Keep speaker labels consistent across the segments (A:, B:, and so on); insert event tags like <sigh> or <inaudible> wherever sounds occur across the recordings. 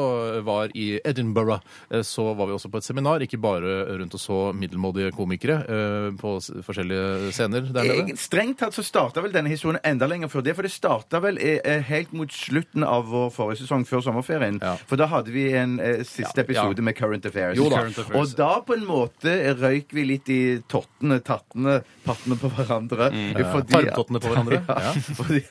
A: var i Edinburgh, eh, så var vi også på et seminar. Ikke bare rundt og så middelmådige komikere eh, på s- forskjellige scener der nede.
B: Egen- Strengt tatt så starta vel denne historien enda lenger før det. For det starta vel eh, eh, helt mot slutten av vår forrige sesong, før sommerferien.
A: Ja.
B: For da hadde vi en eh, siste
A: Ja,
B: episode
A: ja.
B: med Current Affairs.
A: Jo da.
C: Current Affairs.
B: Og da på en måte røyk vi litt i tottene, tattene, pattene på hverandre. Eh, fordi-
A: Mm. Tarmtottene på hverandre.
B: <laughs> Ja,
A: Ja.
B: fordi,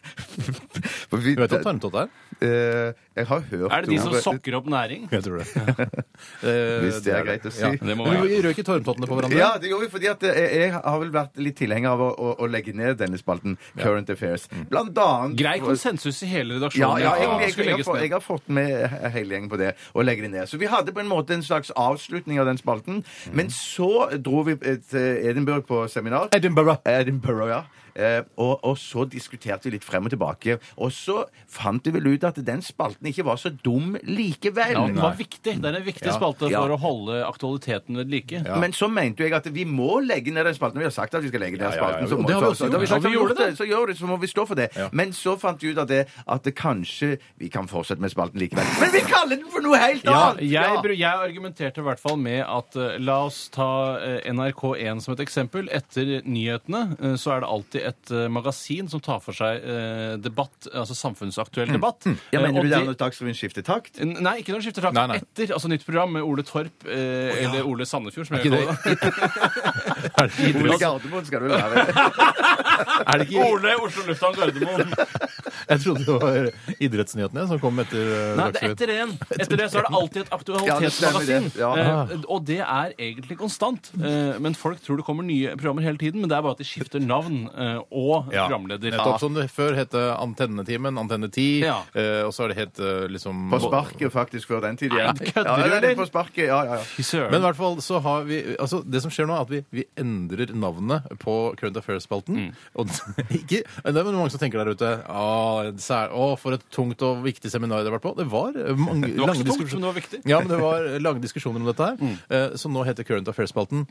B: fordi,
A: Du vet hva tarmtott er?
B: eh, jeg har hørt
C: Er det de som
B: ordet.
C: sokker opp næring?
A: Jeg tror det. <laughs> Eh,
B: Hvis det er greit å si.
C: Det må
A: Men
C: være.
A: Vi røyk i tarmtottene på hverandre.
B: Ja, det gjorde vi fordi at eh, jeg har vel vært litt tilhenger av å, å, å legge ned denne spalten, Current Affairs.
A: Mm.
B: Blant annet
C: Grei konsensus i hele
B: Ja,
C: redaksjonen.
B: ja jeg,
C: Det
B: jeg, jeg,
C: skulle
B: har
C: legges
B: fått, jeg
C: ned.
B: har fått med hele gjengen på det og legger det ned. Så vi hadde på en måte en slags avslutning av den
A: Mm.
B: spalten. Men så dro vi eh, til Edinburgh på seminar.
A: Edinburgh.
B: Edinburgh, ja. Eh, og, og så diskuterte vi litt frem og tilbake. Og så fant vi vel ut at den spalten ikke var så dum likevel.
C: Ja, den var viktig. Det er en viktig
B: Ja.
C: spalte
B: Ja.
C: for å holde aktualiteten ved like.
B: Men så mente jo jeg at vi må legge ned den spalten. Vi har sagt at vi skal legge ned den
A: ja, ja.
B: spalten. så må-
A: Og det har vi
B: så-
A: også
B: så-
A: gjort.
B: da har vi sagt
C: Ja,
B: at vi gjorde det, så gjør det, så må vi stå for det.
A: Ja.
B: Men så fant vi ut at det, at det kanskje vi kan fortsette med spalten likevel. Men vi kaller den for noe helt
C: Ja,
B: annet!
C: jeg, bru- jeg argumenterte i hvert fall med at eh, la oss ta eh, NRK1 som et eksempel. Etter nyhetene eh, så er det alltid et eh, magasin som tar for seg eh, debatt, altså
A: Mm.
C: samfunnsaktuell debatt.
B: Ja,
C: Eh,
B: mener
C: og
B: du det
C: de-
B: er når Dagsrevyen skifter takt?
C: N- Nei, ikke når de skifter takt.
A: Nei, nei.
C: Etter altså nytt program med Ole Torp eh, eller Ole Sandefjord, som jeg
A: ikke
C: kaller det.
B: Ole
A: Idretts-
B: Gardermoen skal det vel være.
A: Er det ikke
C: <laughs> Ole Oslo Lufthavn Gardermoen.
A: Jeg trodde det var idrettsnyhetene som kom etter eh,
C: Nei, det
A: Dagsrevyen.
C: er etter en. Etter det så er det alltid et
B: Ja, det stemmer
C: aktualitetsmagasin.
B: det. Ja.
C: Eh, og det er egentlig konstant. Eh, men folk tror det kommer nye programmer hele tiden, men det er bare at de skifter navn eh, og
A: Ja.
C: programleder.
A: Nettopp som det før het Antennetimen, Antenne 10,
C: Ja.
A: eh, og så har det hett eh, liksom
B: På sparket, faktisk, før den tid igjen.
C: Nei, kødder
B: Ja,
C: du,
B: ja, det er
C: eller?
B: på sparket, ja, ja, ja.
C: Fy søren.
A: Men i hvert fall så har vi altså Det som skjer nå, er at vi, vi endrer navnet på Current Affairs-spalten.
C: Mm.
A: Og <laughs> ikke Det er mange som tenker der ute Å, sær- å, for et tungt og viktig seminar det har vært på. Det var eh,
C: <laughs>
A: mange
C: det var
A: lange
C: ikke så
A: diskusjoner.
C: tungt, men det var Mm. viktig.
A: Ja, men det var lange diskusjoner om dette her. Eh, Så nå heter Current Affairs-spalten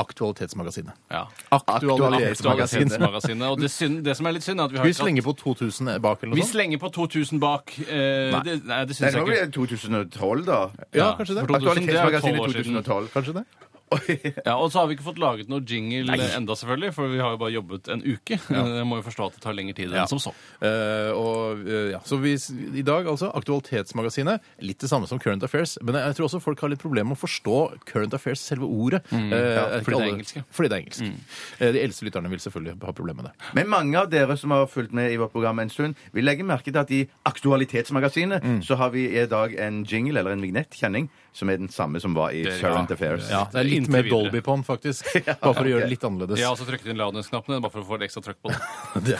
A: Aktualitetsmagasinet.
C: Ja.
A: Aktualitetsmagasinet.
C: Aktualitetsmagasinet. Og det, synd, det som er litt synd, er at vi har
A: Vi
C: ikke hatt-
A: slenger på 2000 bak eller
C: vi
A: noe sånt.
C: slenger på 2000 bak. Eh,
A: Nei.
C: Det, nei,
B: Nei,
C: det
B: nå
C: syns jeg
B: blir
C: ikke.
B: det 2012, da.
A: Ja, kanskje det.
C: for 2000, det er jo 12
B: Aktualitetsmagasinet
C: år siden.
B: 2012.
A: Kanskje det. <laughs>
C: Ja, Og så har vi ikke fått laget noe jingle enda, selvfølgelig, for vi har jo bare jobbet en uke. Eh, Jeg må jo forstå at det tar lengre tid enn
A: Ja.
C: som så.
A: Eh, og, eh, ja. Så vi, s- i dag altså Aktualitetsmagasinet. Litt det samme som Current Affairs. Men jeg, jeg tror også folk har litt problemer med å forstå Current Affairs, selve ordet. Eh, er ikke
C: fordi det er
A: alle-
C: engelsk, Mm, ja. Mm.
A: Fordi det er engelsk. Eh, de eldste lytterne vil selvfølgelig ha problemer med det.
B: Men mange av dere som har fulgt med i vårt program en stund, vil legge merke til at i Aktualitetsmagasinet
A: Mm.
B: så har vi i dag en jingle eller en vignettkjenning som er den samme som var i Current Affairs.
A: Ja, det er litt
C: Inntil
A: mer
C: videre.
A: Dolby på den,
C: <laughs>
A: faktisk. Bare for å gjøre det litt annerledes.
C: Jeg har også trykket inn ladingsknappene bare for å få litt ekstra trøkk på det.
A: <laughs> Det,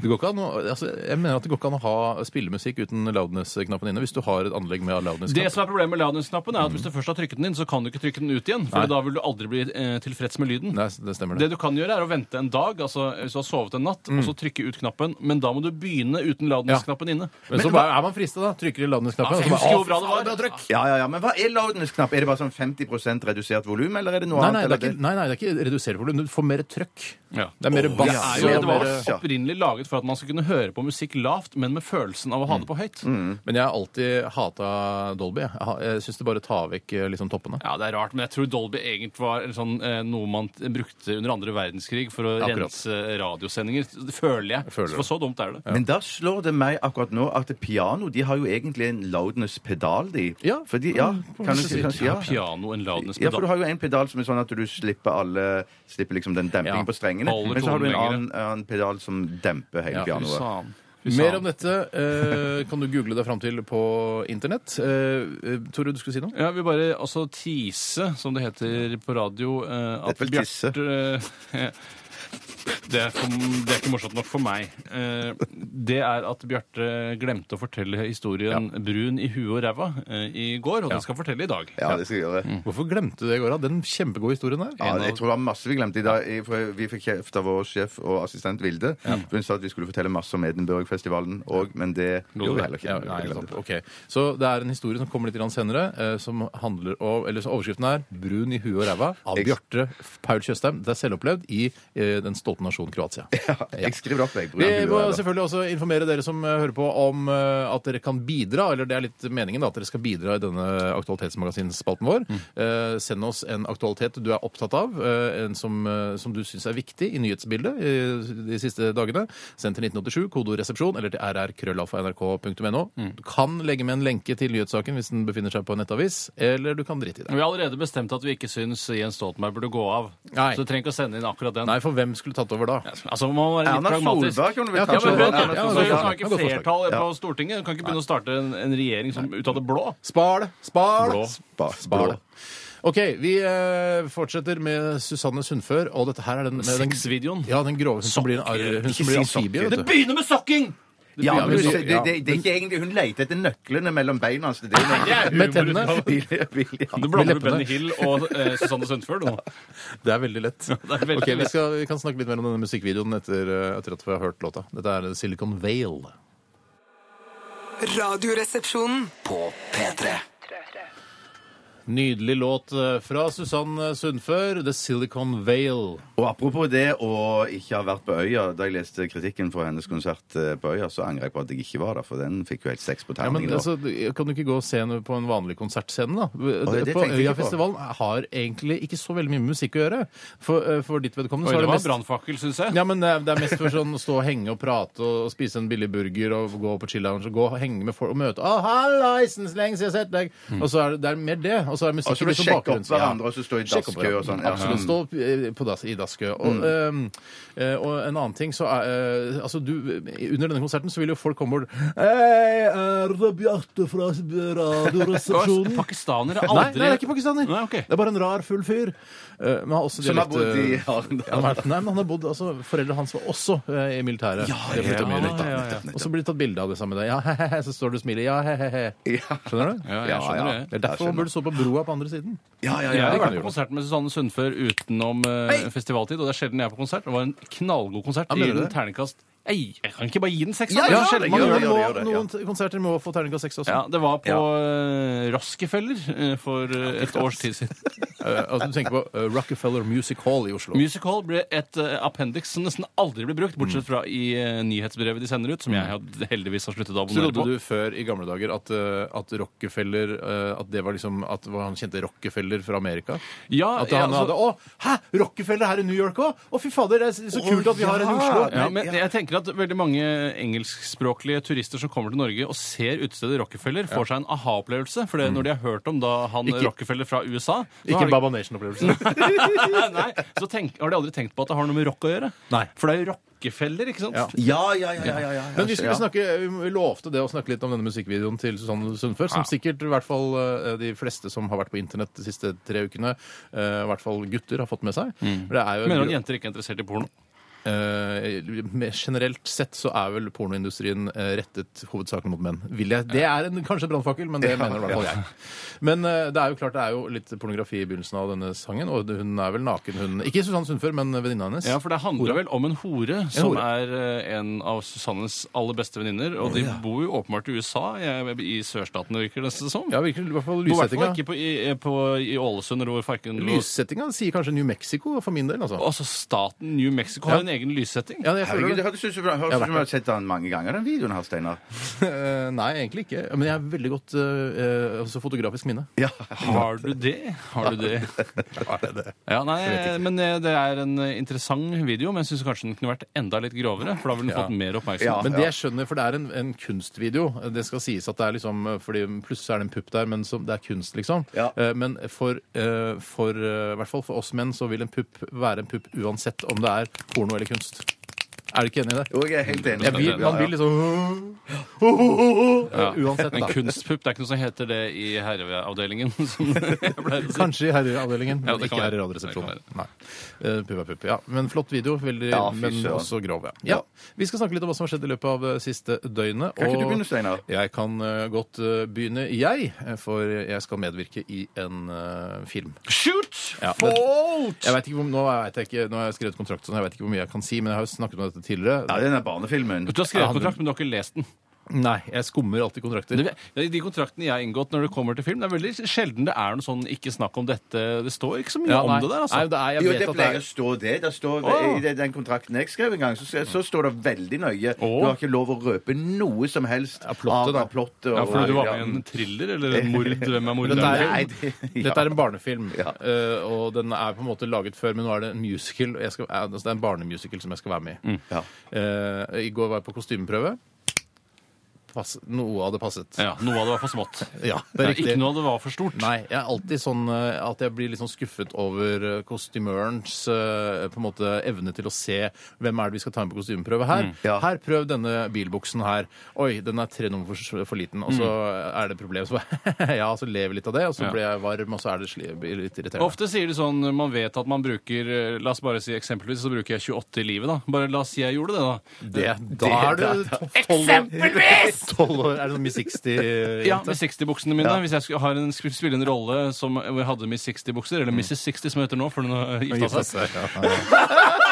A: det går ikke an å, altså, jeg mener at det går ikke an å ha spillemusikk uten loudness-knappen inne hvis du har et anlegg med
C: Det
A: loudness-knapp.
C: som er problemet med ladingsknappen, er at hvis du først har trykket den inn, så kan du ikke trykke den ut igjen, for
A: Nei.
C: da vil du aldri bli eh, tilfreds med lyden.
A: Nei, det stemmer
C: Det
A: det.
C: du kan gjøre, er å vente en dag, altså hvis du har sovet en natt,
A: Mm.
C: og så trykke ut knappen, men da må du begynne uten ladingsknappen inne.
A: Men så bare, er man frista, da. Trykker i loudness-knappen.
C: Ja,
A: og så
C: for jeg husker
A: bare,
C: jo hvor bra det var.
A: «Å, faen, bra trykk!»
B: Ja, ja, ja, Men hva er loudness-knapp? Er det bare sånn 50 redusert volum, eller er det noe
A: Nei nei,
B: annet?
A: det er
B: eller
A: ikke, nei, nei, det er ikke redusere volum. Du får mer trøkk.
C: Ja.
A: Det er mer
B: Åh,
A: bass.
C: Det, er
B: ja,
C: jo,
B: ja,
A: og
C: det
A: mer-
C: var
B: ja.
C: opprinnelig laget for at man skulle kunne høre på musikk lavt, men med følelsen av å ha
A: Mm.
C: det på høyt.
A: Men jeg har alltid hata Dolby. Jeg, har- jeg syns det bare tar vekk eh, liksom, toppene.
C: Ja, det er rart, men jeg tror Dolby egentlig var en sånn, eh, noe man t- brukte under andre verdenskrig for å
A: Akkurat.
C: rense eh, radiosendinger. Det føler jeg.
A: føler
C: For så dumt er det.
B: Men da slår det meg akkurat nå at piano de har jo egentlig en loudness-pedal, de.
A: Ja. Mm,
B: Fordi, ja,
A: på
B: kan du
A: visse
B: si
A: sider.
B: kan du si- ja.
C: Piano, en loudness
B: Ja, for du har jo en pedal som er sånn at du slipper alle Slipper liksom den dempingen
A: Ja,
B: på strengene.
C: holder
B: Men så har du en
C: tonen
B: annen, annen pedal som demper hele
A: Ja,
B: pianoet.
A: Mer om dette eh, kan du google deg fram til på internett. Eh, eh, Tore, du skulle si noe?
C: Ja, vi bare altså tise, som det heter på radio eh,
B: Det
C: at
B: er vel tisse.
C: Bjarte, eh, <laughs> det, er for, det er ikke morsomt nok for meg. Eh, det er at Bjarte glemte å fortelle historien Brun i huet og ræva eh, i går, og den skal jeg fortelle i dag.
B: Ja, det skal jeg gjøre.
A: Hvorfor glemte du det i går? da? Den kjempegode historien der.
B: Ja, jeg tror det var masse vi glemte i dag. i- For vi fikk kjeft av vår sjef og assistent Vilde. for Hun sa at vi skulle fortelle masse om Edinburgh-festivalen òg, men det gjorde vi heller ikke.
A: Ja,
B: Vi
A: nei,
B: glemte
A: sant.
B: det.
A: Ok. Så det er en historie som kommer litt grann senere, eh, som handler om Eller så overskriften er 'Brun i huet og ræva' av
B: Jeg-
A: Bjarte Paul Tjøstheim. Det er selvopplevd i eh, den stolte nasjonen Kroatia.
B: Jeg skriver det opp, jeg.
A: Vi
B: Brun
A: må
B: hue, da.
A: selvfølgelig også informere dere som eh, hører på om eh, at dere kan bidra, eller det er litt meningen da, at dere skal bidra i denne aktualitetsmagasinspalten vår. Eh, send oss en aktualitet du er opptatt av, eh, en som, eh, som du syns er viktig i nyhetsbildet eh, de siste dagene. Send til 1987, kodeord resepsjon, eller til rrkrøllalfa.nrk.no. Du kan legge med en lenke til nyhetssaken hvis den befinner seg på en nettavis, eller du kan drite i det.
C: Vi har allerede bestemt at vi ikke syns Jens Stoltenberg burde gå av.
A: Nei.
C: Så du trenger ikke å sende inn akkurat den.
A: Nei, for hvem skulle tatt over da?
C: Altså, man må være litt
B: Erna
C: pragmatisk.
B: Solberg kunne vi
A: Ja,
C: Ja,
B: kanskje
C: men
A: Solberg.
C: vent,
B: Erna
C: da.
A: Ja,
C: Så
A: det er
C: Hun
B: Solberg.
C: har
A: godt
C: ikke
A: forslag.
C: flertall på Stortinget. Hun kan ikke begynne å starte en, en regjering som, ut av det blå.
A: Spar det! Spar det!
C: Blå.
B: Spar-
A: Spar
B: blå.
A: det. OK, vi eh, fortsetter med Susanne Sundfør, og dette her er den, den
C: Sexvideoen.
A: Ja, den grove. Hun som blir en arr, hun som blir amfibie, vet du.
C: begynner med sokking! Det
B: Ja,
C: begynner
B: men
C: med
B: det, det,
C: sånn-
B: det, det er ikke egentlig Hun leter etter nøklene mellom beina hans. Det er det hun
C: Det er
A: Med
C: humor ut
B: <laughs>
C: av-
A: tennene.
C: Du
A: Med
C: blander
A: leppene.
C: Benny Hill og eh, Susanne Sundfør nå.
A: Det er veldig lett.
C: det er veldig
A: Ok, vi,
C: lett.
A: skal, vi kan snakke litt mer om denne musikkvideoen etter, eh, etter at vi har hørt låta. Dette er Silicon Vale.
D: Radioresepsjonen.
E: På P3.
A: Nydelig låt eh, fra Susann Sundfør, The Silicon Vale.
B: Og apropos det å ikke ha vært på Øya. Da jeg leste kritikken fra hennes konsert eh, på Øya, så angrer jeg på at jeg ikke var der, for den fikk jo helt seks på
A: Ja, men
B: terningen. da.
A: altså, du- Kan du ikke gå og se henne på en vanlig konsertscene, da?
B: det
A: på
B: tenkte jeg ikke på.
A: Øyafestivalen har egentlig ikke så veldig mye med musikk å gjøre. For, eh, for ditt vedkommende
C: Oi,
A: så
C: det
A: er det
C: var en
A: mest
C: brannfakkel, syns jeg.
A: Ja, men det er, det er mest for sånn å stå og henge og prate og, og spise en billig burger og gå på chill lounge og gå og henge med folk og møte Å, hallaisens lenge siden jeg har sett deg! Og så er det, det er mer det. Og så er
B: Mm. Og så
A: musikken
B: vil
A: litt sånn
B: sjekke opp
A: bakgrunns-
B: hverandre, og så stå i
A: Sjekke opp
B: dasskø og sånn. Ja. Mm.
A: Absolutt. Stå eh, på dass, i dasskø. Og, eh, eh, og en annen ting så er eh, Altså, du Under denne konserten så vil jo folk komme bort Hei, er det Bjarte
B: <laughs>
A: fra
C: Og
A: Radioresepsjonen?
C: Pakistanere
A: Nei,
C: aldri
A: nei, det er ikke pakistaner.
C: Nei, ok.
A: Det er bare en rar, full fyr. Eh, men har også
B: Som har
A: dialekt,
B: bodd i
A: eh, ja, han
B: Arendal.
A: har- nei, men han har bodd, altså, Foreldrene hans var også eh, i militæret. Det flyttet mye rundt, da.
C: ja, ja.
A: Og så blir det tatt bilde av det sammen med deg. Ja, <laughs> he-he, så står du og smiler. Ja, he-he.
B: Ja.
A: Skjønner du?
C: Ja, jeg skjønner det.
A: Det er derfor man burde stå på broa på andre siden.
B: Ja, ja,
C: Jeg
B: ja.
C: har
A: kan
C: vært
A: du
C: på konsert med Susanne Sundfør utenom eh, festivaltid, og det er sjelden jeg er på konsert. Det var en knallgod konsert.
A: Ja,
C: Jeg
A: mener
C: gir
A: du
C: den
A: det?
C: terningkast Ei, Jeg kan ikke bare gi den seks!
B: Ja,
C: da.
B: ja,
C: det er
B: det
C: sjelden man
B: gjør
C: gjør
B: det,
C: det.
B: gjør
A: må,
B: det, ja.
A: noen t- konserter må få terningkast seks også.
C: Ja, det var på eh, Rockefeller eh, for eh, et års tid siden.
A: <laughs> Eh, altså, du tenker på eh, Rockefeller Music Hall i Oslo.
C: Music Hall ble et uh, appendix som nesten aldri ble brukt, bortsett
A: Mm.
C: fra i eh, nyhetsbrevet de sender ut, som jeg had- heldigvis har sluttet å abonnere
A: Trodde
C: på.
A: du før i gamle dager at, eh, at Rockefeller eh, At det var liksom At det var han kjente Rockefeller fra Amerika?
C: Ja,
A: At
C: ja,
A: han
C: altså-
A: hadde Å, hæ! Rockefeller her i New York òg? Å, fy fader, det er så kult at vi har en i Oslo!
C: Ja, men jeg tenker at veldig mange engelskspråklige turister som kommer til Norge og ser utestedet Rockefeller, får seg en aha-opplevelse. For det er når de har hørt om da han
A: Mm. Ikke-
C: Rockefeller fra USA så
A: Ikke
C: har
A: en
C: de-
A: Baba Nation-opplevelse.
C: <laughs> Nei, så tenk, har de aldri tenkt på at det har noe med rock å gjøre.
A: <laughs> Nei.
C: For det er jo Rockefeller, ikke sant?
A: Ja.
B: Ja, ja, ja, ja, ja, ja.
A: Men vi skulle
B: Ja.
A: snakke, vi lovte det å snakke litt om denne musikkvideoen til Susanne Sundfør, som sikkert i hvert fall eh, de fleste som har vært på internett de siste tre ukene, eh, i hvert fall gutter, har fått med seg. For Det er jo en
C: Mm. Mener du
A: gro-
C: at jenter ikke er interessert i porno?
A: Eh, med- generelt sett så er vel pornoindustrien eh, rettet hovedsakelig mot menn. Vil jeg, det er en, kanskje en brannfakkel, men det mener i hvert fall jeg. Men eh, det er jo klart det er jo litt pornografi i begynnelsen av denne sangen, og hun er vel naken, hun Ikke Susann Sundfør, men venninna hennes.
C: Ja, for det handler
A: Hora.
C: vel om en hore som
A: hore.
C: er eh, en av Susannes aller beste venninner. Og de bor jo åpenbart i USA, jeg- i sørstatene, virker det som.
A: Ja, virker i hvert fall
C: Bor I hvert fall
A: lyssettinga.
C: ikke på, i, eh, på, i Ålesund, eller hvor farken
A: Lyssettinga sier kanskje New Mexico for min del, altså.
C: Altså staten New Mexico har en egen lyssetting.
A: Ja, jeg
B: Herregud,
A: føler
B: det
A: det.
B: høres ut som høres ut som du har sett den mange ganger, den videoen her, Steinar.
A: <laughs> Eh, Nei, egentlig ikke. Men jeg har veldig godt eh, eh, altså fotografisk minne.
B: Ja.
C: Har du det? Har du det? Ja, nei, men eh, Det er en eh, interessant video, men jeg syns kanskje den kunne vært enda litt grovere. For da ville den fått mer
B: Ja.
C: oppmerksomhet.
A: Men det jeg skjønner, for det er en, en kunstvideo. Det skal sies at det er liksom fordi Plutselig så er det en pupp der, men som- det er kunst, liksom.
B: Ja.
A: Eh, Men for, eh, for eh, i hvert fall for oss menn så vil en pupp være en pupp uansett om det er porno eller kunst. Er du ikke enig i det?
B: Jo, jeg er helt enig.
A: Jeg vil, man
B: Ja, ja.
A: vil liksom <laughs>
C: Ja.
A: Uansett,
C: En
A: da.
C: kunstpupp. Det er ikke noe som heter det i herreavdelingen. <laughs> som jeg pleier å si.
A: Kanskje i herreavdelingen,
C: Ja,
A: men
C: det kan
A: ikke
C: være.
A: herreradioresepsjonen.
C: Det
A: Nei. Eh, Pupp er pupp. Ja. Men flott video, veldig,
B: Ja, fy
A: men
B: søren.
A: også grov. Ja. Ja. Vi skal snakke litt om hva som har skjedd i løpet av eh, siste døgnet.
B: Kan ikke du begynne, Steinar?
A: Jeg kan eh, godt eh, begynne, jeg, eh, for jeg skal medvirke i en eh, film.
C: Shoot!
A: Ja, men-
C: Fault!
A: Jeg vet ikke hvor, nå, vet jeg ikke, nå har jeg skrevet kontrakt, så jeg vet ikke hvor mye jeg kan si, men jeg har jo snakket om dette tidligere.
B: Ja, den er barnefilmen.
C: Du har
A: Ja,
C: skrevet
A: han-
C: kontrakt, men du har ikke lest den.
A: Nei, jeg skummer alltid kontrakter.
C: Det- det er De kontraktene jeg har inngått når det kommer til film, det er veldig sjelden det er noe sånn 'ikke snakk om dette'. Det står ikke så mye
A: Ja,
C: om
A: nei.
C: det der, altså.
A: Nei, det er, jeg
B: Jo,
A: vet
B: det
A: at
B: pleier å
A: det er,
B: stå det. Der står,
C: Å.
B: I den- den kontrakten jeg skrev en gang, så, så står det veldig nøye
C: Å.
B: Du har ikke lov å røpe noe som helst
A: Ja, plottet,
B: av-
A: da.
B: av plottet.
C: ja,
B: og-
C: fordi du var med i en thriller eller en mord? Hvem er morderen?
A: Dette er-
B: Nei, det, ja.
A: dette er en barnefilm, eh, og den er på en måte laget før, men nå er det en musical. og Jeg skal, eh, altså det er en
B: Mm.
A: barnemusical som jeg skal være med i.
B: Ja.
A: Eh, I går var jeg på kostymeprøve. pass, noe av det passet.
C: Ja, Noe av det var for smått.
A: Ja, det er riktig.
C: Ikke noe av det var for stort.
A: Nei, jeg er alltid sånn eh, at jeg blir litt sånn skuffet over eh, kostymørens eh, på en måte evne til å se hvem er det vi skal ta med på kostymeprøve her.
C: Mm.
B: Ja.
A: Her, prøv denne bilbuksen her. Oi, den er tre nummer for, for liten. Og så er det et problem. Så bare, <laughs> ja, så lever litt av det, og så
C: Mm. Ja.
A: blir jeg varm, og så er det sli, blir litt irriterende.
C: Ofte sier de sånn Man vet at man bruker eh, La oss bare si eksempelvis så bruker jeg 28 i livet, da. Bare la oss si jeg gjorde det, da.
A: Det, da er du
C: Eksempelvis!
A: <laughs> 12 år, er det sånn Miss 60-jente?
C: Ja, med 60-buksene mine.
A: Ja.
C: Hvis jeg skulle, har en, skulle spille en rolle som hvor jeg hadde Miss 60-bukser, eller Mrs. 60 som hun heter nå, for hun har gifta seg.
A: <laughs>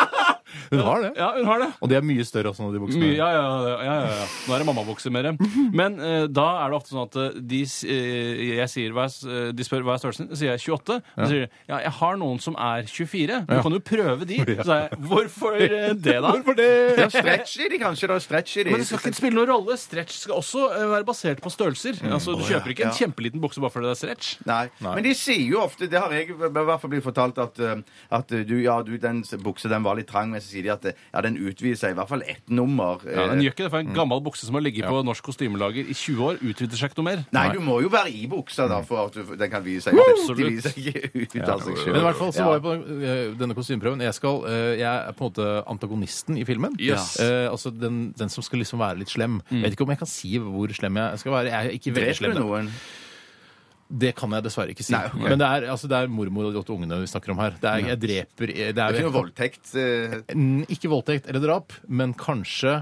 A: Hun har det.
C: Ja, hun har det.
A: Og de er mye større også, nå, de buksene.
C: Mye, ja, ja, ja, ja, ja, ja. Nå er det mammabukser mer. Men eh, da er det ofte sånn at eh, de, s- eh, jeg sier, hva er, s- eh, de spør hva er størrelsen, så sier jeg 28. Og så sier de ja, jeg har noen som er 24. Du kan jo prøve de. Så sier jeg hvorfor eh, det, da?
A: <laughs> Hvorfor det?
B: Ja, stretch i de, kanskje. da, stretch i de.
C: Men det skal ikke spille noen rolle. Stretch skal også eh, være basert på størrelser. Altså, Du kjøper ikke en
B: Ja.
C: kjempeliten bukse bare fordi det er stretch.
B: Nei. Men de sier jo ofte, det har jeg i hvert fall blitt fortalt, at, eh, at eh, du, ja, du, den s- buksa den var litt trang, men så sier de at eh, ja, den utvider seg i hvert fall ett nummer.
C: Ja,
B: eh.
C: den gjør ikke det, for en gammel bukse som har ligget på norsk kostymelager i 20 år, utvider seg ikke noe mer.
B: Nei, du må jo være i buksa da, for at du, den kan vide seg. Absolutt. De viser seg ikke ut altså. av seg selv.
A: Men i hvert fall så
B: Ja.
A: var jeg på den, eh, denne kostymeprøven. Jeg, skal, eh, jeg er på en måte antagonisten i filmen.
C: Yes.
A: Eh, altså den, den som skal liksom være litt slem. Jeg vet ikke om jeg kan si hvor slem jeg skal være. Jeg er ikke veldig
B: Dreper
A: slem.
B: du noen?
A: Det kan jeg dessverre ikke si.
B: Nei, ok.
A: Men det er, altså, det er mormor og de åtte ungene vi snakker om her. Det er, jeg dreper eh, Det er,
B: Det er ikke noe voldtekt. eh,
A: Mm, Ikke voldtekt eller drap, men kanskje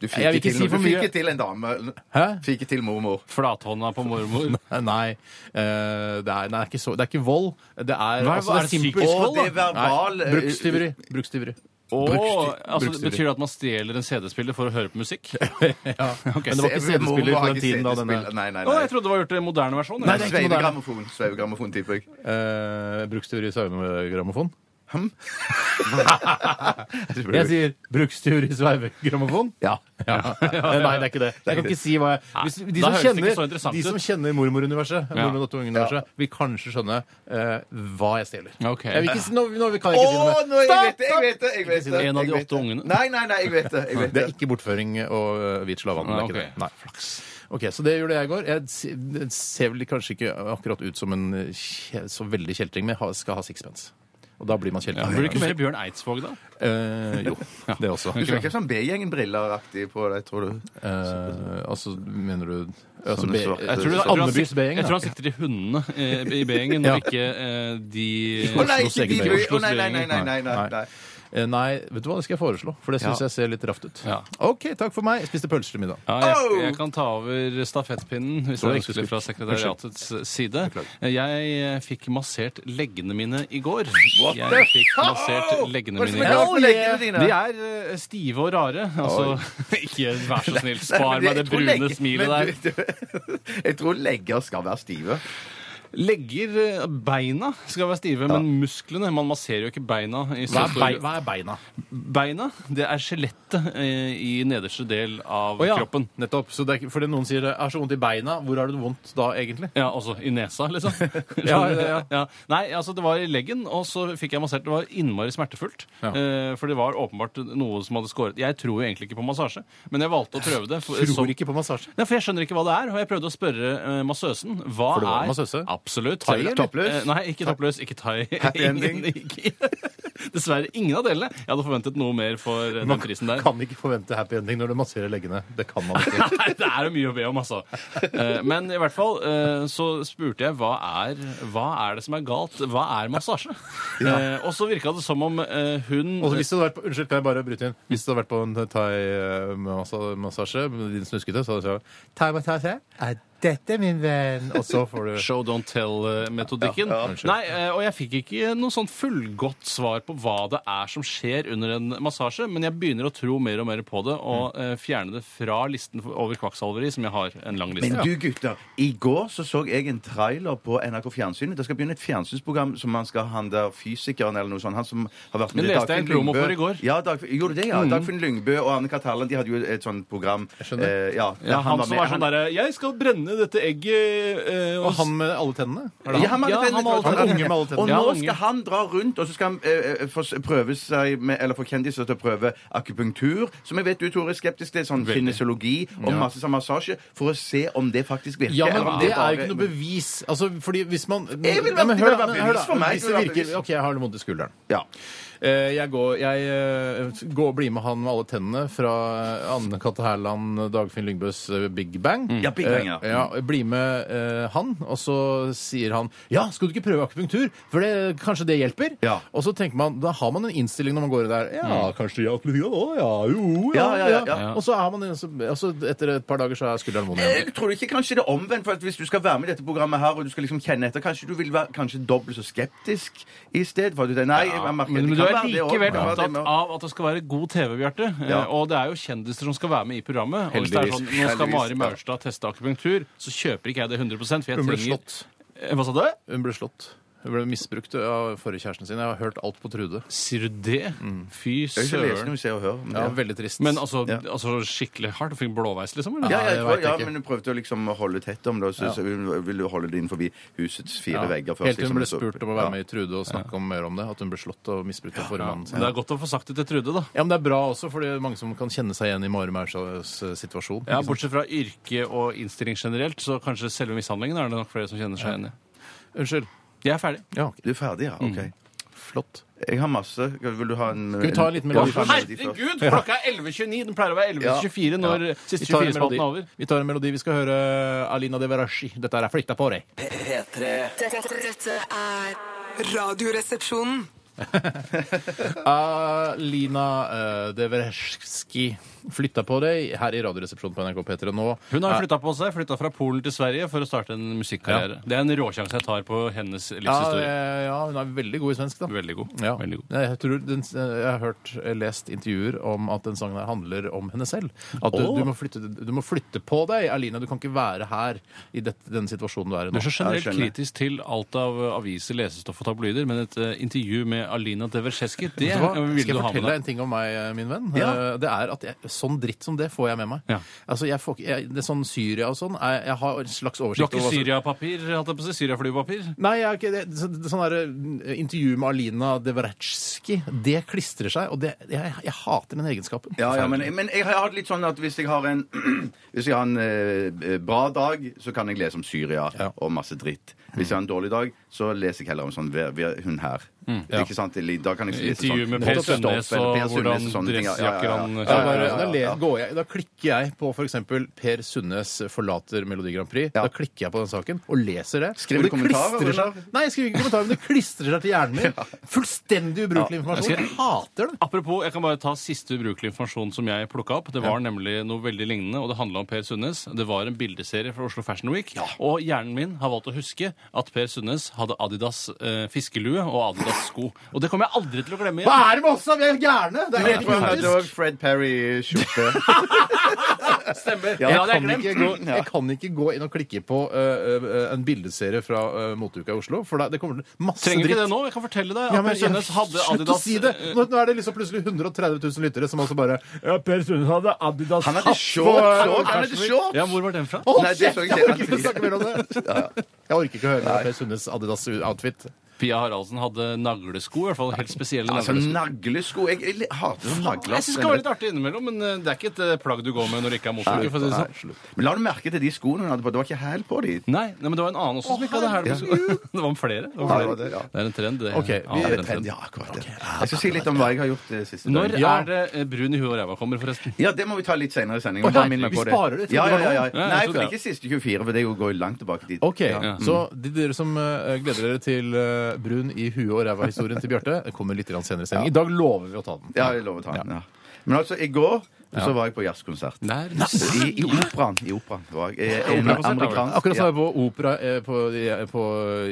B: Du
A: Jeg vil
B: fikk
A: ikke
B: til,
A: si
B: noe-
A: for
B: du fikk
A: mye.
B: ikke til en dame.
A: Hæ?
B: Fikk ikke til mormor.
C: Flathånda på mormor.
A: Eh, Nei. eh, det, er, nei det, er ikke så, det er ikke vold. Det er,
C: Hva er-
A: altså,
C: hva
A: det
C: er
A: er simpelt.
C: psykisk
B: vold, da? Å, det er verbal,
A: Nei,
B: eh,
A: Brukstyveri. Brukstyveri.
C: Og,
A: Brukstyveri.
C: altså,
A: Brukstyveri.
C: betyr det at man stjeler en CD-spiller for å høre på musikk? Å,
A: <laughs> Ja. Men det var ikke
B: Se, mormor
A: CD-spiller
B: har
A: på den
B: ikke
A: tiden da denne
B: CD-spiller. Nei, nei,
C: jeg
B: nei.
C: trodde det var gjort i en moderne versjon.
A: Nei, det er ikke moderne.
B: Sveivegrammofon. Sveivegrammofon, tipper jeg.
A: eh, brukstyveri sveivegrammofon. Jeg
B: Jeg sier-
A: sier brukstyveri sveivegrammofon.
B: Ja.
A: <laughs> Ja. Nei, det er ikke det. Jeg kan ikke si hva jeg Hvis, de,
C: da
A: som
C: høres det ikke så
A: kjenner,
C: interessant
A: de
C: ut.
A: som kjenner mormoruniverset,
C: Ja.
A: mormor universet vil kanskje skjønne eh, hva jeg stjeler.
C: Ok.
A: Jeg vil ikke, si- nå, nå kan jeg ikke si noe
B: Å,
A: mer.
B: nå, jeg vet det! Jeg vet det! Jeg vet det
C: En av de
B: jeg vet
C: åtte
B: det.
C: ungene.
B: Nei, nei, nei, jeg vet det. Jeg vet
A: Det er
B: det.
A: ikke bortføring og uh, hvit slavehandel. det
C: Nei,
A: er
C: ok.
A: ikke det. Nei, flaks. Ok, Så det gjorde jeg i går. Jeg se- det ser vel kanskje ikke akkurat ut som en eh, kje- så veldig kjeltring, men jeg har- skal ha sixpence. Og da blir man kjeltring.
C: Blir det ikke mer Bjørn Eidsvåg, da?
A: Eh, jo, det også.
B: Du skal ikke ha sånn B-gjengen-briller-aktig på deg, tror du?
A: Eh, altså, mener du altså,
B: Sånne
A: B-
B: svarte-
A: Jeg tror det
B: Så
C: Jeg
A: er
C: tror han
A: Andebys
C: sik-
A: B-gjeng.
C: Jeg tror
A: da.
C: han sikter til hundene eh, i B-gjengen,
A: Ja.
C: og ikke eh, de
A: <laughs>
B: Å nei,
A: Oslos
B: ikke de
A: egen
B: bry-
C: Oslos
B: Å, nei, nei, nei, nei, nei, nei,
A: Nei.
B: nei.
A: Eh, Nei, vet du hva, det skal jeg foreslå, for det syns jeg ser litt raft ut.
C: Ja.
A: OK, takk for meg. Jeg spiste pølser til middag.
C: Ja, jeg, jeg kan ta over stafettpinnen hvis det
A: Så
C: er
A: jeg
C: ønskelig
A: skulle-
C: fra sekretariatets side. Jeg eh, fikk massert leggene mine i går. Jeg fikk massert leggene
B: Hva er det
C: mine
B: som
C: i
B: er
C: går.
B: galt med leggene dine?
C: De er eh, stive og rare. Altså, <laughs> ikke vær så snill,
B: Nei, men
C: spar meg
B: jeg
C: det
B: tror
C: brune
B: legg-
C: smilet
B: men
C: der.
B: du- du- <laughs> Jeg tror legger skal være stive.
C: Legger eh, Beina skal være stive, men musklene Man masserer jo ikke beina. I så
A: Hva er,
C: stor-
A: bei, hva er beina?
C: Beina det er skjelettet eh, i nederste del av
A: Å ja,
C: kroppen.
A: Nettopp. Så det er, ikke- fordi noen sier 'jeg har så vondt i beina', hvor har du vondt da, egentlig?
C: Ja, altså i nesa,
B: <laughs>
C: liksom.
A: Ja, ja, ja.
C: Nei, altså det var i leggen, og så fikk jeg massert. Det var innmari smertefullt.
A: Ja.
C: Eh, for det var åpenbart noe som hadde skåret. Jeg tror jo egentlig ikke på massasje, men jeg valgte å prøve det. For, som-
A: Tror ikke på massasje.
C: Nei, for jeg skjønner ikke hva det er, og jeg prøvde å spørre eh, massøsen. Hva
A: For det var
C: er
A: massøse?
C: Absolutt.
A: Thai, eller?
B: Toppløs?
C: Eh, Nei, ikke toppløs. Ikke thai.
B: Happy ending?
C: ikke- <laughs> Dessverre ingen av delene. Jeg hadde forventet noe mer for eh, den prisen der.
A: kan ikke forvente happy ending når du masserer leggene. Det kan man <laughs> ikke.
C: <laughs> Nei, det er jo mye å be om, altså. Eh, Men i hvert fall eh, så spurte jeg hva er, hva er det som er galt? Hva er massasje? Eh, Og så virka det som om eh, hun
A: Og hvis det hadde vært på, unnskyld, kan jeg bare bryte inn? Hvis det hadde vært på en thai-massasje med din snuskete, så hadde du sagt Thai-massasje? Er dette min venn? Og så får <laughs> du
C: Show don't tell-metodikken.
A: Ja, ja, unnskyld.
C: Nei, eh, og jeg fikk ikke noe sånn fullgodt svar på hva det er som skjer under en massasje, men jeg begynner å tro mer og mer på det og eh, fjerne det fra listen over kvakksalveri, som jeg har en lang
B: Men
C: liste.
B: du, gutter, i går så så jeg en trailer på NRK Fjernsynet. Det skal begynne et fjernsynsprogram som man skal han der fysikeren eller noe sånt. Han som har vært med
C: Det leste jeg en promo for i går. Mm.
B: Ja, Dagfinn, gjorde du det, ja. Dagfinn Lyngbø og Anne Katallen, de hadde jo et sånt program.
A: skjønner.
B: Eh, ja, der
C: Ja, han, som sånn
B: med.
C: var sånn derre 'Jeg skal brenne dette egget eh,
A: Og han med alle tennene? Er det
B: Ja, han,
C: Ja, han sånn-
B: med alle
A: med alle tennene.
B: tennene.
A: Han unge med alle tennene.
B: Og
C: Ja,
B: nå
C: unge.
B: skal han dra rundt, og så skal han eh, eh, få s- prøve seg med, eller få kjendiser til å prøve akupunktur, som jeg vet du, Tore, er skeptisk til, sånn kinesiologi og masse sånn massasje, for å se om det faktisk virker.
A: Ja,
B: eller om
A: men det er
B: bare-
A: jo ikke noe bevis. Altså, fordi hvis man
B: Jeg vil
A: Ja, men
B: alltid
A: hør da,
B: være
A: men
B: bevis
A: hør da,
B: for meg,
A: Hvis
B: jeg
A: det
B: vil være
A: virker
B: bevis.
A: OK, jeg har det vondt i skulderen.
B: Ja.
A: Eh, Jeg går, jeg eh, går og blir med han med alle tennene fra Anne Katte Hærland, Dagfinn Lyngbøs eh, Big Bang.
B: Ja, Big Bang, ja.
A: Eh, ja jeg blir med eh, han, og så sier han ja, skal du ikke prøve akupunktur, for det, kanskje det hjelper?
B: Ja.
A: Og så tenker man, da har man en innstilling når man går der. Ja, kanskje ja, akupunktur da, Mm. ja, jo,
B: Ja, ja, ja, ja.
A: Og så er man, og så etter et par dager så er skulderen vond igjen.
B: Jeg tror ikke kanskje det er omvendt, for at hvis du skal være med i dette programmet her, og du skal liksom kjenne etter, kanskje du vil være kanskje dobbelt så skeptisk i stedet for at du tenker, nei, jeg merker
C: Men,
B: at
C: men
B: det kan
C: du er
B: være det også,
C: likevel
B: det kan være det
C: opptatt
B: med-
C: av at det skal være god TV, Bjarte. Eh,
B: Ja.
C: Og det er jo kjendiser som skal være med i programmet. Og hvis det er
A: Heldigvis.
C: sånn, Nå skal
B: Heldigvis,
C: Mari
B: ja.
C: Maurstad teste akupunktur, så kjøper ikke jeg det 100 for jeg
A: Hun ble
C: trenger
A: slått.
C: Eh, Hva sa du?
A: Hun ble slått. Hun ble misbrukt av forrige kjæresten sin. Jeg har hørt alt på Trude.
C: Sier du det? Fy
B: Jeg har ikke lest
C: søren.
B: noe Se og Hør. men
A: Ja,
B: ja.
A: veldig trist.
C: Men altså,
B: Ja.
C: altså skikkelig hardt? Du fikk blåveis, liksom?
B: Ja,
C: Eller?
B: ja, jeg
A: det
B: tror,
A: vet jeg
B: ja,
A: ikke.
B: men hun prøvde å liksom holde tett om det. og Så, så hun ville holde det innenfor husets fire
A: Ja.
B: vegger. Først,
A: Helt til hun ble
B: liksom, så-
A: spurt om å være med i Trude og snakke om mer om det. At hun ble slått og misbrukt av formannen
C: Men
A: sin.
C: det er godt å få sagt det til Trude, da.
A: Ja, men det er bra også, for det er mange som kan kjenne seg igjen i Mari Maurstads eh, situasjon.
C: Ja, Bortsett fra yrke og innstilling generelt, så kanskje selve mishandlingen er det nok flere som kjenner seg igjen i.
A: Unnskyld.
C: Jeg er ferdig.
A: Ja, ok.
B: Du er ferdig, ja? OK.
A: flott.
B: Jeg har masse. Vil du ha en
A: Mm.
B: eh,
A: Skal vi ta en liten melodi
B: Ja,
A: først?
C: Herregud, klokka er 11.29! Den pleier å være 11.24 når
A: Ja.
C: siste
A: Vi tar en
C: 24-spalten er
A: melodi.
C: over.
A: Vi tar en melodi. Vi skal høre eh, Alina De Verashi. Dette er Flytta på deg.
E: P3.
F: Dette, dette er Radioresepsjonen.
A: Alina eh, De Verashki. Flytta på deg her i Radioresepsjonen på NRK P3 nå. Eh,
C: Hun har
A: er-
C: flytta på seg, flytta fra Polen til Sverige for å starte en musikkarriere. Det er en råsjanse jeg tar på hennes
A: ja,
C: livshistorie.
A: eh, ja, hun er veldig god i svensk, da.
C: Veldig god.
A: Ja.
C: Veldig god.
A: Jeg, tror den, jeg har hørt, eh, lest intervjuer om at den sangen her handler om henne selv. At du,
C: Åh.
A: du, må flytte, du må flytte på deg, Alina. Du kan ikke være her i dette, den situasjonen du er i
C: Du
A: nå.
C: er så generelt
B: Ja, jeg skjønner.
C: kritisk til alt av eh, aviser, lesestoff og tabloider, men et eh, intervju med Alina Deverseski,
A: Vet
C: det
A: du
C: eh,
A: hva?
C: vil
A: Skal jeg
C: du ha med
A: fortelle deg
C: deg.
A: en ting om meg, min venn?
B: Ja.
A: Eh, Det er at jeg, Sånn dritt som det får jeg med meg.
C: Ja.
A: Altså, jeg får, ikke- jeg, det er sånn Syria og sånn jeg, jeg har en slags
C: Du
A: oversikt
C: har ikke
A: hva som-
C: Syriapapir, holdt jeg på å si? Syriaflypapir?
A: Nei, jeg har ikke det. Så, det- sånn der, eh, intervju med Alina Deveretsjki, det klistrer seg, og det, jeg, jeg hater den egenskapen.
B: Ja, ja, men, men jeg har hatt litt sånn at hvis jeg har en, <clears throat> hvis jeg har en eh, bra dag, så kan jeg lese om Syria
A: Ja.
B: og masse dritt. Hvis jeg har en dårlig dag, så leser jeg heller om sånn vi, vi, Hun her. Ikke sant? Da kan jeg lese
C: Intervju Mm. med
B: sånn
C: Per
B: Rolf Stoff
C: Sundnes
B: eller
C: og
B: Per
C: hvordan
B: Sundnes og sånne ting, ja. Ja, ja,
C: dressjakker han
A: Ja,
B: ja. Ja,
A: bare,
B: ja,
A: da,
B: ja,
A: le,
B: ja.
A: går jeg, da klikker jeg på f.eks. Per Sundnes forlater Melodi Grand Prix.
B: Ja.
A: Da klikker jeg på den saken og leser det. og
B: Skriver
A: det
B: du kommentarer,
A: klistrer
B: eller?
A: seg, Nei, jeg skriver ikke kommentarer, men det klistrer seg til hjernen
C: <laughs>
A: min. Fullstendig ubrukelig informasjon. Jeg hater det.
C: Apropos, jeg kan bare ta siste ubrukelig informasjon som jeg plukka opp. Det var nemlig noe veldig lignende, og det handla om Per Sundnes. Det var en bildeserie fra Oslo Fashion Week, og hjernen min har valgt å huske at Per Sundnes hadde Adidas eh, fiskelue og Adidas sko. Og det kommer jeg aldri til å glemme
A: Hva
C: igjen.
A: er det med oss, da? Vi er gærne! Det er
B: Jeg
A: helt
B: tror han hadde
A: idiotisk.
B: også Fred
C: <laughs>
B: Perry-skjorte.
C: Stemmer.
B: Ja,
C: Ja, det
A: Jeg
C: har jeg
A: kan, ikke
C: glemt.
A: gå, jeg kan ikke gå inn og klikke på øh, øh, en bildeserie fra øh, moteuka i Oslo, for da, det kommer masse
C: Trenger
A: dritt.
C: ikke det nå. Jeg kan fortelle deg at
A: Ja, men,
C: Per Sundnes
A: slutt
C: hadde
A: å
C: Adidas
A: si det! Nå, nå er det liksom plutselig 130 000 lyttere som altså bare Ja, Per Sundnes hadde Adidas
B: Han hadde shorts òg! Han hadde shorts!
C: Ja, hvor var den fra?
A: Å,
B: Nei, det
A: shit!
B: så jeg
A: Jeg <laughs>
B: ikke.
A: orker ikke å snakke mer om det. Jeg orker ikke å høre mer om Per Sundnes Adidas-outfit.
C: Pia Haraldsen hadde naglesko, i hvert fall helt spesielle
B: Altså,
C: naglesko.
B: naglesko Jeg, jeg hater sånn nagler.
C: Jeg syns det skal være litt artig innimellom, men eh, det er ikke et eh, plagg du går med når det ikke er motoruke. for å si det sånn.
B: Men la du merke til de skoene hun hadde på? Det var ikke hæl på de.
C: Nei, nei, men det var en annen også som ikke hadde hæl. på skoene. <laughs> Det var flere. Det, var
B: Ja,
C: flere.
B: det var det, ja.
C: er en trend, det.
A: Ok, vi-
C: Ja, det er en trend.
B: Ja, akkurat det. Jeg skal si litt om hva jeg har gjort det siste
C: Når
B: døgnet.
C: er det eh, brun i huet og ræva kommer, forresten?
B: Ja, det må vi ta litt senere i sendingen.
A: Å,
B: Bare
A: nei,
B: minn meg
A: vi
B: på
A: sparer det til
B: Ja,
A: det
B: ja,
A: var
B: ja, ja.
C: nå. Ja, jeg
B: Nei, for det
C: tror det.
B: er ikke siste 24, for det går jo langt tilbake dit.
A: Ok,
B: Ja.
A: Så de dere som eh, gleder dere til eh, brun i huet og ræva-historien til Bjarte, den kommer litt grann senere i sending. I dag lover vi å ta den.
B: Ja, jeg lover å ta den. Ja. Men altså, i går så var jeg på jazzkonsert.
C: Der.
B: I, I operaen. I operaen var jeg. Eh, En
C: Operakonsert,
B: amerikansk
A: Akkurat som jeg er på opera eh, på, eh, på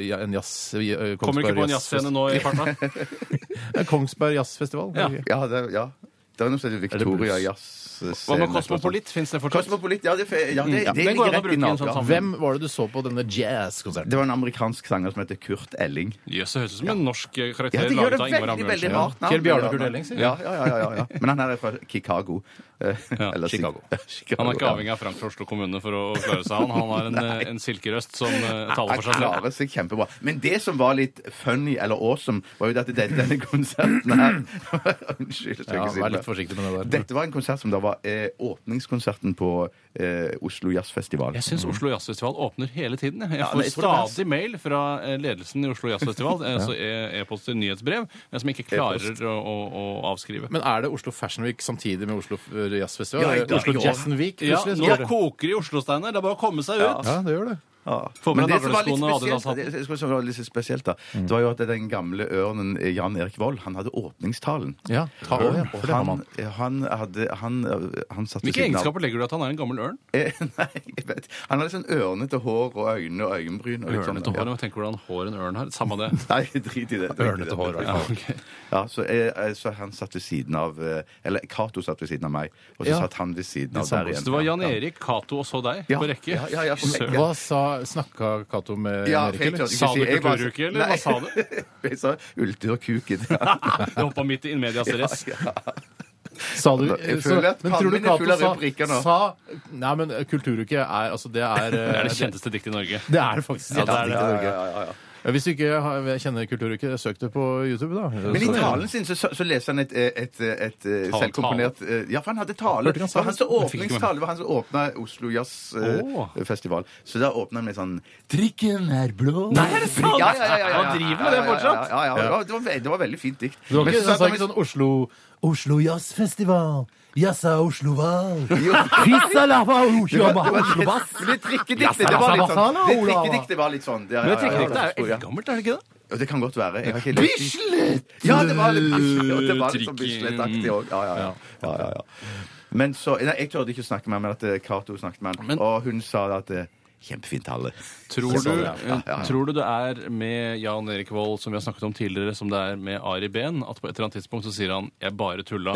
A: ja, en jazz... eh,
C: Kommer ikke
A: Kongsberg
B: <laughs>
C: på en jazzscene nå i farta.
A: Eh, Kongsberg Jazzfestival.
C: Ja.
B: Ja, det, ja. Det er noe som heter Victoria Jazz.
C: Hva med Kosmopolit? Fins det fortsatt?
B: Kosmopolit, ja, det, ja,
A: Mm,
B: det, det
C: Den
B: ligger
C: går an å
B: rett
C: bruke
B: i
C: i en sånn
B: naken.
C: sammenheng.
A: Hvem var det du så på denne jazzkonserten?
B: Det var en amerikansk sanger som heter Kurt Elling.
C: Jøss, det høres ut som en norsk eh, karakter
B: Ja, det gjør
C: laget
B: det
C: av Ingvar
B: veldig, veldig
C: Ambjørnsen.
B: rart navn.
A: Kjell Bjarne
B: Ja,
A: Kurt Elling, sier du?
B: Ja, ja, ja, ja, ja. Men han her er fra Chicago. Eh, eller si-
A: Chicago.
B: Chicago,
C: Han er ikke
B: ja.
C: avhengig av Frank Oslo kommune for å klare seg. Han, han har
B: <laughs>
C: en, eh, en silkerøst som eh, taler for seg
B: Han
C: selv.
B: klarer seg kjempebra. Men det som var litt funny eller awesome, var jo at det- denne konserten her Unnskyld. jeg skal
A: Ja,
B: ikke si
A: vær
B: det.
A: litt forsiktig med det der.
B: Dette var en konsert som da var eh, åpningskonserten på eh, Oslo Jazzfestival.
C: Jeg syns Oslo Jazzfestival åpner hele tiden. jeg. Jeg
B: Mm. Ja,
C: får
B: jeg tror det er-
C: stadig mail fra eh, ledelsen i Oslo
B: <laughs>
C: Jazzfestival, eh, altså e- e-post til nyhetsbrev, eh, som jeg ikke klarer å, å, å avskrive.
A: Men er det Oslo Fashion Week samtidig med Oslo eh, Jazzfestival?
B: Ja, i dag,
A: Oslo
B: i år.
A: Jazzen Week?
C: Ja,
A: plutselig, så
C: nå
A: er det-
C: koker det i Oslo, Steinar. Det er bare å komme seg ut.
A: ja, det gjør det.
B: Ja.
C: Få med
B: Men det
C: deg
B: som var litt
C: navleskoene og
B: spesielt,
C: Adidas-hatten.
B: det, det som var litt spesielt da, det var jo at den gamle ørnen eh, Jan Erik Vold, han hadde åpningstalen.
A: Ja, ta over, ja,
B: Og
A: for det har
B: han,
A: man.
B: eh, han hadde Han, eh, han satt ved
C: Hvilke
B: siden av-
C: egenskaper legger du i at han er en gammel ørn?
B: Eh, <laughs> Nei, jeg vet Han har litt sånn ørnete hår og øyne og øyenbryn. Og litt sånn,
C: Ørnete hår.
B: ja.
C: Jeg tenker hvordan hår en
B: <laughs>
C: ørn har. Samme det.
B: Nei, drit i det. drit i det.
A: Ørnete hår, i hvert
B: Ja,
A: fall.
C: ok.
B: Ja, så, eh, eh, så han satt ved siden av eh, Eller Cato satt ved siden av meg, og så
A: Ja.
B: satt han ved siden av
A: Din samboer.
B: der igjen.
C: Så det var Jan Erik, Cato og så deg
B: Ja,
C: på rekke.
B: ja, ja, ja, på rekke.
C: Søren.
A: Hva sa, snakka Cato med
B: Ja,
A: Erik,
B: for jeg
A: eller?
B: tørte ikke
C: Sa
B: si-
C: du
B: jeg bare-
C: kulturuke, eller hva
B: Nei.
C: sa du?
B: <laughs> Jeg sa ulturkuken.
C: <laughs>
B: Ja.
C: <laughs> Det hoppa midt i
B: <laughs>
C: in medias res.
A: Sa du,
B: Jeg
A: så,
B: føler at
A: men
B: pannen
A: tror du
B: min er full av replikker
A: Cato sa,
B: nå.
A: sa Nei, men eh, Kulturuke er altså Det er eh,
C: Det er det kjenteste diktet i Norge.
A: Det er det faktisk.
C: Ja, det er det.
B: Ja, ja, ja, ja.
A: Hvis du ikke har- kjenner Kulturuke, søk det på YouTube, da.
B: Men i
A: Så-
B: talen sin så, så leser han et, et, et, et selvkomponert eh, Ja, for han hadde tale.
A: Hørte du han sa
B: Det var hans
A: det?
C: Jeg fikk ikke med
B: åpningstale var han som åpna Oslo
C: Åh.
B: Jazzfestival. Så da åpna han med sånn Trikken er blå Nei,
C: er det sant?
B: Ja, ja, ja, ja, ja,
C: Han driver med det
B: ja, ja,
C: fortsatt?
B: Ja, ja, ja, ja. Det, var, ve- det var veldig fint dikt.
A: Det var
B: Men
A: ikke,
B: så
A: han sa
B: satt han
A: ikke
B: med-
A: sånn Oslo Oslo Jazzfestival. Jazza Osloval. Pizza lava
B: det var-
A: Osloval.
B: det var-
A: Oslo bass.
B: Men <laughs> det trikkediktet det var litt sånn.
A: Basala,
B: Det
A: Ola.
B: trikkediktet var litt sånn. Ja,
C: Men
B: ja,
C: jeg
B: ja,
C: tenker
B: ja,
C: ikke det er
B: ja.
C: eldgammelt, er det ikke det?
B: Ja, Det kan godt være. Jeg har ikke lest Bislett! Ja, det var litt Bislett, og det var litt sånn Bislett-aktig òg. Ja, ja, ja. ja, ja, ja. Men så, nei, Jeg tørde ikke å snakke med ham, men at eh, Cato snakket med
C: Men-
B: ham. Og hun sa at eh, Kjempefint tale.
C: Tror du,
B: Sånn, Ja, ja, ja.
C: tror du det er med Jan Erik Vold, som vi har snakket om tidligere, som det er med Ari Behn, at på et eller annet tidspunkt så sier han 'jeg bare
B: <laughs>
C: tulla'.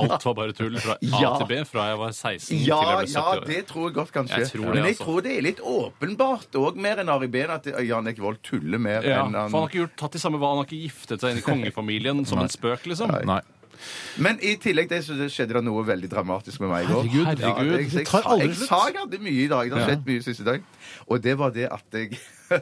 C: Alt var bare tull fra A
B: Ja.
C: til B fra jeg var
B: Ja,
C: 16 til jeg ble 70
B: ja,
C: år.
B: det tror jeg godt, kanskje.
C: Jeg tror det,
B: men jeg
C: altså.
B: tror det er litt åpenbart òg, mer enn Ari Behn, at eh, Jan Erik Vold tuller mer
C: Ja,
B: enn
C: for han har ikke gjort, tatt de samme valg, han har ikke
B: <laughs>
C: giftet seg inn i kongefamilien som en spøk, liksom.
A: Nei.
B: Men i tillegg til det så skjedde det noe veldig dramatisk med meg i går.
C: Herregud,
B: Ja,
C: herregud,
B: jeg, jeg,
A: det
B: jeg,
A: tar
B: sa-
A: aldri
B: jeg
A: slutt.
B: sa jeg hadde mye i dag. Det har skjedd mye siste dag. Og det var det at jeg <laughs>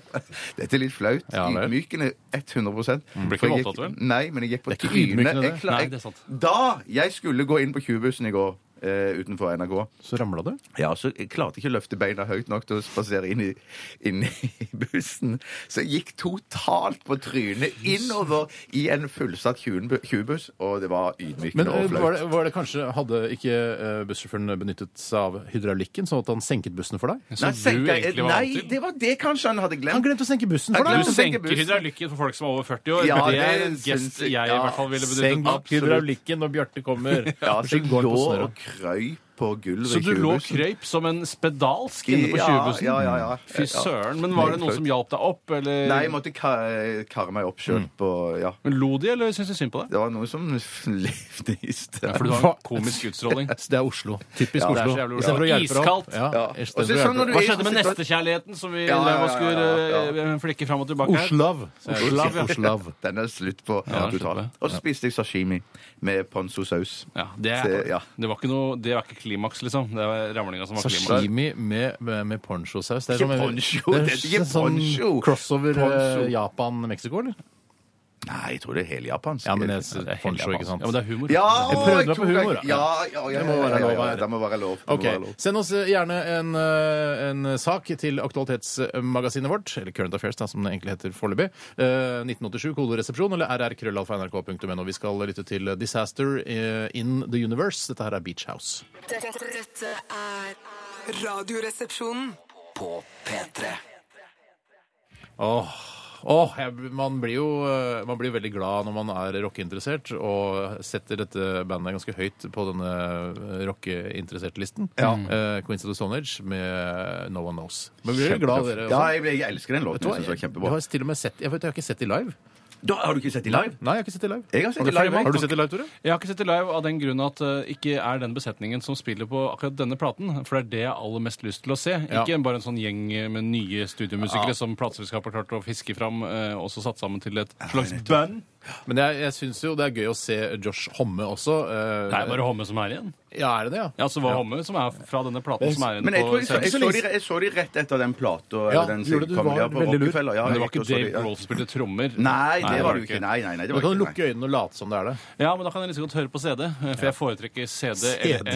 B: Dette er litt flaut.
A: Ja, vel.
B: Ydmykende 100
C: Blir ikke
B: For jeg gikk-
C: voldtatt, vel?
B: Nei, men jeg gikk på
A: Det er ikke
B: trynet.
A: ydmykende,
B: Jeg
A: det.
B: klar-
C: Nei,
B: jeg-
C: det er sant.
B: Da jeg skulle gå inn på Q-bussen i går eh, utenfor NRK
A: Så ramla du.
B: ja, så jeg klarte ikke å løfte beina høyt nok til å spasere inn, i- inn i <laughs> bussen. Så jeg gikk totalt på trynet innover i en fullsatt 20-buss, og det var ydmykende
A: Men eh,
B: og flaut.
A: var det, var det kanskje Hadde ikke eh, bussjåføren benyttet seg av hydraulikken, sånn at han senket bussen for deg?
C: Som
B: senker-
C: du egentlig var vant
B: Nei,
C: til.
B: det var det kanskje han hadde
A: Han
B: glemt.
A: glemte å senke bussen for deg!
B: Han
C: Du
B: glemte å senke
C: senker
B: bussen.
C: hydraulikken for folk som er over 40 år.
B: Ja,
C: det er en
B: det syns
C: gest
B: jeg-
C: jeg i
B: ja,
C: hvert fall ville
A: Senk
C: benyttet.
B: absolutt.
A: hydraulikken når Bjarte kommer.
B: Ja, så
A: Unnskyld,
B: jeg
A: går den
B: lå
A: på snøret?
B: og krøy på gulvet
C: Så
B: i
C: du lå og
B: tjuvbussen.
C: krøyp som en spedalsk inne på
B: Ja,
C: 20-bussen?
B: ja, ja, ja.
C: Fy
B: Ja.
C: søren. Men var det noen som hjalp deg opp, eller
B: Nei, jeg måtte ka- karre meg opp sjøl på Ja.
C: Men Lo de, eller syntes de synd på deg?
B: Det var noe som <laughs> levde i sted.
C: For
B: <laughs>
C: du har en komisk utstråling.
A: Det er Oslo. Typisk
B: Ja, det er
A: Oslo.
C: så jævlig
A: I stedet for å hjelpe
C: Oslo.
A: deg opp-
C: Iskaldt.
A: Ja,
B: Ja.
A: i stedet
B: Og så
A: for å
B: sånn
A: hjelpe deg
B: når du
A: opp-
C: <laughs> Hva skjedde med nestekjærligheten, som vi
B: Ja, ja,
C: drev og
B: ja,
C: skulle
B: ja, ja.
C: eh, flikke fram og tilbake her?
A: Oslav. sier jeg.
C: Oslav, ja.
A: Oslav.
B: Den er slutt på
C: Ja, den er
B: totalt.
C: slutt på.
B: Og så spiste jeg sashimi med ponzo-saus.
C: Ja, det,
B: Det- ja.
C: det var ikke noe Det var ikke klimaks, liksom. Det var ramlinga som var klimaks.
A: Sashimi med, med, med ponchosaus. Det
B: Ikke
A: som-
B: poncho,
A: det er
B: det er ikke
A: sånn
B: poncho.
A: crossover
B: Poncho.
A: Japan-Mexico, eller?
B: Nei, jeg tror det er heljapansk.
A: Ja, men det er
C: Det er helt
A: poncho,
C: japansk.
A: ikke sant?
C: Ja, men det er humor.
B: ja,
A: Jeg
B: å,
A: prøvde meg på
B: tror jeg-
A: humor, da.
B: Ja, ja, ja, ja,
A: Det må være
B: ja, ja,
A: lov
B: ja,
A: her.
B: Det må være lov. Det må
A: Ok,
B: være lov.
A: Send oss gjerne en, eh, en sak til aktualitetsmagasinet vårt, eller Current Affairs, da, som det egentlig heter foreløpig. Eh, 1987, kodoresepsjon, eller rrkrøllalfa.nrk.no. Vi skal lytte til Disaster eh, in the Universe. Dette her er Beach House.
F: Dette dette er Radioresepsjonen.
E: På P3.
A: Åh, åh, jeg, man, blir jo, eh, man blir jo veldig glad når man er rockeinteressert, og setter dette bandet ganske høyt på denne eh, rockeinteressert-listen. Ja. Uh, Queens of the Stone Age med No One Knows. Men blir dere glad, dere? også?
B: Ja, jeg, jeg elsker den låten.
A: Vet du hva?
B: Jeg synes den var
A: Jeg
B: kjempebra.
A: har til og med sett, jeg, vet, jeg har ikke sett de live.
B: Da har du ikke sett de live?
A: Nei, jeg har ikke sett det live.
B: Jeg har sett
A: du
B: de live,
A: flere-
B: jeg.
A: Har du sett det live, Tore?
C: Jeg har ikke sett det live av den grunn at det ikke er den besetningen som spiller på akkurat denne platen. For det er det jeg har aller mest lyst til å se.
A: Ja.
C: Ikke bare en sånn gjeng med nye studiomusikere som plateselskapet har klart å fiske fram, eh, og så satt sammen til et slags band.
A: Men jeg, jeg syns jo det er gøy å se Josh Homme også. eh,
C: Det er bare Homme som er igjen.
A: Ja, er det det, ja?
C: Ja, så var Homme som er fra denne platen som er igjen
B: Men jeg, tror jeg,
C: på
B: så, jeg,
C: scenen.
B: så de, jeg så de rett etter den plata. eller
A: Ja,
B: den
A: gjorde du? Du
B: sitcomen,
A: var
B: ja, på
A: veldig lur.
B: Rockefeller, ja,
C: Men det
B: jeg
C: var
B: gikk
C: ikke
B: og så de,
C: Dave
B: ja.
C: Grohl som spilte trommer.
B: Nei, det var det jo ikke. Nei, nei, nei, det
A: Da
B: var
A: kan du
B: ikke,
A: lukke øynene og late som det er det.
C: Ja, men da kan jeg liksom godt høre på CD, for jeg foretrekker CD.
A: CD.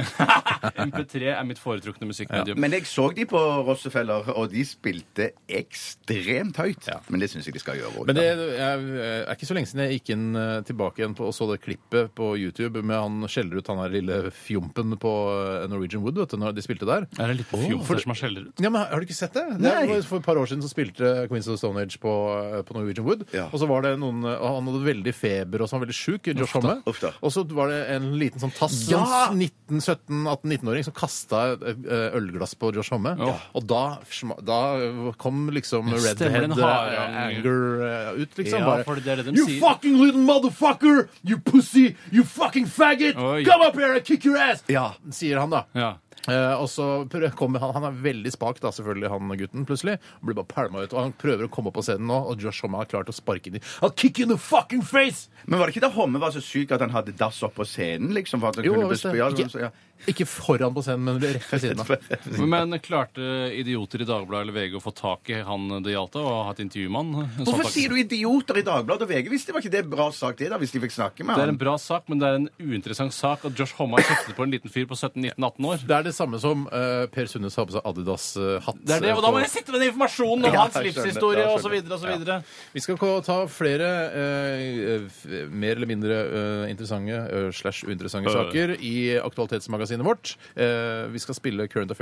C: MP3 er mitt foretrukne
B: nei.
C: musikkmedium.
B: Men jeg så de på Rockefeller, og de spilte ekstremt høyt. Men det syns jeg de skal gjøre også,
A: Men
B: da.
A: det er, eh, er ikke så lenge siden jeg gikk inn eh, tilbake igjen på, og så det klippet på YouTube med han skjeller ut han her lille fjompen på eh, Norwegian Wood, vet du, når de spilte der.
C: Er det litt på fjor for det som er skjeller ut?
A: Ja, men Har du ikke sett det? det
B: Nei.
A: var for et par år siden så spilte Queens of the Stone Age på, eh, på Norwegian Wood.
B: Ja.
A: Og så var det noen, eh, og Han hadde veldig feber og så var han veldig sjuk. Josh Homme.
B: uff da.
A: Og så var det en liten sånn tass,
B: Ja!
A: sånn 19-17-18-19-åring, som kasta et eh, ølglass på Josh Homme.
C: Ja.
A: Og da, sma- da kom liksom
C: Stemmer den
A: redhead
C: harde
A: eh, anger eh, ut, liksom.
C: Ja, for det er det de
A: You
C: sier."
A: fucking little motherfucker! You pussy! You fucking faggot!
C: Oi.
A: Come up here and kick your ass!
B: Ja.
A: Sier han, da.
C: Ja.
A: Eh, og så prø- kommer han, han er veldig spak, da, selvfølgelig, han gutten, plutselig. Og blir bare pælma ut. Og han prøver å komme opp på scenen nå, og Josh Homme har klart å sparke inn i I'll kick you in the fucking face!
B: Men var det ikke da Homme var så syk at han hadde dass opp på scenen? liksom? For at han
A: Jo,
B: kunne
A: visst det.
B: bli- ja,
A: Ikke- Sånn
B: ja.
A: Ikke foran på scenen, men rett ved
B: <laughs>
A: siden av.
C: Men klarte idioter i Dagbladet eller VG å få tak i han det gjaldt, da, og ha et sånn intervju med han?
B: Hvorfor sier du idioter i Dagbladet og VG? Hvis det var ikke det bra sak, det, da, hvis de fikk snakke med
C: Det er
B: han?
C: en bra sak, men det er en uinteressant sak at Josh Homme har kjeftet på en liten fyr på 17-19-18 år.
A: Det er det samme som eh, Per Sundnes har på seg eh, Adidas-hatt.
C: Det er det, og da må jeg sitte med den informasjonen om
B: Ja,
C: hans
B: jeg skjønner,
C: livshistorie
B: jeg skjønner.
C: osv. osv.
A: Vi skal ko- ta flere eh, f- mer eller mindre eh, interessante eh, slash uinteressante saker i aktualitetsmagasinet vårt. Eh, vi skal spille Current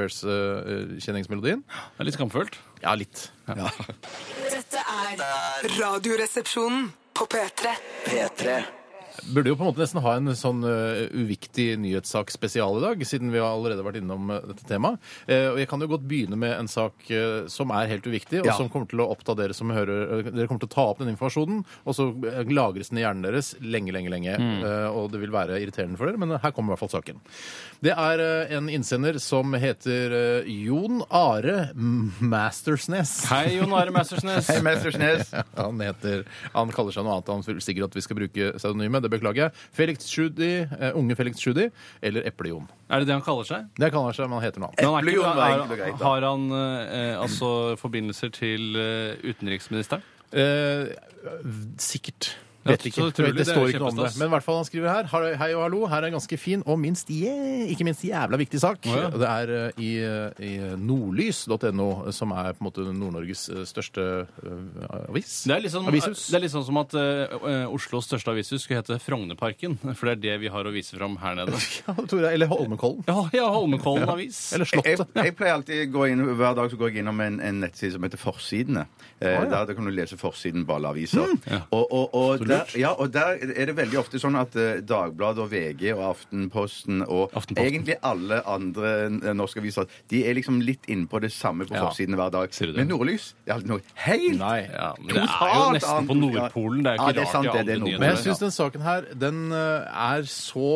A: Affairs-kjenningsmelodien.
C: Det er litt skamfullt.
A: ja, litt.
F: Dette er Radioresepsjonen på P3.
E: P3.
A: Burde jo på en måte nesten ha en sånn eh, uviktig nyhetssak spesial i dag, siden vi har allerede vært innom eh, dette temaet. Eh, og jeg kan jo godt begynne med en sak eh, som er helt uviktig, og
B: Ja.
A: som kommer til å oppta dere som hører eh, Dere kommer til å ta opp den informasjonen, og så eh, lagres den i hjernen deres lenge, lenge, lenge. Eh, og det vil være irriterende for dere, men her kommer i hvert fall saken. Det er eh, en innsender som heter eh, Jon Are M- Mastersnes.
C: Hei, Jon Are Mastersnes.
B: Hei,
A: <laughs>
B: Mestersnes.
A: Han heter, han kaller seg noe annet. Han vil sikkert at vi skal bruke pseudonymet. Det beklager jeg. Felix Tschudi, eh, unge Felix Tschudi, eller Eple-Jon.
C: Er det det han kaller seg?
A: Det kan han seg, men han heter noe annet.
C: Men han er ikke-
B: Eple-Jon var egentlig
C: har,
B: greit, da.
C: har han eh, altså forbindelser til eh, utenriksministeren?
A: Eh, sikkert.
C: Ja,
A: Vet ikke.
C: så utrolig,
A: det
C: det er
A: står ikke noe om det.
C: kjempestas.
A: Men i hvert fall han skriver her. Hei hei og hallo, her er en ganske fin og minst, je- ikke minst jævla viktig sak.
C: Å, ja.
A: Og Det er eh, i, eh, i nordlys.no, som er på en måte Nord-Norges eh, største eh, avis.
C: Det er, litt sånn,
A: Avishus.
C: det er litt sånn som at eh, eh, Oslos største avishus skulle hete Frognerparken. For det er det vi har å vise fram her nede.
A: Ja, <laughs> Tore, eller Holmenkollen.
C: Ja, ja Holmenkollen avis.
A: Eller
B: Jeg,
A: Slottet.
B: jeg pleier alltid gå inn, Hver dag så går jeg innom en, en nettside som heter Forsidene. Eh, der, der kan du lese forsiden på alle aviser.
C: Mm.
B: Og, og, og, der, ja, og der er det veldig ofte sånn at eh, Dagbladet og VG og Aftenposten og
C: Aftenposten.
B: egentlig alle andre eh, norske aviser De er liksom litt innpå det samme på
A: Ja.
B: forsidene hver dag.
C: Ser du det?
B: Men Nordlys det er alltid noe helt
A: Nei.
C: Ja, men det er jo
B: Totalt
C: nesten på
B: annet.
C: Nordpolen. Det er jo
B: Ja,
C: ikke
B: det er sant,
C: rart. i
B: det- det er
C: alle
B: Nordpolen.
C: nyheter.
A: Men jeg syns den saken her den eh, er så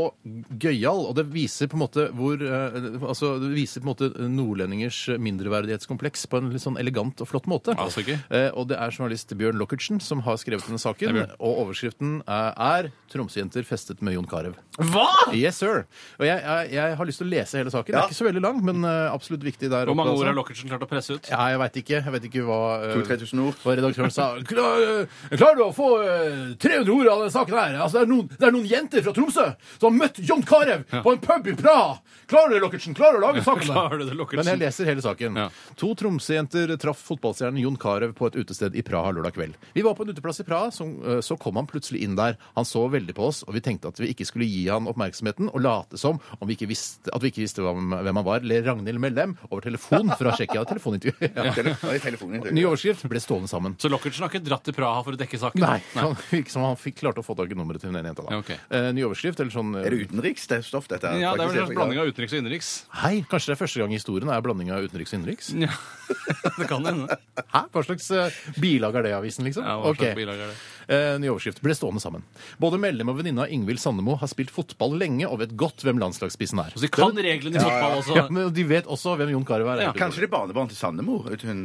A: gøyal, og det viser på en måte hvor eh, Altså, det viser på en måte nordlendingers mindreverdighetskompleks på en litt sånn elegant og flott måte.
C: Ja, så gøy.
A: Eh, Og det er journalist Bjørn Lockertsen som har skrevet denne saken,
C: Bjørn.
A: og overskriften eh, er 'Tromsøjenter festet med Jon Carew'.
C: Hva?!
A: Yes, sir! Og jeg, jeg, jeg har lyst til å lese hele saken. Det
B: Ja.
A: er ikke så veldig lang, men eh, absolutt viktig der.
C: Hvor mange
A: oppe, altså.
C: ord har Lockertsen klart å presse ut?
A: Ja, jeg veit ikke. Jeg vet ikke hva eh,
B: 2000-3000 ord.
A: Hva redaktøren sa. Klar, eh, klarer du å få eh, 300 ord av denne saken her? Altså, det, er noen, det er noen jenter fra Tromsø som har møtt John Carew på en pub i Praha! Klarer du det, Lockertsen? Klarer du
C: <laughs>
A: å lage saken? der?
C: Klarer du det, Lockertsen?
A: Men jeg leser hele saken.
C: Ja.
A: To Tromsø-jenter traff fotballstjernen Jon Carew på et utested i Praha lørdag kveld. Vi var på en uteplass i Praha, så, eh, så kom han plutselig inn der. Han så veldig på oss, og vi tenkte at vi ikke skulle gi han oppmerksomheten og late som om vi ikke visste, at vi ikke visste hvem, hvem han var, ler Ragnhild Mellem over telefon fra Tsjekkia telefonintervju. <laughs> Ja.
B: Tele- Nei, telefonen din.
A: Ny overskrift ble stående sammen.
C: Så Lockertsen har ikke dratt til Praha for å dekke saken?
A: Nei, han <laughs> virker som han fikk klarte å få tak i nummeret til den ene jenta. da.
C: Ja, ok.
A: Eh, ny overskrift, eller sånn eh,
B: Er det utenriksstoff, dette? her?
C: Ja, Det er vel
B: Faktisk,
C: en slags blanding av utenriks og innenriks.
A: Hei, kanskje det er første gang i historien er blanding av utenriks og innenriks?
C: <laughs> Ja, det kan hende.
A: Hæ? Hva slags eh, bilag er det i avisen, liksom?
C: Ja, hva slags
A: Ok.
C: bilag er det?
A: Eh, ny overskrift. Ble stående sammen. Både medlem og venninne av Ingvild Sandemo har spilt fotball lenge og vet godt hvem landslagsspissen er.
C: Så Altså, de kan reglene i fotball også.
A: Ja, men De vet også hvem Jon Carew er.
C: Ja,
A: egentlig.
B: Kanskje det er barnebarn til Sandemo? vet du, Hun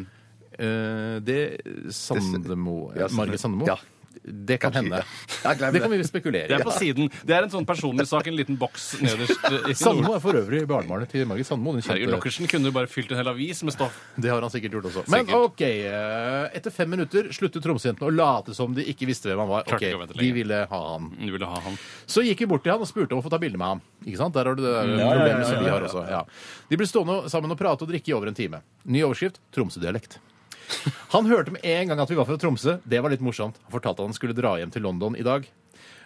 A: Eh, det Sandemo
B: Ja, Sandemo.
A: Margit Sandemo?
B: Ja.
A: Det kan
B: Kanskje,
A: hende.
B: ja. Ja, glem
A: Det kan
B: det.
A: vi spekulere
C: Det
A: i.
C: er på siden. Det er en sånn personlig sak, en liten boks
A: <laughs>
C: nederst. eh, i sin
A: Sandemo
C: ord.
A: er for øvrig barnebarnet til Margit Sandemo. Den
C: Herregud,
A: kjente-
C: Lockersen kunne jo bare fylt en hel avis med stoff.
A: Det har han sikkert gjort også. Men
C: Sikkert.
A: OK. eh, Etter fem minutter sluttet tromsøjentene å late som de ikke visste hvem han var.
C: Klarte
A: Ok,
C: ikke å vente
A: De
C: lenger.
A: ville ha han.
C: Du ville ha han.
A: Så gikk vi bort til han og spurte om å få ta bilde med ham. Ikke sant? Der har du det
C: Mm.
A: der problemet som vi har også. Ja. De ble stående sammen og prate og drikke i over en time. Ny overskrift Tromsø-dialekt. Han hørte med en gang at vi var fra Tromsø. Det var litt morsomt. Han fortalte at han skulle dra hjem til London i dag.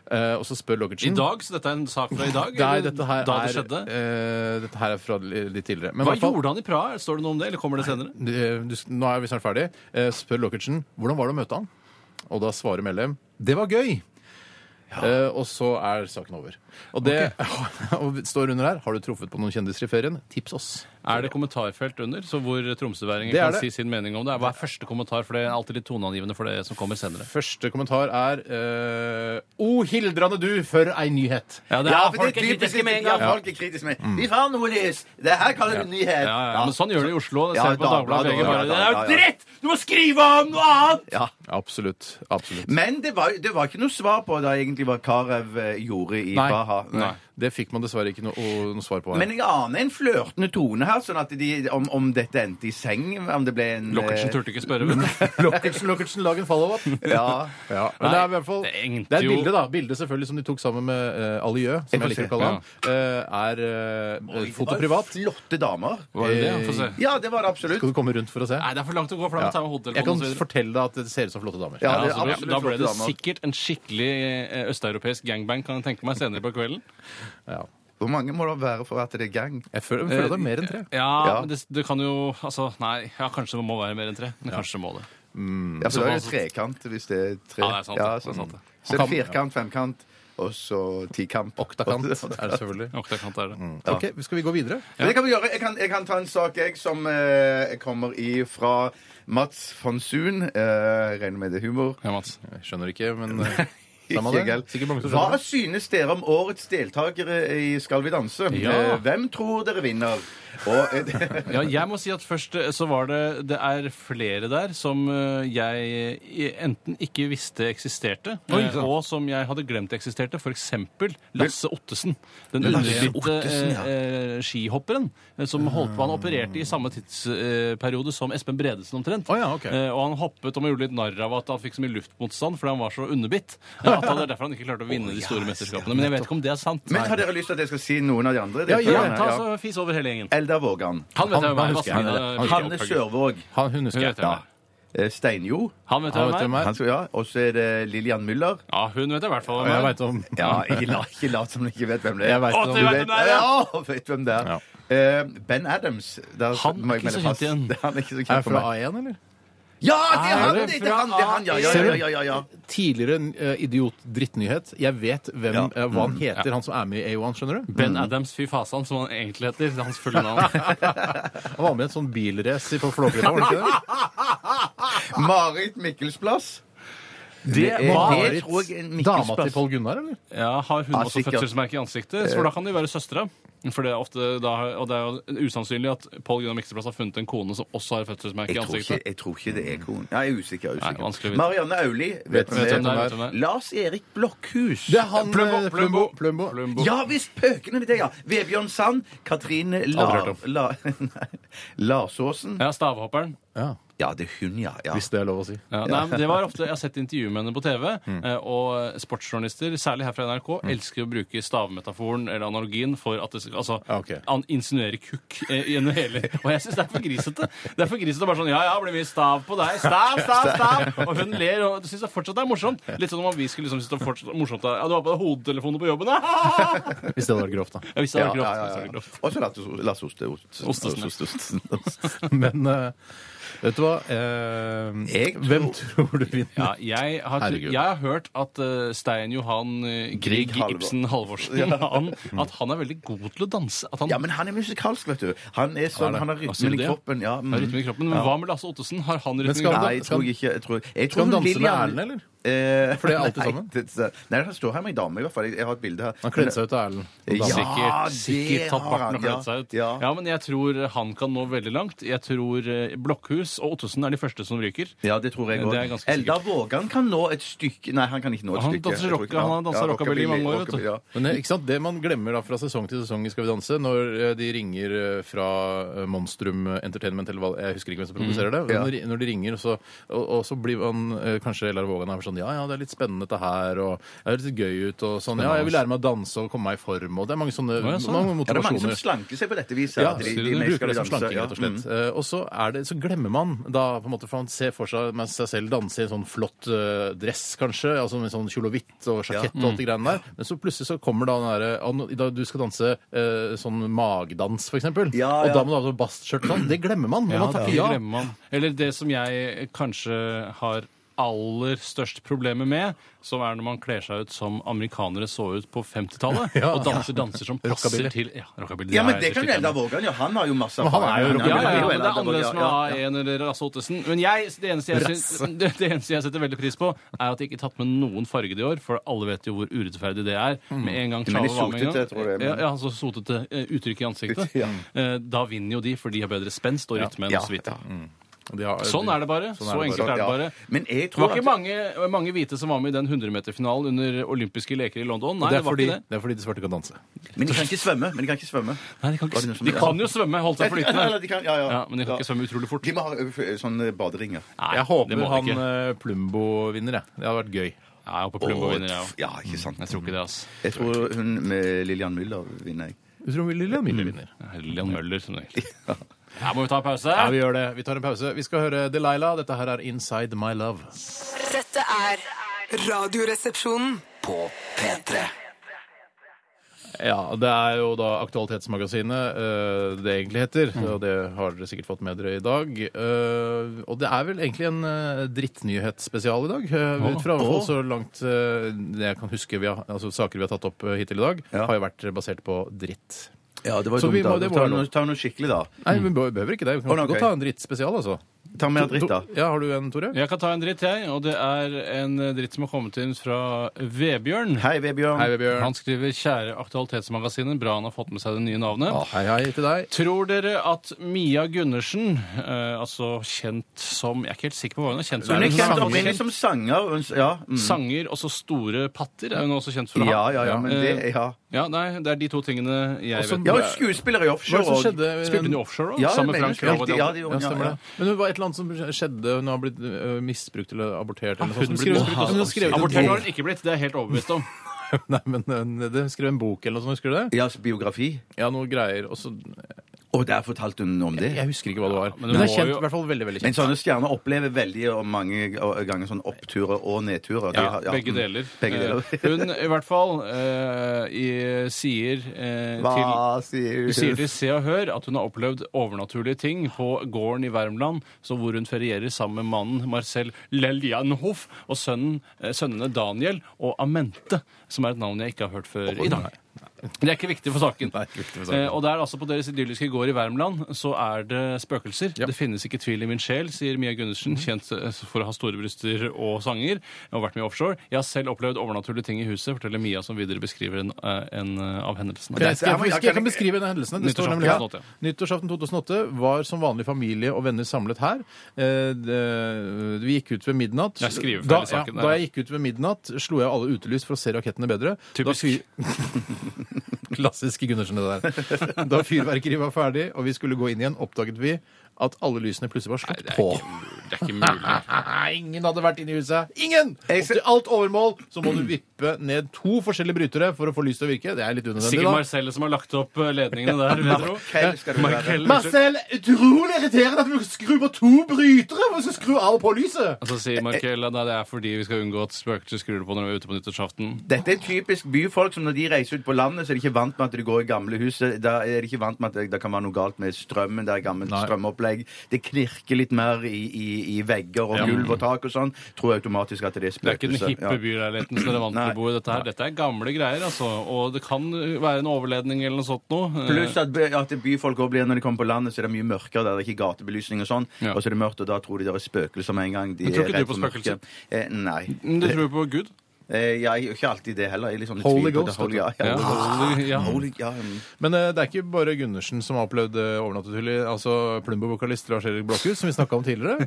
A: Eh, og så spør
C: I
A: Lockertsen
C: dag, så dette er en sak fra i dag?
A: Nei,
C: eller
A: dette her,
C: da det
A: er,
C: skjedde?
A: eh, dette her er fra li- litt tidligere. Men i
C: Hva
A: hvert fall-
C: gjorde han i Praha? Står det noe om det, eller kommer det senere?
A: Eh, du, sk- nå er vi snart ferdig. Eh, Spør Lockertsen hvordan var det å møte han? Og da svarer Mellem det var gøy. Eh, og så er saken over. Og det <laughs> og det står under her har du truffet på noen kjendiser i ferien, tips oss.
C: Er det kommentarfelt under, så hvor tromsøværingen
A: Det er
C: kan
A: det.
C: si sin mening om det? Hva er første kommentar, for det er alltid litt toneangivende for det som kommer senere.
A: Første kommentar er eh, O hildrande du for ei nyhet.
C: Ja, det er,
B: Ja, for
C: folk
B: det
C: er
B: er typisk
C: kritiske med en gang.
B: Ja, folk er kritiske med Vi får noe lys! Det her kaller vi nyhet!
C: Ja, ja, men sånn gjør det i Oslo. Det
B: Ja,
C: ser på Dagbladet
B: Dagbladet
C: VG bare.
B: og-
C: Det
B: ja, ja,
C: er jo
B: ja.
C: dritt! Du må skrive om noe annet!
B: Ja.
A: Absolutt. absolutt.
B: Men det var, det var ikke noe svar på da egentlig hva Karev eh, gjorde i
A: Nei.
B: Praha.
A: Nei. Det fikk man dessverre ikke noe, noe svar på. her.
B: Men jeg aner en flørtende tone her, sånn at de, om, om dette endte i seng, om det ble en eh,
C: Lockertsen turte ikke spørre. vet du.
A: Lockertsen, Lockertsen, lag en follow-up.
B: Ja.
A: Ja, men det er i hvert fall
C: det
A: Det
C: engte
A: er et
C: jo-
A: bilde, da. Bilde selvfølgelig som de tok sammen med uh, Aliø, som jeg
B: får
A: liker
B: se.
A: å kalle ham. Er eh, fotoprivat.
B: Flotte damer.
C: Var det det? Få se.
B: Ja, det var det absolutt.
A: Skal du komme rundt for å se?
C: Nei, det er for langt å gå, for da må jeg ta med
A: Jeg kan
C: hodetelefonen osv.
A: fortelle deg at det ser ut som flotte damer.
B: Ja,
C: Ja,
B: det er
C: altså,
B: absolutt
C: da ble
B: flotte
C: det
B: damer.
C: sikkert en skikkelig eh, østeuropeisk gangbang, kan jeg tenke meg, senere på kvelden.
A: Ja.
B: Hvor mange må det være for at det er gang?
A: Jeg føler, jeg føler det er mer enn tre.
C: Ja,
B: Ja.
C: men det, det kan jo Altså, nei, ja, kanskje det må være mer enn tre. Men kanskje det må det.
B: Ja, for da er det trekant hvis det er tre.
C: Mm.
B: sånn.
C: Ja, det er sant, det. Det er sant, det.
B: Så er det firkant, femkant, og så tikamp. <laughs>
A: Oktakant er det selvfølgelig.
C: Oktakant er det.
A: Ok, Skal vi gå videre?
B: Men Det kan vi gjøre. Jeg kan, jeg kan ta en sak jeg som eh, kommer ifra Mats von Suhn. Eh, regner med det er humor.
C: Ja, Mats.
A: Jeg skjønner ikke, men eh, samme
B: Ikke
A: det.
B: galt.
A: Sikkert mange som
B: Hva
A: skjønner.
B: synes dere om årets deltakere i Skal vi danse?
C: Ja.
B: Eh, Hvem tror dere vinner? Og, eh, <laughs>
C: Ja, jeg må si at først eh, så var det Det er flere der som eh, jeg i- enten ikke visste eksisterte, eh,
A: Oi, sant.
C: og som jeg hadde glemt eksisterte. For eksempel Lasse Ottesen. Den underbitte
B: Ottesen, ja.
C: eh, eh, skihopperen eh,
A: Ah.
C: som holdt på Han opererte i samme tidsperiode som Espen Bredesen omtrent.
A: Å ja, ok.
C: Eh, Og han hoppet og man gjorde litt narr av at han fikk så mye luftmotstand fordi han var så underbitt. eh, At han, det er derfor han ikke klarte å vinne de store mesterskapene. Men jeg vet ikke om det er sant.
B: men har dere lyst til at jeg skal si noen av de andre?
A: Ja,
C: Ja,
B: deltakerne?
C: ta så fis over hele gjengen.
B: Eldar Vågan.
C: Han vet jeg
A: Han- han
C: hvem er.
A: husker jeg.
C: Vazelina,
A: Han-
C: eh,
B: Hanne
C: Pilopphøgger.
B: Sørvåg.
A: Han, hun
C: Hun
A: husker jeg.
C: vet jeg hvem er.
B: eh, Steinjo.
C: Han vet
A: Han
C: jeg
A: vet
C: hvem
A: hvem
C: er.
A: er.
B: Han skal, ja. Og så er det Lillian Müller.
C: Ja, hun vet jeg i hvert fall.
A: Og
C: hvem
A: Jeg
C: er.
A: vet om
B: Ja, ikke la- ikke lat som du ikke vet hvem det er.
A: Jeg vet
C: Å,
A: om
C: du vet
B: Vet-
C: hvem det er, ja!
B: Ja, vet hvem det er. Eh, ben Adams. Der
C: Han
B: må
C: er
B: jeg
C: ikke
B: melde
C: så
B: pass.
C: kjent igjen.
B: Det er Han er ikke så
A: Er
B: kjent for
A: fra
B: meg.
A: A1, eller?
B: Ja, det er
C: Er
B: han!
C: det
B: Det det er han!
C: fra
B: Det er han. Ja, ja,
A: Ser
B: ja,
A: du?
B: ja, ja, ja.
A: Tidligere uh, idiot-drittnyhet. Jeg vet hvem,
B: Ja.
A: eh, hva han heter, han som er med i A1, skjønner du?
C: Ben Adams, fy fasan, som han egentlig heter. det er Hans fulle
B: <laughs>
C: navn.
A: Han var med i et sånn bilrace på Flåklypa, var det ikke det?
B: Marit Mikkelsplass.
C: Det var
B: det tror jeg er Mikkels
A: Dama til
B: plass.
A: Pål Gunnar, eller?
C: Ja, Har hun
B: Ja,
C: også
B: sikkert.
C: fødselsmerke i ansiktet? For da kan de være søstre. For det er ofte da, Og det er jo usannsynlig at Pål Gunnar Mikseplass har funnet en kone som også har fødselsmerke i
B: Jeg tror, ikke,
C: ansiktet.
B: jeg tror ikke det er konen. Nei, Jeg er usikker. Jeg er
C: Nei, vanskelig å
B: usikker.
C: vite.
B: Marianne Aulie. Vet du
C: vet
B: hvem
C: hvem det er, vet hvem
B: det
C: det
B: er?
C: er.
B: Lars Erik Blokhus.
A: Det er han
C: Plumbo,
A: eh,
C: Plumbo.
A: Plumbo.
C: Plumbo.
B: Ja visst! Pøkene med det, ja. Vebjørn Sand. Katrine
C: hørt
B: Lar...
C: om.
B: La, <laughs> nei, Larsåsen.
C: Ja, Stavhopperen.
A: Ja,
B: Ja, det er hun, ja. ja. Mm.
A: Hvis det er lov å si.
C: Ja, nei, men det var ofte, Jeg har sett intervjuer med henne på TV, eh, og sportsjournalister, særlig her fra NRK, elsker å bruke stavmetaforen eller analogien for at det skal altså,
B: Ah,
A: Ja, ok.
C: an, insinuere kukk eh, gjennom hele Og jeg syns det er for grisete. Det er for grisete å bare sånn Ja, ja, det blir mye stav på deg. Stav, stav,
B: <laughs>
C: stav! Og hun ler, og syns det fortsatt er morsomt. Litt sånn om vi skulle liksom synes det var fortsatt morsomt Ja, du har på deg hodetelefoner på jobben, ja! <laughs>
A: Hvis det hadde vært grovt, da.
C: Jeg visste det
B: Ja,
C: var grovt.
B: ja, ja,
C: hvis det
B: ja.
C: var grovt.
B: Og så Lasse- Lasse Oste- Ost-
C: Ostesen, ja.
B: Ost- Ost-
C: <laughs>
B: Ost-
A: Men eh, vet du hva? Eh,
B: Jeg tror-
A: Hvem tror du vinner?
C: Ja, jeg, har,
A: Herregud.
C: jeg har hørt at eh, Stein Johan eh,
B: Grieg
C: Grieg
B: Halvor-
C: Ibsen Halvorsen <laughs> han, At han er veldig god til å danse. At han
B: Ja, men han er musikalsk, vet du. Han er sånn,
A: det?
B: han har
C: Hva
B: rytmen
C: sier du
B: i
C: det?
B: kroppen. Ja, mm.
C: har rytme i kroppen. Men hva med Lasse Ottesen? Har han rytme i
A: skal
C: kroppen?
B: Nei, jeg tror ikke jeg tror, jeg tror
A: Skal han danse med
B: Lillian-
A: Erlend, eller?
B: Eh,
A: For det er alltid
B: nei,
A: sammen?
B: det- det- Nei, han står her med ei dame, i hvert fall. Jeg, jeg har et bilde her.
A: Han kledde seg ut av Erlend.
B: Ja,
C: sikkert,
B: det
C: sikkert tatt
B: har han,
C: barten og kledd seg ut.
B: Ja, ja.
C: Ja, men jeg tror han kan nå veldig langt. Jeg tror eh, Blokkhus og Ottesen er de første som ryker.
B: Ja, det tror jeg
C: Det er
B: òg.
C: ganske
B: Eldar Vågan kan nå et stykke Nei, han kan ikke nå et
C: Han
B: stykke.
C: danser
B: Jeg tror
C: rock-
B: ikke
C: han har danset rockabilly i mange år, vet du.
B: rockabilly, ja.
A: Men eh, ikke sant, Det man glemmer da fra sesong til sesong i Skal vi danse, når eh, de ringer eh, fra eh, Monstrum Entertainment eller hva Jeg husker ikke hvem som produserer det. men
B: Mm. Ja.
A: Når, de- når de ringer, så, og, og så blir man eh, kanskje Elar Vågan er sånn Ja, ja, det er litt spennende dette her, og det høres litt gøy ut, og sånn Ja, jeg vil lære meg å danse og komme meg i form, og det er mange sånne
C: ja, sånn.
A: mange
B: Ja, det er mange som
A: motivasjoner.
B: slanker seg på dette viset.
A: Ja,
B: at
A: de,
C: de
B: skal
A: bruker det som
B: danse,
A: slanking,
B: ja.
A: rett og slett.
B: Mm.
A: Eh, og så, er det, så glemmer man da, på en måte, for han ser for seg med seg selv danse i en sånn flott eh, dress, kanskje, altså med sånn kjole og hvitt og sjakett og alt det greiene der, men så plutselig så kommer da den derre ah, nå- i dag Du skal danse eh, sånn magdans, for eksempel,
B: Ja, ja.
A: og da må du ha sånn bastskjørt sånn. Det glemmer man når man takker
C: det
A: ja.
C: glemmer man. Eller det som jeg kanskje har aller størst problemer med, som er når man kler seg ut som amerikanere så ut på
B: <laughs>
C: 50-tallet,
A: Ja.
C: og danser danser som passer
A: Rockabilly.
C: til Ja, rockabilly.
B: Ja, men
C: er
B: det kan
C: helt
B: Eldar
C: enig.
B: Vågan gjøre. Han har jo masse
A: Men han er jo
B: erfaring.
C: ja,
A: rockabilly.
B: jo
C: ja, ja, men det er
B: Eldar Vågan,
C: annerledes med A1 eller Rasse Ottesen. Men jeg, det, eneste jeg syns, <laughs> det det eneste jeg setter veldig pris på, er at jeg ikke har tatt med noen fargede i år, for alle vet jo hvor urettferdig det er. Med en gang
B: Mm. Men
C: Chava
B: de
C: var med en
B: sotete, tror jeg,
C: gang.
B: men-
C: Ja, ja, altså sotete eh, uttrykk i ansiktet.
B: <laughs> Ja.
C: Eh, Da vinner jo de, for de har bedre spenst og rytme
B: Ja,
C: enn oss hvite.
B: ja.
A: De har-
C: Sånn er det bare.
A: Sånn
C: så
A: er det
C: enkelt er det bare.
B: Ja. Men jeg
C: Det
B: tror
C: var ikke
B: at-
C: mange, mange hvite som var med i den 100-meterfinalen under olympiske leker i London. Nei,
A: det,
C: det,
A: er
C: var
A: fordi,
C: ikke det.
A: det er fordi de svarte kan danse.
B: Men de kan ikke svømme. Men de kan ikke svømme.
C: Nei, de, kan
B: Var det noe
C: ikke,
B: som-
C: de kan jo svømme, holdt seg
B: Eller
C: flytende.
B: de kan, ja, ja.
C: Ja, men de kan ikke svømme utrolig fort.
B: De må ha ø, f- sånne baderinger.
C: Nei,
A: jeg
C: det
A: håper
C: må de
A: han
C: ikke.
A: eh, Plumbo vinner, jeg. Det hadde vært gøy.
C: Jeg er oppe på Plumbo
B: Og-
C: vinner, jeg òg.
B: ja, ikke sant.
C: Jeg tror ikke det, altså.
B: Jeg tror hun med Lillian Müller vinner. jeg.
A: Du tror Lille Mille vinner?
C: Lillian Møller, som det heter. Her må vi ta en pause.
A: Ja, vi gjør det. Vi tar en pause. Vi skal høre Delilah. Dette her er Inside My Love.
F: Dette er Radioresepsjonen.
E: På P3.
A: Ja, det er jo da Aktualitetsmagasinet eh, det egentlig heter. Og det har dere sikkert fått med dere i dag. Eh, og det er vel egentlig en eh, drittnyhetsspesial i dag. eh, ut fra i hvert fall så langt eh, det jeg kan huske vi har, altså saker vi har tatt opp eh, hittil i dag,
B: Ja.
A: har jo vært basert på dritt.
B: Ja, det var
A: Så
B: dumt,
A: vi
B: da.
A: må- det må
B: ta,
A: være lov.
B: noe, ta noe skikkelig, da.
A: Nei, vi be- behøver ikke det. Vi kan
B: Å, nei,
A: godt
B: ok.
A: ta en drittspesial, altså.
B: Ta mer dritt, da.
A: Ja, Har du en, Tore?
C: Jeg kan ta en dritt, jeg. Og det er en dritt som har kommet inn fra Vebjørn.
B: Hei, Vebjørn.
A: Hei, Bjørn.
C: Han skriver 'Kjære Aktualitetsmagasinet'. Bra han har fått med seg det nye navnet.
A: Hei, hei til deg.
C: Tror dere at Mia Gundersen, eh, altså kjent som Jeg er ikke helt sikker på hva hun er kjent som.
B: Hun er
C: Hun
B: kjent
C: sanger-
B: opprinnelig som sanger. Hun, s- ja. Mm.
C: Sanger og så store patter er hun også kjent for å
B: ja,
C: ha. Eh,
B: ja, ja, men det ja.
C: Ja, nei, Det er de to tingene jeg
A: Og så-
C: vet.
B: ja, og skuespiller i
A: Hva er
B: offshore.
A: det som
B: og-
A: skjedde?
C: Spilte hun i offshore òg?
B: Ja,
C: sammen
B: jeg
C: med
B: mener
C: Frank
B: hun
C: Krav og de
B: spilte- ja,
C: andre?
B: det
A: Ja,
B: gjorde hun,
A: stemmer
B: ja,
A: det. Men det var et eller annet som skjedde Hun har blitt øh, misbrukt eller abortert eller noe
C: Hun
A: sånt. Hun
C: ble-
A: skrev- hun har skrevet en
C: Abortert har
A: bok.
C: hun ikke blitt, det er jeg helt overbevist om.
A: <laughs> Nei, men øh, det- hun skrev en bok eller noe sånt, husker du det?
B: Ja, altså, biografi.
A: Ja, noe greier. Og så
B: Og der fortalte hun om det.
A: Jeg husker ikke hva det var.
C: men
A: Men
C: det
A: hun er
C: må
A: kjent,
C: jo-
A: i hvert fall veldig, veldig
B: Men
A: kjent.
B: sånne stjerner opplever veldig og mange ganger sånn oppturer og nedturer. De har- ja,
C: Begge
B: mm,
C: deler.
B: Begge deler.
C: Eh,
B: <laughs>
C: Hun i hvert fall eh, i, sier eh, til
B: Hva sier
C: Hun
B: hun?
C: sier til Se og Hør at hun har opplevd overnaturlige ting på gården i Värmland, så hvor hun ferierer sammen med mannen Marcel Leljanhoff og sønnen, eh, sønnene Daniel og Amente, som er et navn jeg ikke har hørt før i dag. Det er ikke viktig for saken.
A: Nei, ikke viktig for saken.
C: Eh, og der altså på deres idylliske gård i Värmland så er det spøkelser. Det finnes ikke tvil i min sjel, sier Mia Gundersen, kjent eh, for å ha store bryster og sanger. Jeg har vært med i offshore. Jeg har selv opplevd overnaturlige ting i huset, forteller Mia, som videre beskriver en, eh, en eh, av hendelsene.
A: Jeg, skal, jeg,
B: Ja, men jeg
A: skal, jeg
B: kan-
A: kan beskrive den hendelsen. Det står nemlig
C: Nyttårsaften
A: her.
C: 2008,
A: Nyttårsaften 2008 var som vanlig familie og venner samlet her. Eh, det- Vi gikk ut ved midnatt.
C: Jeg skriver feil
A: Da,
C: i saken,
A: ja,
C: der,
A: da
C: ja.
A: jeg gikk ut ved midnatt, slo jeg alle utelys for å se rakettene bedre.
C: Typisk.
A: Da fyr- Klassisk Gundersen, det der. Da fyrverkeriet var ferdig og vi skulle gå inn igjen, oppdaget vi at alle lysene plutselig var slått på.
C: Det er ikke mulig.
A: <laughs> Ingen hadde vært inne i huset. Ingen! Og
B: Jeg ser-
A: til alt overmål så må du vippe ned to forskjellige brytere for å få lyset til å virke. Det er litt unødvendig, da.
C: Sikkert Marcelle som har lagt opp eh, ledningene der. vil jeg tro.
B: Markel skal det være.
C: Markel, unnskyld.
A: Marcel, utrolig irriterende at du skru på to brytere for å skru av og på lyset!
C: Og så sier Markel at nei, det er fordi vi skal unngå at spøkelser skrur det på når vi er ute på nyttårsaften.
B: Dette er typisk byfolk som når de reiser ut på landet, så er de ikke vant med at de går i gamle hus. Da er de ikke vant med at det, det kan være noe galt med strømmen. Det er gammelt opplegg. Det knirker litt mer i, i, i vegger og gulv og tak og sånn. Tror jeg automatisk at det er
C: Det er ikke den
B: spøkelser.
C: hippe byleiligheten som dere er vant til å bo i. Dette, her. dette er gamle greier, altså. Og det kan være en overledning eller noe sånt noe. Eh,
B: Pluss at, by- at byfolk også blir når de kommer på landet, så er det mye mørkere. Der det er ikke gatebelysning og sånn.
C: Ja.
B: Og så er det mørkt, og da tror de det er spøkelser med en gang. De
C: Men tror
B: er
C: ikke
B: redd
C: du på
B: for mørket.
C: spøkelser?
B: Eh, nei.
C: men Du tror jo på Gud?
B: Eh, jeg gjør ikke alltid det heller. Jeg er litt sånn i
A: Holy
B: tvil på det.
A: Ghost,
B: Holy, ja,
A: vet
C: Ja.
B: ja.
C: Holy- ja.
B: Holy, ja, mm.
A: Men eh, det er ikke bare Gundersen som har opplevd eh, overnaturlig. Altså Plumbo-vokalist Lars-Erik Blokhus, som vi snakka om
B: <laughs>
A: tidligere,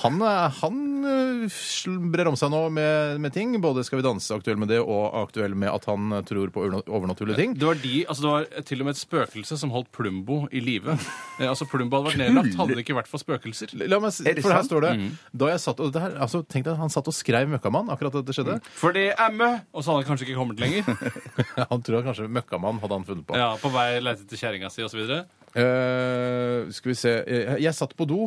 A: han, er- han eh, sl- brer om seg nå med, med ting. Både Skal vi danse, aktuell med det, og aktuell med at han eh, tror på overna- overnaturlige ting.
C: Det var, de, altså det var til og med et spøkelse som holdt Plumbo i live. Eh, Altså Plumbo hadde vært nedlagt, hadde det ikke vært for spøkelser.
A: La meg, s-
B: Er det
A: for her
B: sant? Mm.
A: står det Da jeg satt og det her, altså, tenk deg, Han satt og skrev 'Møkkamann' akkurat da dette skjedde.
B: Mm.
C: For det er mø! Og så hadde han kanskje ikke kommet lenger.
A: Han tror han kanskje 'Møkkamann' hadde han funnet på.
C: Ja, På vei leite til kjerringa si osv.
A: Eh, skal vi se jeg, jeg satt på do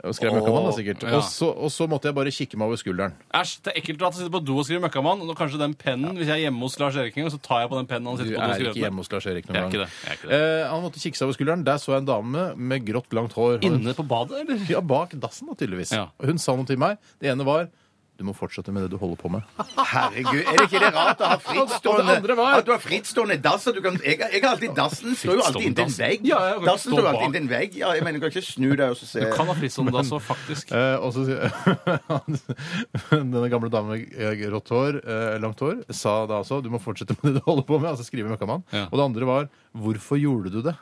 A: og skrev 'Møkkamann', da, sikkert.
C: ja.
A: Og, så, og så måtte jeg bare kikke meg over skulderen.
C: Æsj, det er ekkelt å sitte på do og skrive møkkamann. Og kanskje den pennen, Hvis jeg er hjemme hos Lars Erik en gang, så tar jeg på den pennen han
A: Du
C: sitter på do og
A: er
C: skriver.
A: ikke hjemme hos Lars-Erik noen
C: Jeg er
A: gang.
C: ikke det, jeg er ikke det.
A: Eh, han måtte kikke seg over skulderen. Der så jeg en dame med grått, langt hår.
C: med. Inne på badet, eller?
A: Ja, bak dassen, da, tydeligvis.
C: Ja.
A: Og Hun sa noe til meg. Det ene var du må fortsette med det du holder på
C: <laughs>
A: med.
B: Herregud, er det ikke det rart å ha
A: Og det andre
B: frittstående
A: var-
B: At du har frittstående dass? og Du kan, jeg, jeg har alltid dassen står jo alltid inntil en vegg.
C: Ja, jeg kan ikke
B: dassen
C: stå
B: står jo
C: bak.
B: alltid inntil en vegg. Ja, jeg mener, du kan ikke snu deg og så se
C: Du kan ha fristående da, så altså, faktisk.
A: Eh, og så sier- <laughs> Denne gamle dame med grått hår, eh, langt hår, sa da altså du må fortsette med det du holder på med. altså skrive Møkkamann.
C: Ja.
A: Og det andre var hvorfor gjorde du det?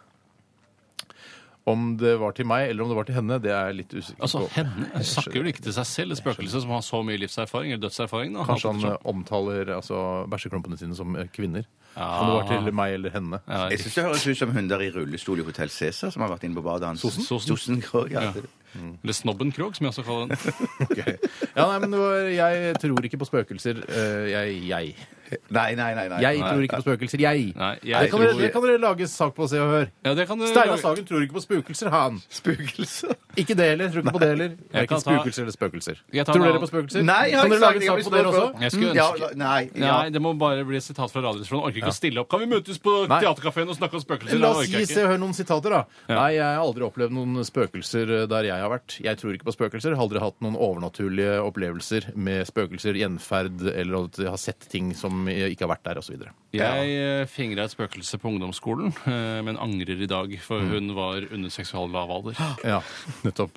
A: Om det var til meg eller om det var til henne, det er jeg litt usikker
C: Altså,
A: på.
C: henne snakker vel ikke til seg selv, et spøkelse som har så mye livserfaring eller dødserfaring. Da.
A: Kanskje han eh, omtaler altså, bæsjeklumpene sine som eh, kvinner. Om det var til meg eller henne.
C: Ah. Ja,
B: Jeg syns det høres ut som hunder i rullestol i Hotell Cæsar som har vært inne på badet hans.
C: Sosen? Sosen?
B: Krog, ja.
C: Ja. Eller Snobben Krog, som jeg også
A: <laughs>
C: kaller den.
A: Ok. Ja, nei, men det var, jeg tror ikke på spøkelser. eh, jeg, jeg.
B: Nei, nei, nei. nei.
A: Jeg
B: nei.
A: tror ikke på spøkelser, jeg.
C: Nei,
A: det,
C: jeg
A: kan dere,
C: tror-
A: det kan dere lage en sak på Se og Hør.
C: Ja, det kan du
A: Steinar
C: lage-
A: Sagen tror ikke på spøkelser, han.
B: Spøkelser?
A: Ikke det heller. Tror ikke på det heller. Det er
C: Jeg
A: ikke
C: kan ta-
A: spøkelser eller spøkelser.
C: Jeg tar
A: Tror
C: en
A: dere på
C: annen-
A: spøkelser?
B: Nei, jeg har
A: kan dere lage
B: ikke sagt
A: en
B: det. Jeg
A: sak på dere også?
C: Jeg skulle
B: Ja,
C: ønske-
B: nei, ja.
C: Nei, det må bare bli sitat fra Radioresepsjonen. Orker ikke å stille opp. Kan vi møtes på
A: Nei.
C: Theatercaféen og snakke om spøkelser?
A: La
C: Det
A: oss
C: orker
A: gi
C: jeg
A: Se
C: ikke.
A: og Hør noen sitater, da. Nei, jeg har aldri opplevd noen spøkelser der jeg har vært. Jeg tror ikke på spøkelser. Har aldri hatt noen overnaturlige opplevelser med spøkelser, gjenferd eller at jeg har sett ting som ikke har vært der, osv.
C: Jeg eh, fingra et spøkelse på ungdomsskolen, eh, men angrer i dag,
A: Mm.
C: for hun var under seksual lav alder.
A: <gasps> Ja, <laughs> nettopp.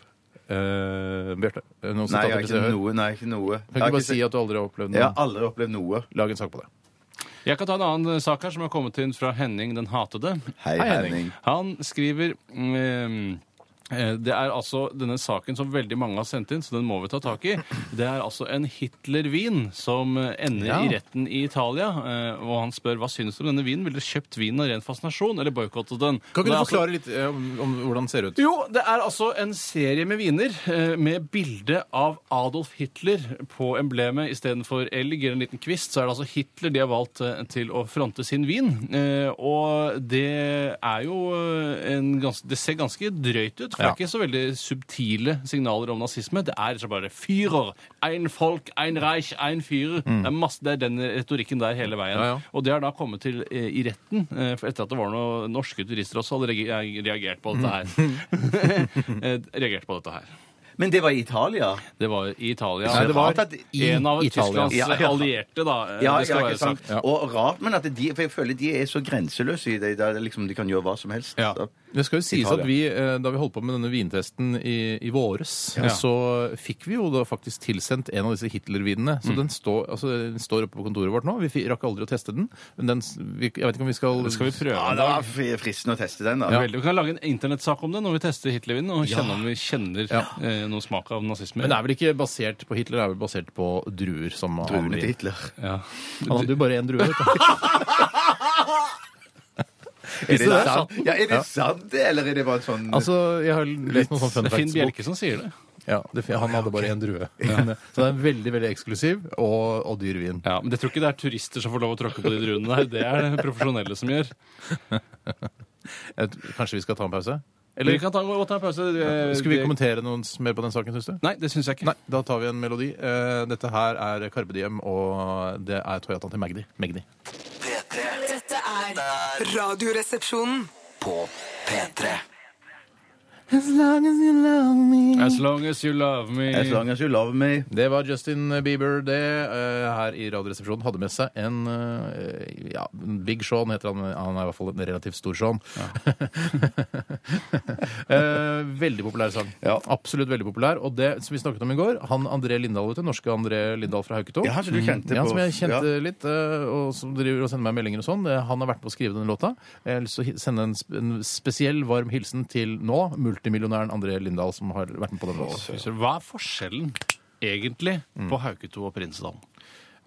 A: Eh, Bjarte, noen
B: Nei, jeg
A: sitater
B: har
A: til Se
B: ikke
A: og Hør?
B: noe. Nei, ikke noe.
A: Kan
B: Jeg
A: ikke
B: har
A: bare
B: ikke
A: si
B: sett-
A: at du aldri har opplevd
B: Jeg har
A: noe?
B: aldri opplevd noe.
A: Lag en sak på det.
C: Jeg kan ta en annen eh, sak her som har kommet inn fra Henning den hatede.
B: Hei,
A: Hei, Henning.
B: Henning.
C: Han skriver mm, eh, det er altså denne saken som veldig mange har sendt inn, så den må vi ta tak i. Det er altså en Hitler-vin som eh, ender
A: Ja.
C: i retten i Italia. eh, Og han spør hva synes du om denne vinen. Ville dere kjøpt vinen av ren fascinasjon, eller boikottet den?
A: Kan ikke
C: Det er
A: du
C: altså-
A: forklare litt eh, om, om hvordan det ser ut?
C: jo, det er altså en serie med viner eh, med bilde av Adolf Hitler på emblemet istedenfor elg eller en liten kvist. Så er det altså Hitler de har valgt eh, til å fronte sin vin. Eh, Og det er jo eh, en ganske Det ser ganske drøyt ut. For det
A: Ja.
C: er ikke så veldig subtile signaler om nazisme. Det er rett og slett bare Führer, ein Folk, ein Reich, ein Führer. Det, er masse, det er den retorikken der hele veien.
A: Ja, ja.
C: Og det har da kommet til eh, i retten, eh, for etter at det var noen norske turister også hadde reage- reagert på dette her. <laughs> Eh, reagert på dette her.
B: Men det var i Italia.
C: Det var i Italia.
B: Nei, det var-
C: en av
A: i Italia.
C: Tysklands
B: Ja, ja.
C: allierte, da. eh,
B: Ja,
C: det skal
B: ja, ikke
C: være
B: sant?
C: sagt.
A: Ja.
B: Og rart, men at de, for jeg føler de er så grenseløse i det. Der liksom, de kan gjøre hva som helst.
C: Ja.
B: Da-
A: Det skal jo sies
B: Italia.
A: at vi, eh, Da vi holdt på med denne vintesten i, i våres,
C: Ja.
A: så fikk vi jo da faktisk tilsendt en av disse Hitler-vinene.
C: Mm.
A: Så den, står- altså, den står oppe på kontoret vårt nå. Vi fi- rakk aldri å teste den. Men den, s- vi, jeg vet ikke om vi skal,
C: Skal vi prøve
B: Ja,
C: en
B: det var
C: dag?
B: fri- fristende å teste den, da.
C: Veldig. Vi kan lage en internettsak om det når vi tester Hitlervinen, og kjenne om vi kjenner eh, noe smak av nazisme.
A: Men det er vel ikke basert på Hitler, det er vel basert på druer som han
B: Druene til Hitler.
C: ja.
A: Han hadde jo bare én drue. vet
B: <laughs>
A: du.
B: Er
A: Visste du det?
B: det sant? Ja, er det sant, det, eller er det bare en sånn
A: Altså, jeg har lest noen sånne fun
C: Det er Finn
A: facts-bok.
C: Bjelke som sier det.
A: Ja, det, han hadde bare én drue. eh, Så det er en veldig veldig eksklusiv og, og dyr vin.
C: Ja, Men jeg tror ikke det er turister som får lov å tråkke på de druene der. Det er det profesjonelle som gjør.
A: Jeg t- Kanskje vi skal ta en pause?
C: Eller vi kan ta, gå- ta en pause. eh,
A: Skulle vi
C: det-
A: kommentere noe s- mer på den saken, syns du?
C: Nei, det syns jeg ikke.
A: Nei, da tar vi en melodi. Eh, Dette her er Carpe Diem, og det er Toyotaen til Magdi. Magdi.
E: P3
F: Dette er Radioresepsjonen.
E: på P3.
A: As long as you love me.
C: As long as you love me.
B: As long as you love me.
A: Det var Justin Bieber, det. eh, her i Radioresepsjonen hadde med seg en eh, ja, Big Sean heter han. Han er i hvert fall en relativt stor Sean. <laughs> Eh, veldig populær sang.
B: Ja.
A: Absolutt veldig populær. Og det som vi snakket om i går, han André Lindahl, vet du, norske André Lindahl fra Hauketo. Mm,
B: Ja, han som du kjente
A: Ja,
B: på
A: som jeg kjente
B: ja.
A: litt, eh, og som driver og sender meg meldinger og sånn. Eh, Han har vært med å skrive denne låta. Jeg har lyst til å hi- sende en, sp- en spesiell varm hilsen til nå multimillionæren André Lindahl, som har vært med på den låta.
C: Så Hva er forskjellen egentlig på
B: Mm.
C: Hauketo og Prinsdalen?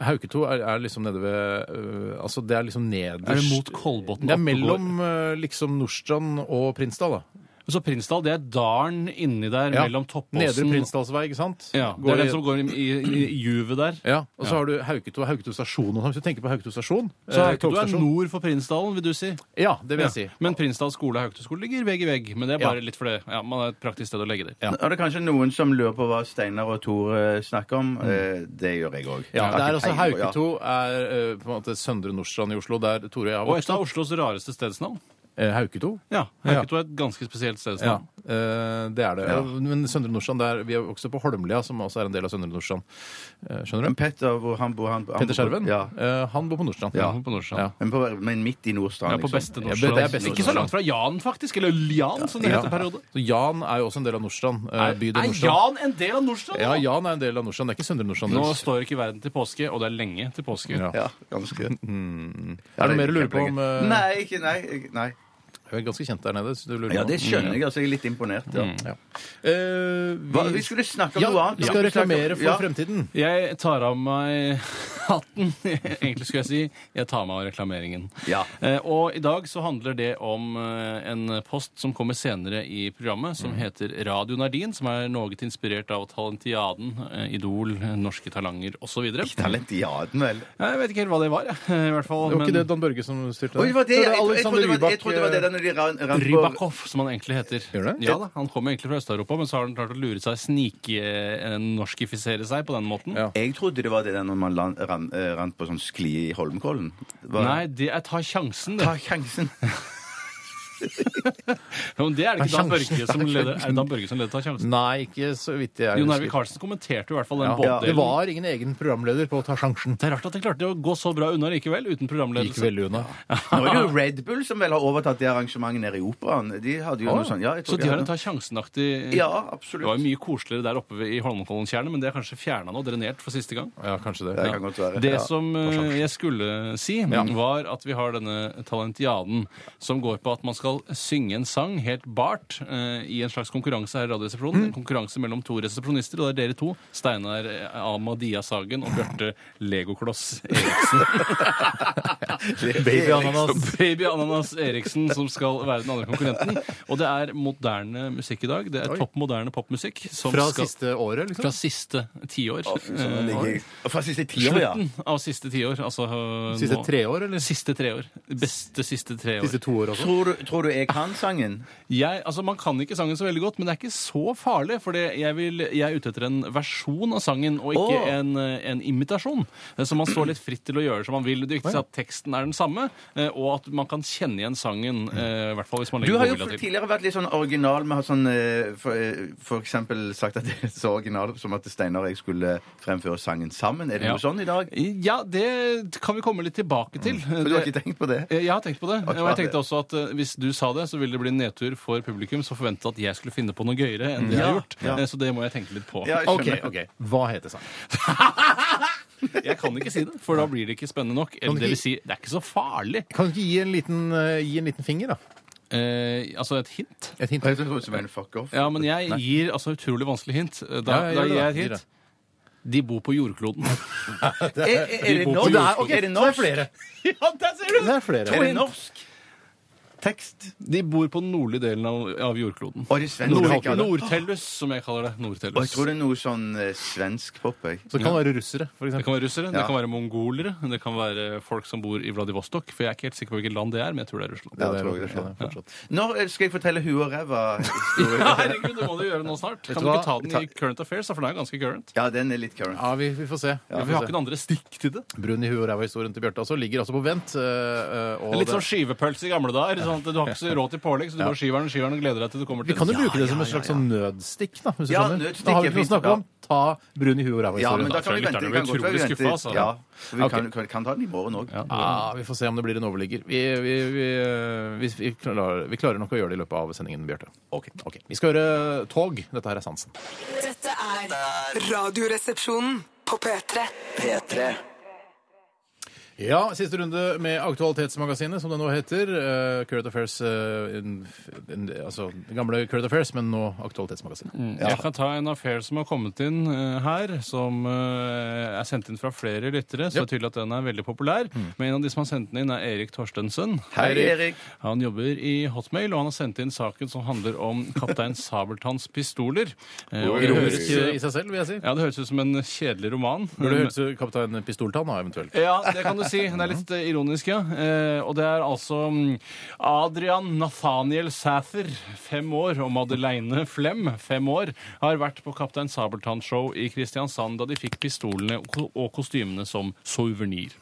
A: Hauketo er, er liksom nede ved øh, Altså, det er liksom nederst
C: Er det mot Kolbotn?
A: Det er
C: oppe
A: mellom øh, liksom Nordstrand og Prinsdal, da.
C: går? Så Prinsdal, det er dalen inni der
A: Ja.
C: mellom Toppåsen
A: Nedre Prinsdalsvei, ikke sant?
C: Ja, det
A: Går
C: er
A: i-
C: den som går i, i, i juvet der.
A: ja, og så har du Hauketo og Hauketo stasjon. og sånn. Hvis du tenker på Hauketo stasjon
C: Så
A: eh,
C: Hauketo er
A: togstasjon-
C: nord for Prinsdalen, vil du si?
A: Ja, det vil jeg si.
C: Ja. Men Prinsdal skole og Hauketo skole ligger vegg i vegg. Men det er bare
A: Ja.
C: litt for det. Ja, man har et praktisk sted å legge det.
A: Ja.
B: Og det er kanskje noen som lurer på hva Steinar og Tor eh, snakker om. Eh, Det gjør jeg òg.
A: Ja, det er altså Hauketo er eh, på en måte Søndre Nordstrand i Oslo, der Tore og jeg har
C: Og et
A: vokst
C: av
A: opp.
C: Oslos rareste stedsnavn.
A: Eh, Hauketo?
C: Ja, Hauketo er et ganske
A: Ja,
C: spesielt stedsnavn.
A: eh, det er det. Men Søndre Nordstrand, der, vi er også på Holmlia, som også er en del av Søndre Nordstrand. Eh, Skjønner
B: Men
A: du?
B: Petter, hvor han bor han, han
A: Petter
B: bor-
A: Skjerven,
B: Ja.
A: eh, han bor på Nordstrand.
C: Ja, på Nordstrand.
A: Ja.
B: Men, på, men midt i Nordstrand. liksom.
C: Ja, på beste
A: Ja,
C: Nordstrand.
A: det er beste
C: Ikke så langt fra Jan, faktisk. Eller Lian, som det
A: Ja.
C: heter periode.
A: Så Jan er jo også en del av Nordstrand. eh, Bydel
C: Er
A: Nordstrand.
C: Jan en del av Nordstrand?
A: Ja,
C: nå?
A: Jan er en del av Nordstrand. Det er ikke Søndre Nordstrand.
C: Nå
A: Nils.
C: står ikke verden til påske, og det er lenge til påske.
A: Ja.
B: Ja, ganske.
A: Er det noe mer du lurer på om eh,
B: Nei, ikke nei. ikke- nei.
A: Jeg er ganske kjent der nede. Så du lurer
B: Ja,
A: på-
B: det skjønner jeg. altså Jeg er litt imponert. Ja.
A: Eh,
B: Hva, vi skulle snakke om
A: ja,
B: noe annet.
A: Vi
B: Ja.
A: skal reklamere for
B: Ja.
A: fremtiden.
C: Jeg tar av meg <laughs> hatten. Egentlig skulle jeg si jeg tar meg av reklameringen.
B: Ja.
C: Eh, og i dag så handler det om eh, en post som kommer senere i programmet,
A: Mm.
C: som heter Radio Nardin, som er noe inspirert av Talentiaden, eh, Idol, eh, Norske Talanger osv. Jeg
B: Talentiaden, vel.
C: vet ikke helt hva det var, jeg. eh, I hvert fall.
A: Det var ikke
C: Men
A: det Dan Børge som styrte
B: Oi, var det, jeg, jeg, jeg, trodde det var, jeg
A: Alexander eh,
B: trodde det var det der når de ran, ran på-
C: Rybakov, som han egentlig heter.
A: Gjør det?
C: Ja da, Han kommer egentlig fra Øst-Europa, men så har han klart å lure seg, snike-norskifisere seg på den måten.
A: Ja.
B: Jeg trodde det var det der når man lan- ran, eh, rant på sånn skli i Holmenkollen. Var-
C: Nei, det er ta sjansen, det.
B: Ta sjansen!
C: Ja, Men det er det ikke
A: Ta
C: Dan
A: sjansen, <laughs> ta
C: Børge som leder. Er
A: sjansen.
C: det Dan Børge som leder ta sjansen?
A: Nei, ikke så vidt jeg
C: Jon Arvid Carlsen kommenterte i hvert fall den
A: Ja.
C: båtdelen.
A: Det var ingen egen programleder på å ta sjansen.
C: Det er rart at de klarte å gå så bra unna likevel, uten
A: Det gikk
C: programledelse.
A: veldig unna.
B: Nå er det jo Red Bull som vel har overtatt det arrangementet nede i operaen. De hadde jo
A: Ah,
B: noe sånn ja, jeg tror
C: Så de har en
B: hadde-
C: ta sjansen-aktig
B: Ja,
C: Det var jo
B: absolutt.
C: mye koseligere der oppe ved- i Holmenkollentjernet, men det er kanskje fjerna nå, drenert for siste gang.
A: Ja, kanskje det.
B: Det kan godt være.
C: Det
B: Ja.
C: som eh, jeg skulle si, mm, var at vi har denne talentiaden som går på at man skal synge en sang helt bart eh, i en slags konkurranse her i
B: Mm.
C: Radioresepsjonen. En konkurranse mellom to resepsjonister, og det er dere to. Steinar eh, Amadia Sagen og Bjarte
B: <laughs>
C: Legokloss Eriksen.
A: Baby ananas.
C: Baby Ananas Eriksen som skal være den andre konkurrenten. Og det er moderne musikk i dag. Det er
A: Oi.
C: topp moderne popmusikk som
A: Fra
C: skal
A: siste året,
C: fra
A: liksom?
C: siste tiår.
B: Sånn, det ligger- Fra siste tiår, ja.
C: Slutten av siste tiår. Altså øh,
A: Siste
C: nå-
A: tre år, eller
C: Siste tre år. Beste siste tre år.
A: siste to år også?
B: Tror du, tror du jeg kan sangen?
C: Jeg, altså, man kan ikke sangen så veldig godt, men det er ikke så farlig. For det- jeg, vil, jeg er ute etter en versjon av sangen, og ikke
B: Åh.
C: en, eh, en imitasjon. Eh, Så man står litt fritt til å gjøre som man vil. Det viktigste er at teksten er den samme, eh, og at man kan kjenne igjen sangen. eh, I hvert fall hvis man
B: Du
C: legger
B: har jo
C: godvilja til.
B: tidligere vært litt sånn original med å ha sånn eh, for, eh, for eksempel sagt at det er så original som at Steinar og jeg skulle fremføre sangen sammen. Er det
C: Ja.
B: noe sånn i dag?
C: Ja, det kan vi komme litt tilbake til.
B: Mm. For du har
C: Det-
B: ikke tenkt på det?
C: Eh, Jeg har tenkt på det.
B: Ok,
C: Og jeg
B: det-
C: tenkte også at eh, hvis du sa det, så ville det bli en nedtur for publikum som forventa at jeg skulle finne på noe gøyere enn det jeg har gjort.
B: ja.
C: Eh, Så det må jeg tenke litt på.
B: Ja, jeg
A: OK,
B: skjønner.
A: ok. Hva heter sangen?
C: <laughs> Jeg kan ikke si det, for da blir det ikke spennende nok.
A: Kan
C: Eller
A: du
C: det
A: ikke-
C: vil si, det er ikke så farlig.
A: Kan du ikke gi en liten, eh, gi en liten finger, da?
C: Eh, altså et hint.
A: Et hint.
B: Jeg trodde du mente fuck off.
C: Ja, men jeg gir altså utrolig vanskelig hint. Eh, Da,
A: Ja, ja,
C: da
A: gjør det
C: gir jeg
A: da.
C: et
A: Gi det.
C: hint. De bor på <laughs> jordkloden.
B: Er, er, er det
C: bor på
B: norsk?
A: Det er, ok,
B: Er
A: så
B: det
A: det er
B: norsk?
A: flere.
C: ja, der ser
A: Det er flere.
B: Er det norsk? Tekst?
C: De bor på den nordlige delen av, av jordkloden.
B: Og det er svensk.
C: Nord-
B: ikke alle.
C: Nordtellus, som jeg kaller det.
B: Og jeg
C: Nordtellus.
B: tror det er noe sånn eh, svensk pop, jeg.
A: Så det kan være russere, for
C: Det
A: eksempel.
C: kan være russere, det
B: Ja.
C: kan være mongolere, det kan være folk som bor i Vladivostok. For jeg er ikke helt sikker på hvilket land det er, men jeg tror det er Russland.
B: Ja,
A: Det er
B: tror jeg det er. sånn.
A: Russland, ja, fortsatt.
B: Nå eh, skal jeg fortelle hu og ræva.
C: <laughs> Herregud, det må du gjøre nå snart. Kan
A: du
C: du
A: hva?
C: ikke ta den i Current Affairs, da, for den er ganske current.
B: Ja, den er litt current.
A: Ja, vi, vi får se. Vi
C: Ja,
A: får
C: vi har
A: se.
C: ikke noen andre stikk til det.
A: Brun i huet og ræva-historien til Bjarte altså, ligger altså på vent. eh, eh, og
C: Litt sånn
A: det-
C: som skivepølse i gamle dager. sånn at du har ikke så råd til pålegg, så du bare skyver den, skyver den og gleder deg til du kommer
A: Vi
C: til
A: kan jo bruke det som et slags sånn nødstikk. da, hvis du
B: Ja,
A: skjønner.
B: nødstikk
A: Da har vi
B: er
A: ikke noe å
B: fint,
A: snakke om. Ta brun i huet og ræva.
B: Ja,
A: historien, da.
B: men da kan vi
C: tror jeg
B: vente.
C: lytterne
B: Det kan
C: blir
B: godt være vi
C: utrolig skuffa, altså.
B: venter. Ja, for vi
A: Ok.
B: kan, kan, kan ta den i morgen òg.
A: Ja, Vi får se om det blir en overligger. Vi, vi, vi, vi, vi, klarer, vi klarer nok å gjøre det i løpet av sendingen, Bjarte. Ok. Vi skal høre Tog. Dette her er Sansen.
F: Dette er Radioresepsjonen på P3.
E: P3.
A: Ja, siste runde med Aktualitetsmagasinet, som det nå heter. Eh, Current Affairs eh, in, in, Altså gamle Current Affairs, men nå Aktualitetsmagasinet.
C: Jeg kan ta en affair som har kommet inn eh, her, som eh, er sendt inn fra flere lyttere. Så det er tydelig at den er veldig populær. Men en av de som har sendt den inn, er Erik Torstensen.
B: Hei, Erik.
C: Han jobber i Hotmail, og han har sendt inn saken som handler om kaptein Sabeltanns pistoler. Eh, og det
A: Ironisk
C: høres-
A: eh, i seg selv, vil jeg si.
C: ja, det høres ut som en kjedelig roman.
A: Burde hørt ut Kaptein Pistoltann, da, eventuelt.
C: Ja, det kan du si. Den er litt eh, ironisk, ja. Eh, og det er altså mm, Adrian Nathaniel Sæther, fem år, og Madeleine Flem, fem år, har vært på Kaptein Sabeltann-show i Kristiansand da de fikk pistolene og ko- og kostymene som souvenir.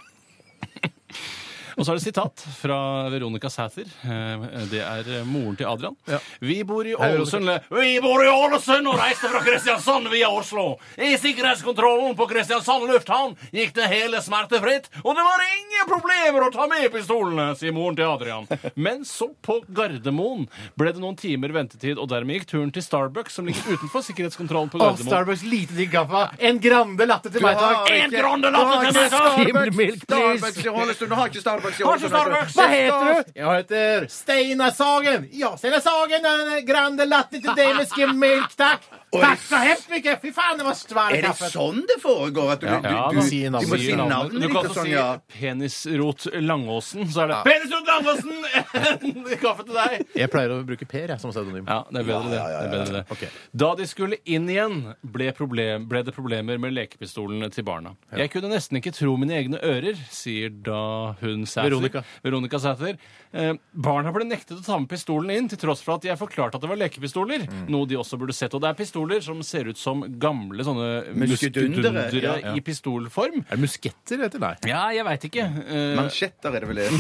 C: Og så er det sitat fra Veronica Sæther. Eh, Det er eh, moren til Adrian.
A: Ja.
C: Vi bor i
A: Hei, Veronica.
C: Ålesund Vi bor i Ålesund og reiste fra Kristiansand via Oslo. I sikkerhetskontrollen på Kristiansand lufthavn gikk det hele smertefritt, og det var ingen problemer å ta med pistolene, sier moren til Adrian. Men så, på Gardermoen, ble det noen timer ventetid, og dermed gikk turen til Starbucks, som ligger utenfor sikkerhetskontrollen på Gardermoen.
A: lite digg kaffe! En Grande latte til meg,
B: takk.
C: En grande latte til meg, takk!
A: Skimmelmilk,
B: Starbucks i Hålestund! Du har ikke Starbucks i
C: Har ikke
B: Hålestund!
C: Starbucks!
A: Hva heter du? Jeg heter Steinar Sagen. Ja, Steinar Sagen. En eh, grande latte til deg med skimmelk, takk. Takk så hemskt mye. Fy faen, det var altså. svær
B: Er det sånn det foregår? At du, du,
C: Ja,
B: du,
C: da.
A: Si navnet.
B: du må si
A: Si navnet.
B: navnet
C: Du
B: ditt
C: kan
B: og
C: også
B: sånn,
C: si
B: ja.
C: penisrot Langåsen. Så er det penisrot Langåsen! En Kaffe til deg.
A: Jeg pleier å bruke Per jeg, som pseudonym.
C: Ja, det er bedre det. det, er bedre det.
A: Ok.
C: Da de skulle inn igjen, ble, problem, ble det problemer med lekepistolene til barna. Jeg kunne nesten ikke tro mine egne ører, sier da hun Sæther.
A: Veronica.
C: Veronica Sæther. Eh, barna ble nektet å ta med pistolen inn, til tross for at jeg forklarte at det var lekepistoler. Noe de også burde sett. Og det er pistoler som ser ut som gamle sånne
B: Muskedundere,
C: muskedundere
B: ja,
C: i pistolform.
A: Er det musketter det heter? Nei.
C: Ja, jeg veit ikke. Eh,
B: Mansjetter er det vel det.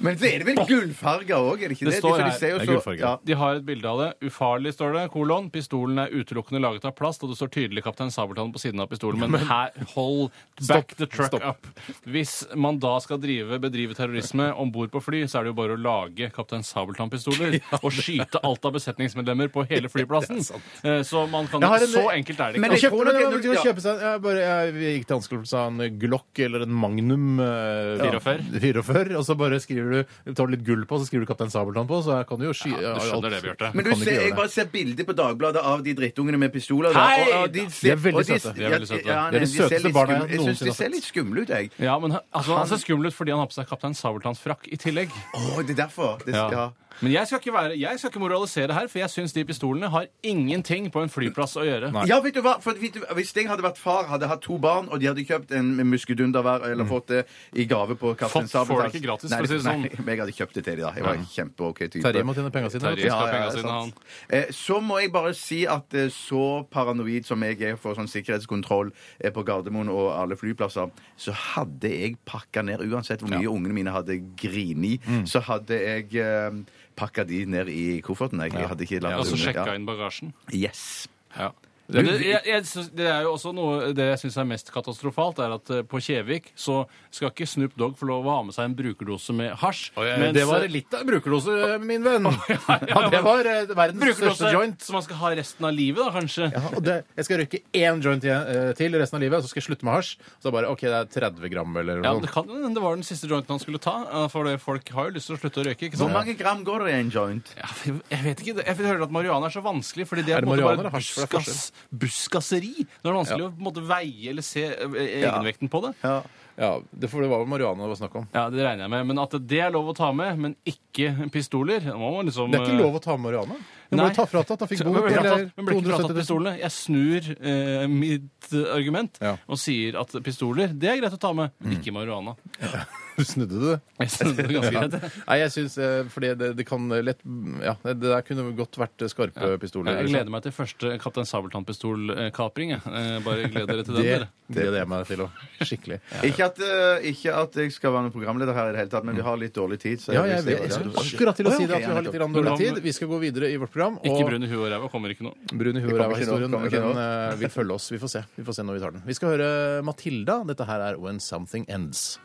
B: Men så er det vel gullfarger òg, er det ikke
C: Det
B: det?
C: står
B: For
C: her.
B: de ser jo
A: Det er
B: så-
A: gullfarger.
B: Ja.
C: De har et bilde av det. Ufarlig, står det. Kolon. Pistolen er utelukkende laget av plast, og det står tydelig Kaptein Sabeltann på siden av pistolen. Men her, hold back
A: Stopp.
C: the truck
A: Stopp.
C: up. Hvis man da skal drive, bedrive terrorisme om bord på fly, så er det jo bare å lage Kaptein
A: <laughs>
C: Sabeltann-pistoler og skyte alt av besetningsmedlemmer på hele flyplassen. Eh, Så man kan
A: Jeg har en-
C: Så enkelt er det
B: Men
A: Jeg
C: ikke.
B: jeg
A: kjøpte,
B: tror
A: det,
B: nok-
A: var- det var-
B: ja.
A: kjøpe seg, jeg, bare, jeg gikk til anskaffelse av en Glock eller en Magnum eh,
C: 44.
A: 44, og så bare skriver du tar du litt gull på, så skriver du Kaptein Sabeltann på, så kan du jo sky...
C: Du skjønner det, Bjarte.
B: Men du
A: Kan ikke
B: ser,
A: gjøre
B: jeg
A: det.
B: bare ser bilder på Dagbladet av de drittungene med pistoler. da.
C: Hei!
B: Og- og
C: De er
A: veldig
B: og de-
A: søte.
C: De er veldig søte.
B: ja,
A: Det er de
B: nei, ser
A: søteste
B: litt
A: barna jeg
B: skum- Jeg
A: noensinne
B: syns de
A: har
B: ser
A: sett.
B: litt skumle ut, jeg.
C: Ja, men han- altså, han ser skummel ut fordi han har på seg Kaptein Sabeltanns frakk i tillegg.
B: Å, det er derfor. Det,
C: Ja.
B: ja.
C: Men jeg skal, ikke være, jeg skal ikke moralisere her, for jeg syns de pistolene har ingenting på en flyplass å gjøre.
B: Ja, vet du hva? For vet du, hvis jeg hadde vært far, hadde hatt to barn, og de hadde kjøpt en muskedunder hver, eller fått det i gave på Kaptein
C: Fått får
B: Sabeltann
C: det ikke gratis,
B: Nei,
C: for å si det sånn.
B: nei, men jeg hadde kjøpt det til de, da. Jeg var en kjempe-OK type.
A: Terje må tjene pengene sine.
C: Terje.
A: vet
C: skal ha pengene
B: sant.
C: sine, han.
B: Eh, Så må jeg bare si at eh, så paranoid som jeg er for sånn sikkerhetskontroll eh, på Gardermoen og alle flyplasser, så hadde jeg pakka ned uansett hvor mye ungene mine hadde grini,
A: Mm.
B: så hadde jeg eh, pakka de ned i kofferten. Jeg, jeg hadde ikke
C: Ja,
B: latt
A: altså
C: og så
B: ungene-
C: Altså, sjekka inn bagasjen.
B: Ja. Yes.
C: Ja. Det, jeg, jeg, synes- det er jo også noe Det jeg syns er mest katastrofalt, er at eh, på Kjevik så skal ikke Snoop Dogg få lov å ha med seg en brukerdose med hasj.
A: Men det var litt av brukerdose, min
C: <laughs>
A: venn. Ja, det var eh, verdens
C: brukerdose
A: største joint.
C: som man skal ha resten av livet, da, kanskje.
A: Ja, og det, jeg skal røyke én joint igjen, eh, til resten av livet, så skal jeg slutte med hasj. Så bare OK, det er 30 gram eller
C: Ja,
A: noe.
C: det, kan, jo hende det var den siste jointen han skulle ta. eh, For det, folk har jo lyst til å slutte å røyke. ikke
B: Hvor
C: sant?
B: mange gram går det i en joint?
C: Ja, Jeg jeg vet ikke, jeg hører at marihuana er så vanskelig, fordi det er,
A: Er det
C: på en måte
A: marihuana eller
C: bare
A: hasj? For det er
C: buskas, buskasseri. Det er vanskelig å på en måte veie eller se eh, egenvekten på det.
B: Ja.
A: Ja, det, for det var vel marihuana det var snakk om.
C: Ja, Det regner jeg med. Men at det er lov å ta med, men ikke pistoler da må man liksom,
A: Det er ikke lov å ta med marihuana. Du må
C: Nei.
A: jo ta fratatt. Han fikk
C: Men
A: bot
C: ble
A: eller
C: fratatt- men ble ikke
A: 270
C: fratatt
A: 000.
C: pistolene. Jeg snur eh, mitt eh, argument
A: Ja. Mm.
C: og sier at pistoler det er greit å ta med, men ikke marihuana. <laughs>
A: Du snudde det.
C: Jeg synes det er ganske greit.
A: Nei, jeg syns eh, Fordi det, det kan lett Ja, det der kunne godt vært eh, skarpe pistoler.
C: Jeg gleder meg til første Kaptein Sabeltann-pistolkapring. jeg. Eh, Bare gled dere til den.
A: Det
C: dere.
A: gleder jeg meg til òg. Skikkelig.
B: Ikke at, eh, ikke at jeg skal være noen programleder her i det hele tatt, men vi har litt dårlig tid. Så
A: Mm. Ja, jeg
B: hvis det
A: vet
B: var-
A: jeg skulle akkurat til å
B: Å,
A: si
B: ja,
A: det at vi
B: ok,
A: har litt
B: nettopp.
A: grann dårlig tid. Vi skal gå videre i vårt program.
C: Ikke brun i huet og ræva, kommer ikke noe.
A: Brun i huet og
B: Det kommer
A: ræva
B: ikke nå,
A: historien
B: kommer ikke
A: den
B: nå.
A: eh, vil følge oss. Vi får se. Vi får se når vi tar den. Vi skal høre Matilda. Dette her er When Something Ends.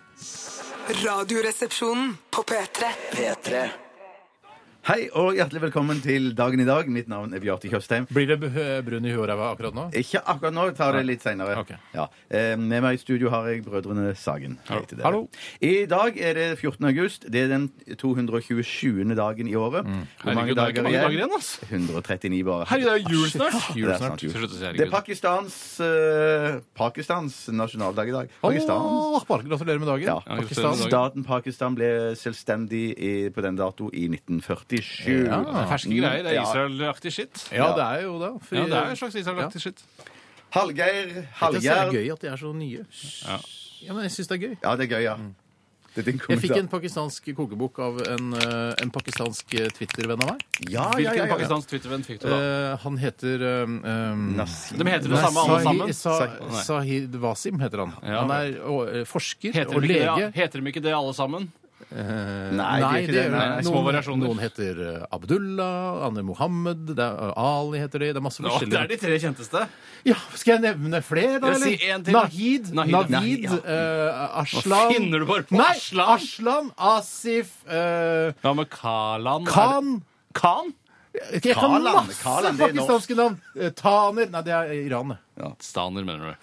F: Radioresepsjonen på P3.
E: P3.
B: Hei og hjertelig velkommen til dagen i dag. Mitt navn er Bjarte Tjøstheim.
A: Blir det bu- brun i huet og ræva akkurat nå?
B: Ikke akkurat nå, tar det litt seinere.
A: Ok.
B: Ja. Eh, Med meg i studio har jeg Brødrene Sagen. Hei til dere.
A: Hallo.
B: I dag er det 14. august. Det er den 227. dagen i året. Hvor
C: Mm. Herregud, det er ikke mange dager igjen, ass.
B: 139 bare.
C: Herregud, det er jo jul snart!
B: Det
A: Jul
B: er
A: snart.
B: sant, jul.
C: Så slutt å si herregud.
B: Det er Pakistans, eh, Pakistans nasjonaldag i dag. Pakistan.
A: Åh, bare gratulerer med dagen.
B: Ja.
A: Pakistan.
C: gratulerer med dagen.
B: Staten Pakistan ble selvstendig i, på den dato i 1947.
A: Ja.
C: Det er ferske greier. Ah, Det er
B: Ja.
C: Israel-aktig shit.
A: Ja, det er jo det. Fri-
C: Ja, det er en slags Israel-aktig shit.
B: Ah, Hallgeir
A: Jeg synes det er
B: Hallgeir.
A: gøy at de er så nye.
C: Ja.
A: Ja, men jeg syns det er gøy.
B: Ja, det er gøy, ja.
C: Mm.
B: Det er din
A: Jeg fikk
B: kommentar.
A: en pakistansk kokebok av en, eh, en pakistansk eh, Twitter-venn av meg.
B: ja, ja, ja,
C: Hvilken
B: ja, ja.
C: pakistansk Twitter-venn fikk du da?
A: Eh, han heter um,
C: De heter det samme, alle sammen. Nei.
A: Sahid Wasim heter han.
C: Ja,
A: Han er og, eh, forsker
C: Heter
A: og
C: de, ikke
A: lege.
C: det, heter de ikke det, alle sammen?
A: Eh,
B: Nei, de gjør ikke det.
A: gjør
B: Nei,
C: nei,
A: noen,
C: små variasjoner.
A: Noen heter eh, Abdullah, andre Mohammed, det er, eh, Ali heter de. Det er masse
C: Ja, det
A: forskjellige.
C: er de tre kjenteste.
A: Ja, skal jeg nevne flere, da?
C: Ja, si
A: eller?
C: en til, da.
A: Nahid,
C: Nahid,
A: Navid,
B: Nahid, ja.
A: eh, Aslan
C: Hva finner du bare på?
A: Nei,
C: Aslan?
A: Aslan, Asif eh,
C: Ja, men Kalan er-
A: Khan
C: Khan?
A: Jeg kan
B: Kalan,
A: masse
B: Kalan, det er
A: pakistanske navn! Eh, Taner Nei, det er Iran, det.
C: Staner, mener du.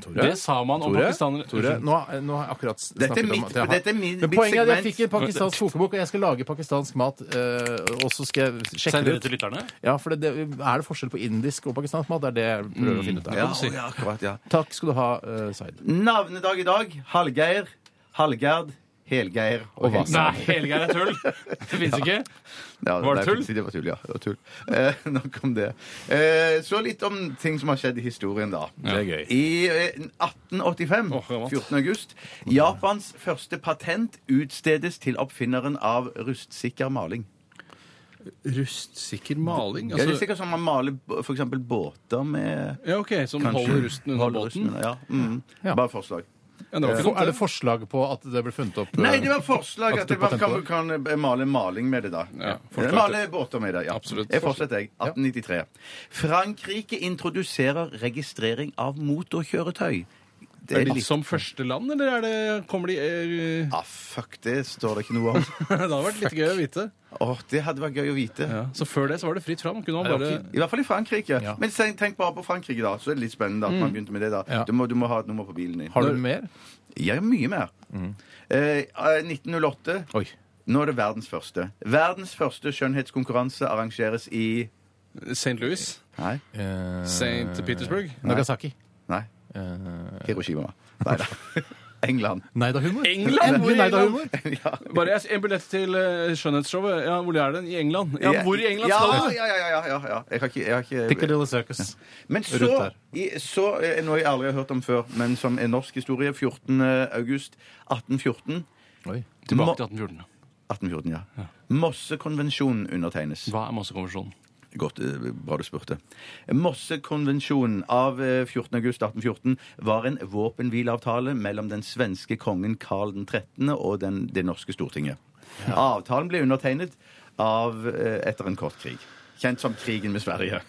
A: Tore?
C: Det sa man om
A: Tore?
C: pakistanere.
A: Tore, nå, nå har jeg akkurat snakket
B: Dette er
A: om
B: mitt-
A: at jeg har-
B: dette er min-
A: Men
B: mitt
A: Poenget er at jeg
B: segment.
A: fikk en pakistansk kokebok, og jeg skal lage pakistansk mat. eh, og så skal jeg sjekke
C: Sender
A: det
C: det til
A: ut.
C: lytterne?
A: Ja, for det, det, er det forskjell på indisk og pakistansk mat? Det er det jeg
C: Mm,
A: prøver å finne ut av.
B: Ja,
C: du si.
B: ja, akkurat, ja.
A: Takk skal du ha, uh, Zaid.
B: Navnedag i dag. Hallgeir, Hallgerd, Helgeir og Vasa.
C: Nei, Helgeir er tull! <laughs> Det fins ikke.
B: Ja,
C: Var det
B: nei,
C: tull?
B: Det var tull, ja. Det var tull. Eh, <laughs> nok om det. Eh, så litt om ting som har skjedd i historien, da.
A: Det er gøy.
B: I eh, 1885,
C: Åh, gammelt.
B: 14. august, Japans første patent utstedes til oppfinneren av rustsikker maling.
C: Rustsikker maling? Altså,
B: ja, det er sikkert sånn man maler b- for eksempel båter med
C: ja, OK, som
B: Kanskje.
C: holder rusten under
B: Holder
C: båten?
B: rusten under, Ja. Mm.
A: Ja.
B: Bare forslag.
C: Ja, det var ikke
A: For,
C: dumt,
A: er det
C: det.
A: forslag på at det ble funnet opp eh,
B: Nei, det var forslag
A: At
B: at
A: du
B: det var, kan,
A: patent
B: kan eh, male maling med det, da.
C: Ja,
B: Eller
C: forslag
B: male båter med det. ja.
C: Absolutt.
B: Jeg fortsetter, jeg. 1893. Frankrike introduserer registrering av motorkjøretøy. Det er litt
C: Som første land, eller er det, kommer de eh, <laughs>
B: Ah, fuck, det står det ikke noe om.
C: Det hadde vært litt gøy å vite.
B: Åh, Det hadde vært gøy å vite.
C: Ja. Så før det så var det fritt fram. Kunne man
A: Ja,
C: bare
B: I hvert fall i Frankrike.
A: Ja.
B: Men sen- tenk bare på Frankrike, da. Så er det litt spennende at man begynte med det. da.
A: Ja.
B: Du, må, du må ha et nummer på bilen din.
A: Har du mer?
B: Ja, mye mer. Eh, eh, 1908.
A: Oi.
B: Nå er det verdens første. Verdens første skjønnhetskonkurranse arrangeres i
C: St. Louis?
B: Nei.
A: Eh,
C: St. Petersburg?
A: Nagasaki.
B: Nei.
A: Eh,
B: Hiroshima. Nei
C: <laughs>
B: da. England.
A: Neida-humor.
C: England? Hvor i
A: Endelig
C: England?
A: neida-humor.
B: ja.
C: Bare jeg- en billett til eh, skjønnhetsshowet. Ja, hvor er den? I England? Ja, hvor i England
B: ja,
C: skal du?
B: ja, ja, ja, ja, ja. Jeg har ikke, jeg har ikke
A: Piccadilly Circus.
B: Men
A: Rundt
B: så,
A: der.
B: i, så eh, Noe jeg aldri har hørt om før, men som er norsk historie. 14. august 1814.
A: Oi.
C: Tilbake til 1814.
B: 1814, ja. Mossekonvensjonen undertegnes.
C: Hva er massekonvensjonen?
B: Godt, eh, bra du spurte. Mossekonvensjonen av eh, 14. august 1814 var en våpenhvileavtale mellom den svenske kongen Karl den 13. og den, det norske stortinget. Avtalen ble undertegnet av, eh, etter en kort krig. Kjent som krigen med Sverige.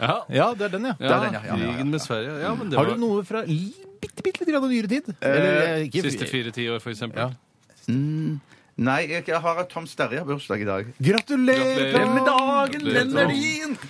C: Ja,
A: Ja, det er den, ja.
C: ja,
B: er den, ja, ja, ja, ja.
C: krigen med Sverige. Ja, men det
A: Har
C: var
A: du noe fra li- bitte, bitte litt grann nyere tid? Eller, eh, ikke-
C: siste fire tiår, for eksempel.
A: Ja.
B: Nei, jeg, jeg har at Tom Sterje har bursdag i dag.
A: Gratulerer!
C: Gratulerer.
A: Tom!
C: Med
B: dagen,
C: Gratulerer, den Tom.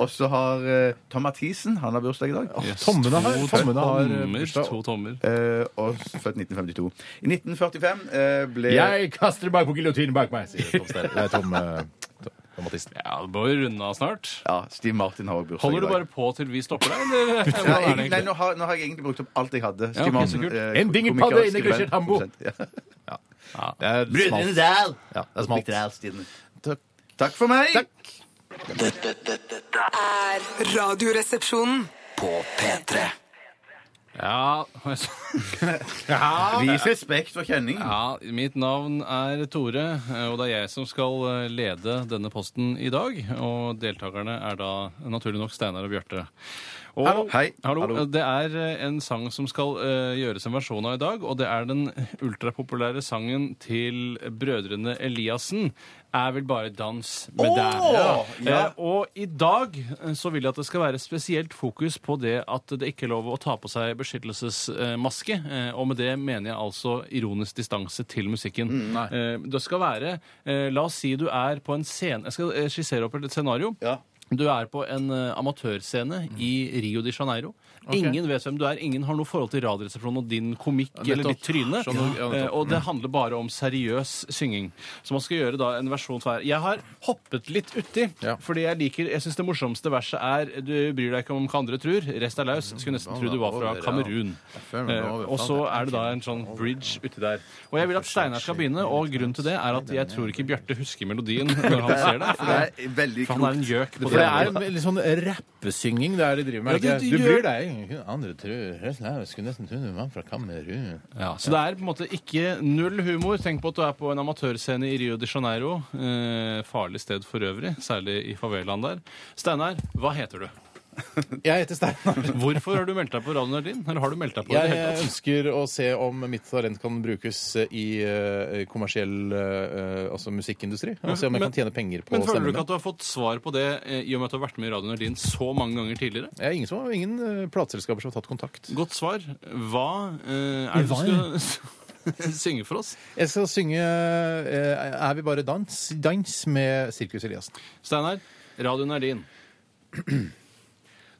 B: Og så har eh, Tom Mathisen han har bursdag i dag.
C: Yes.
A: Tommene har,
C: To
A: tommene har eh,
C: tommer,
A: bursdag.
C: to tommer.
B: Eh, og født 1952. I 1945 eh, ble
A: Jeg kaster meg på giljotinen bak meg, sier Tom Sterre. Det er Tom, eh, Tom, Tom Mathisen.
C: Ja, det må jo runde av snart.
B: Ja, Steve Martin har også bursdag
C: Holder
B: i
C: du
B: dag.
C: bare på til vi stopper deg,
B: Ja,
C: eller? Hva er det
B: egentlig, nei,
C: egentlig?
B: nå har, nå har jeg egentlig brukt opp alt jeg hadde.
C: Ja, ok, så kult.
B: eh,
A: En dingelpadde
B: komiker,
A: inni
B: skribent,
A: Christian Hambo.
B: produsent. <laughs> Ja.
A: Det er smalt.
B: Dal.
A: Ja, det er smalt. Takk.
B: Takk for meg.
E: Dette, dette, dette er
F: Er Radioresepsjonen
E: på P3.
C: Ja, altså,
B: Vis respekt for kjenning.
C: ja, mitt navn er Tore, og det er jeg som skal eh, lede denne posten i dag. Og deltakerne er da naturlig nok Steinar og Bjarte. Og,
B: Hallo. Hei.
C: Hallo.
B: Hallo.
C: Det er eh, en sang som skal eh, gjøres en versjon av i dag, og det er den ultrapopulære sangen til brødrene Eliassen. Er vel bare dans med deg.
B: ja.
C: Eh, og i dag eh, så vil jeg at det skal være spesielt fokus på det at det ikke er lov å ta på seg beskyttelsesmaske. eh, Og med det mener jeg altså ironisk distanse til musikken.
B: Mm,
C: Eh, det skal være eh, La oss si du er på en scene Jeg skal eh, skissere opp et scenario.
B: Ja. Mm.
C: Du er på en eh, amatørscene i Rio de Janeiro. Ingen vet hvem du er, ingen har noe forhold til Radioresepsjonen og din komikk eller
A: nettopp.
C: ditt tryne.
A: Sånn, ja, nettopp.
C: Eh, og det handler bare om seriøs synging. Så man skal gjøre da en versjon hver. Jeg har hoppet litt uti,
A: Ja.
C: fordi jeg liker Jeg syns det morsomste verset er Du bryr deg ikke om hva andre tror, rest er løs. Skulle nesten tro du var fra Kamerun. Eh, og så er det da en sånn bridge uti der. Og jeg vil at Steinar skal begynne, og grunnen til det er at jeg tror ikke Bjarte husker melodien når han ser det. For, det,
B: Det er veldig
C: for han er en
B: klokt.
C: gjøk på
A: For det er en litt sånn rappesynging det er de driver med.
C: Ja,
A: ikke?
C: de- de
A: du
C: gjør-
A: bryr deg ikke andre tror resten er- Skulle nesten tro du var fra Kamerun.
C: Ja, så det er på en måte ikke null humor. Tenk på at du er på en amatørscene i Rio de Janeiro. Eh, farlig sted for øvrig, særlig i favelaen der. Steinar, hva heter du?
A: Jeg heter Steinar.
C: Hvorfor har du meldt deg på Radio Nardin? Eller har du meldt deg på? i det
A: Jeg
C: hele tatt?
A: ønsker å se om mitt talent kan brukes i eh, kommersiell eh, altså musikkindustri. Og se om jeg
C: Men-
A: kan tjene penger på
C: Men føler du
A: stemmen min.
C: ikke at du har fått svar på det eh, i og med at du har vært med i Radio Nardin så mange ganger tidligere?
A: Jeg er ingen, som, ingen eh, plateselskaper som har tatt kontakt.
C: Godt svar. Hva eh, er det du skal <laughs> synge for oss?
A: Jeg skal synge eh, Er vi bare dans? Dans med Sirkus Eliassen.
C: Steinar, Radio Nardin.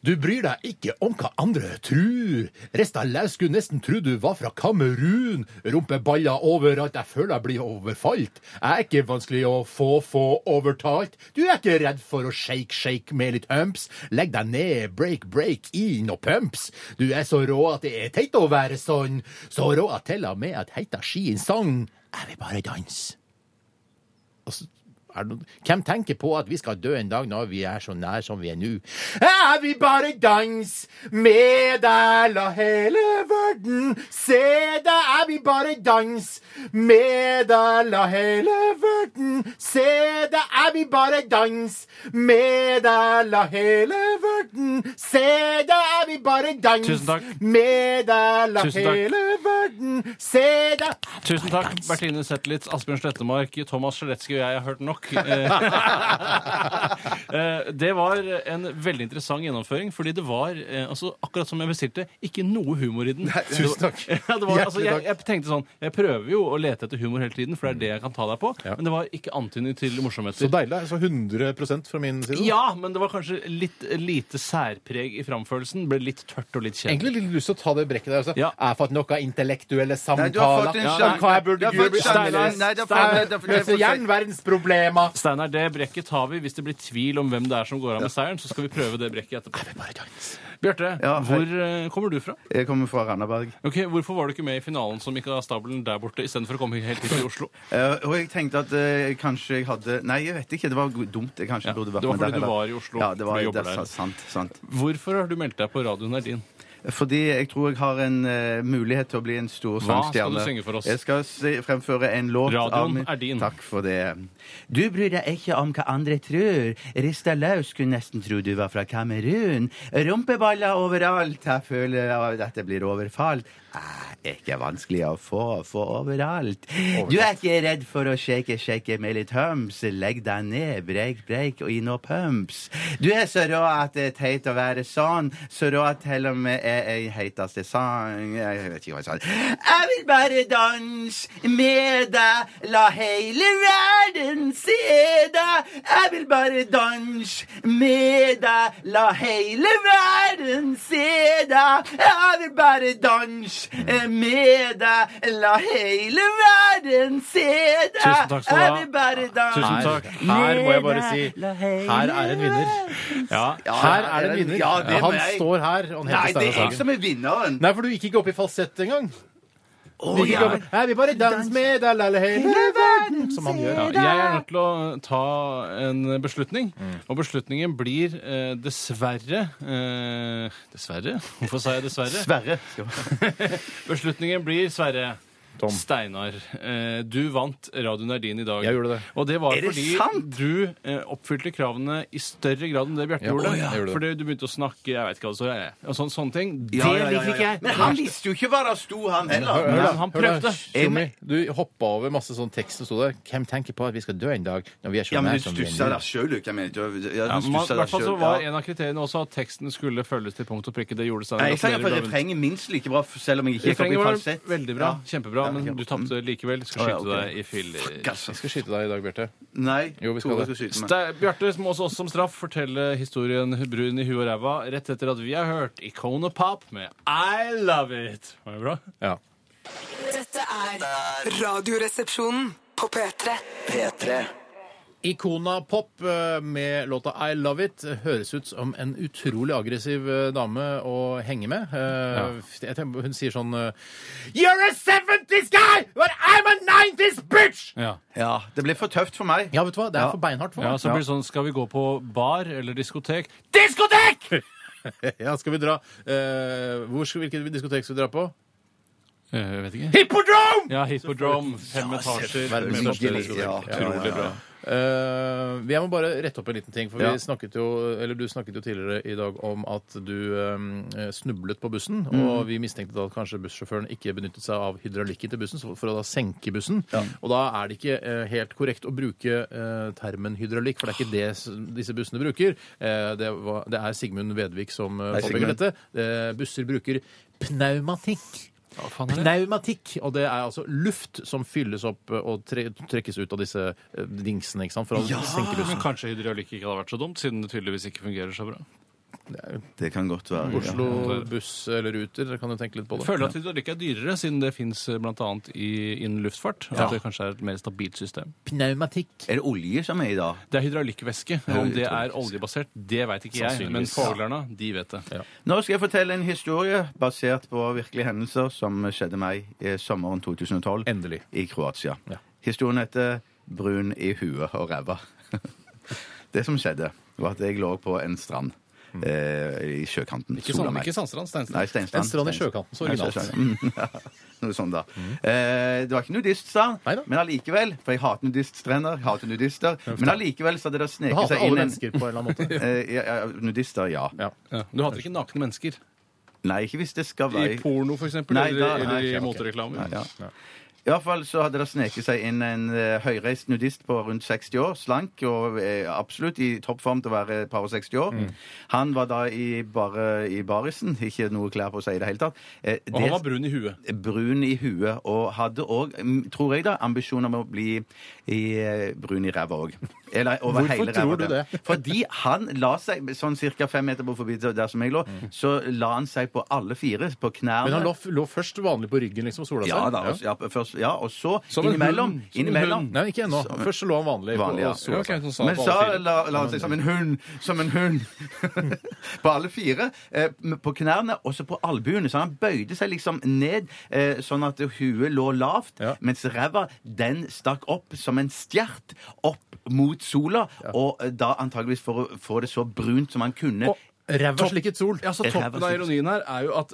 A: Du bryr deg ikke om hva andre trur. Resta laus skulle nesten tru du var fra Kamerun. Rumpeballer overalt, jeg føler jeg blir overfalt. Jeg er ikke vanskelig å få, få overtalt. Du er ikke redd for å shake, shake med litt humps. Legg deg ned, break, break, inn og pumps. Du er så rå at det er teit å være sånn. Så rå at til og med at heita skien sang. Jeg vil bare danse. Altså, er det noe... Hvem tenker på at vi skal dø en dag når vi er så nær som vi er nå? Er vi bare dans med deg, la hele verden se deg. Er vi bare dans med deg, la hele verden se deg. Er vi bare dans med deg, la hele verden se deg. Er vi bare dans
C: Tusen takk.
A: med deg, la
C: Tusen takk.
A: hele verden se deg.
C: Tusen takk, Bertine Zetlitz, Asbjørn Slettemark, Thomas Skjeletzky og jeg har hørt
A: <laughs>
C: nok. Eh, eh, det var en veldig interessant gjennomføring, fordi det var, eh, altså, akkurat som jeg bestilte, ikke noe humor i den.
A: tusen takk.
C: Det var, <laughs> ja, det var, altså,
A: Hjertelig
C: jeg,
A: takk.
C: jeg tenkte sånn, jeg prøver jo å lete etter humor hele tiden, for det er det jeg kan ta deg på,
A: Ja.
C: men det var ikke antydning til morsomheter.
A: deilig. Så 100 fra min side.
C: Ja, men det var kanskje litt lite særpreg i framførelsen. Ble litt tørt og litt kjedelig.
A: egentlig litt lyst til å ta det brekket der. Altså.
C: Ja.
A: Jeg har fått noen intellektuelle
B: Nei,
A: samtaler.
B: du har fått en
C: Ja,
B: sjanse.
C: nei,
A: Hva jeg
B: Du
A: burde
B: har fått
A: gjøre
B: sjansen.
C: Steinar,
B: Nei, det er for-
C: Steinar,
B: det er for- det er for-
A: Løser jernverdensproblemer.
C: Steinar, det brekket tar vi. Hvis det blir tvil om hvem det er som går av med seieren, så skal vi prøve det brekket etterpå. Bjarte,
B: Ja, hei.
C: hvor eh, kommer du fra?
B: Jeg kommer fra Randaberg.
C: Ok, Hvorfor var du ikke med i finalen som gikk av stabelen der borte, istedenfor å komme helt hit til Oslo?
B: Eh, og jeg tenkte at eh, kanskje jeg hadde Nei, jeg vet ikke. Det var go- dumt. Jeg kanskje
C: Ja,
B: burde vært
C: det var
B: med der.
C: fordi du
B: heller.
C: var i Oslo,
B: Ja, det var,
C: for du jobber
B: det,
C: der.
B: er sant, sant.
C: Hvorfor har du meldt deg på radioen er din?
B: Fordi jeg tror jeg har en eh, mulighet til å bli en stor
C: Hva skal
B: sangstjerne.
C: du synge for oss?
B: Jeg skal se, fremføre en låt.
C: Radioen
B: av min-
C: er din.
B: Takk for det. Du bryr deg ikke om hva andre tror. Rista løs skulle nesten tro du var fra Kamerun. Rumpeballer overalt. Jeg føler at dette blir overfalt. Jeg er ikke vanskelig å få, få overalt. Du er ikke redd for å shake, shake med litt hums. Legg deg ned, break, break og inn og pumps. Du er så rå at det er teit å være sånn. Så rå at til og med jeg, jeg heiteste sang Jeg vet ikke hva jeg sa. Jeg vil bare danse med deg, la hele verden se deg. Jeg vil bare danse med deg, la hele verden se deg. Jeg vil bare danse med deg, la hele verden se deg.
C: Tusen takk skal du
B: Jeg
C: ha.
B: vil bare danse
C: Tusen takk.
A: Her må jeg bare si
B: med deg, la hele
A: her er en vinner.
C: Ja,
A: Her er det en vinner.
B: Ja, det må
A: han
B: jeg.
A: står her. og Han
B: Nei,
A: heter
B: det er
A: Steinar
B: jeg
A: Sagen.
B: som er vinneren.
A: Nei, for du gikk ikke opp i falsett engang.
B: Å,
A: Du gikk ikke
B: ja.
A: opp i- Nei, vi bare dans med deg, lille hele verden, som han gjør.
C: Ja, jeg er nødt til å ta en beslutning, og beslutningen blir eh, dessverre eh, Dessverre? Hvorfor sa jeg dessverre?
B: Sverre. skal vi-
C: <laughs> Beslutningen blir, Sverre
A: Tom.
C: Steinar, eh, du vant Radio Nerdin i dag.
A: Jeg gjorde det.
C: Og det var
B: Er det
C: fordi
B: sant?
C: du eh, oppfylte kravene i større grad enn det Bjarte
A: Ja,
C: gjorde.
A: å, ja, jeg gjorde det.
C: Fordi du begynte å snakke, jeg vet ikke hva det så er, og sånn, sånne ting.
B: Ja,
C: det
B: ja, ja,
C: liker ikke
B: ja.
C: jeg.
B: Men han visste jo ikke hva det sto, han heller.
C: Nei,
A: da,
C: han
A: hør da,
C: prøvde.
A: Tjommi, du hoppa over masse sånn tekst som sto der. Hvem tenker på at vi skal dø en dag når vi er sånn så
B: Ja, men
A: nær
B: du
A: som
B: stussa
A: venner?
B: der sjøl, Luke. Jeg mener ikke ja,
C: Ja,
B: du
C: men
B: stussa
C: man, i
B: der
C: hvert fall så
B: selv,
C: var
B: ja.
C: en av kriteriene også at teksten skulle følges til punkt og prikke. Det gjorde
B: Nei,
C: Steinar.
B: jeg sang
C: Gratulerer,
B: for
C: du har vunnet.
B: refrenget minst like bra, selv om jeg ikke gikk opp
C: Refrenget
B: i
C: var
B: falsett.
C: veldig bra, kjempebra,
B: Ja,
C: men
B: ok.
C: du tapte likevel. Skal
B: Å, ja,
C: skyte
B: ok.
C: deg i filler.
B: Gass,
A: Jeg skal skyte deg i dag, Bjarte.
B: Nei,
A: Jo, vi skal
B: Tore
A: det.
B: skal skyte meg.
C: Ste- Bjarte må også oss som straff fortelle historien Brun i huet og ræva rett etter at vi har hørt Icona Pop med I Love It. Var det bra?
A: Ja.
F: Dette er Radioresepsjonen på P3.
E: P3
A: Ikona Pop eh, med låta I Love It høres ut som en utrolig aggressiv eh, dame å henge med. Eh, jeg tenker, hun sier sånn eh, You're a 70s guy, but I'm a 90s bitch!
C: Ja.
B: Ja, det ble for tøft for meg.
A: Ja, vet du hva? Det er for beinhardt for
C: ja,
A: meg.
C: så blir det sånn Skal vi gå på bar eller diskotek?
A: Diskotek! ja, skal vi dra eh, hvor skal, Hvilket diskotek skal vi dra på?
C: Eh, Jeg vet ikke.
A: Hippodrome!
C: Ja, Hippodrome. Fem etasjer.
A: Verdens
C: med største
A: største
C: diskotek.
B: Ja, ja, ja, ja.
C: Utrolig bra.
A: Eh, jeg må bare rette opp en liten ting. For
B: Ja.
A: vi snakket jo, eller Du snakket jo tidligere i dag om at du eh, snublet på bussen.
B: Mm.
A: Og vi mistenkte da at kanskje bussjåføren ikke benyttet seg av hydraulikken til bussen så- for å da senke bussen. Og da er det ikke eh, helt korrekt å bruke eh, termen hydraulikk, for det er ikke det s- disse bussene bruker. Eh, det, var, det er Sigmund Vedvik som eh,
B: Hei,
A: påpeker
B: Sigmund.
A: dette. Eh, busser bruker pneumatikk.
C: Hva faen er det?
A: Pneumatikk, og det er altså luft som fylles opp eh, og tre trekkes ut av disse eh, dingsene ikke sant, for å senke
C: Ah, Men
A: bussen.
C: kanskje hydraulikk ikke hadde vært så dumt, siden det tydeligvis ikke fungerer så bra.
B: Det kan godt være. ja.
A: Oslo buss eller ruter, dere kan jo tenke litt på det.
C: Jeg føler at hydraulikk er dyrere, siden det eh, fins bl.a. innen luftfart. At det kanskje er et mer stabilt system.
A: Pneumatikk.
B: Er det olje som er i dag?
C: Det er hydraulikkvæske. Om det er oljebasert, det veit ikke jeg. Men
A: Sannsynligvis.
C: foglerne, de vet det.
B: Nå skal jeg fortelle en historie basert på virkelige hendelser som skjedde meg i sommeren 2012
A: Endelig.
B: i Kroatia.
A: Ja.
B: Historien heter 'Brun i huet og ræva'. <laughs> det som skjedde, var at jeg lå på en strand
A: Mm.
B: eh, i sjøkanten.
C: Ikke,
B: Sola
C: sånn,
B: meg.
C: ikke Sandstrand,
B: Nei,
C: Steinstrand.
B: Steinstrand.
A: En strand i
B: Steinstrand.
A: sjøkanten, så
B: Nei,
A: originalt.
B: Steinstrand. Mm, <laughs> Noe sånt, da. Eh, det var ikke nudiststrand,
A: Neida.
B: men allikevel, for jeg hater nudiststrender, jeg hater nudister, men allikevel så hadde det
A: Du
B: sneket
A: hater
B: seg inn
A: alle
B: en
A: mennesker på en eller annen måte.
B: Eh, ja, ja, Nudister, ja.
A: <laughs> Ja.
C: Ja. Du hater ikke nakne mennesker?
B: Nei, ikke hvis det skal
C: I
B: være
C: porno, for eksempel?
B: Nei,
C: eller
B: da-
C: eller
B: nei,
C: i
B: ok, ok.
C: motereklame?
B: Ja. I hvert fall så hadde det sneket seg inn en eh, høyreist nudist på rundt 60 år, slank og eh, absolutt i toppform til å være et par og 60 år.
A: Mm.
B: Han var da i bare i barisen, ikke noe klær på seg i det hele tatt. Eh,
C: Og han
B: det-
C: var brun i huet.
B: brun i huet, og hadde òg, tror jeg da, ambisjoner om å bli i, eh, brun i ræva òg. Eller over
A: Hvorfor
B: hele ræva.
A: tror du
B: der.
A: det?
B: Fordi han la seg sånn ca. fem meter på forbi der som jeg lå, så la han seg på alle fire, på knærne.
A: Mm. Men han lå, lå først vanlig på ryggen, liksom, og sola seg.
B: ja, da, og, ja, først, ja, og så
C: sånn. Som en
B: innimellom.
C: hund. Som en
B: innimellom
C: hund.
A: Nei, ikke ennå. Først så lå han vanlig. på-
B: Vanlig, ja.
A: og sola seg.
C: så
B: Men så la, la han seg som en hund. Som en hund. <laughs> på alle fire. Eh, på knærne og så på albuene. Så han bøyde seg liksom ned, eh, sånn at huet lå lavt,
A: Ja.
B: mens ræva den stakk opp som en stjert opp mot sola, og eh, da antageligvis for å få det så brunt som han kunne.
C: <laughs>
A: Og ræva slikket sol.
C: Ja, så Toppen av ironien her er jo at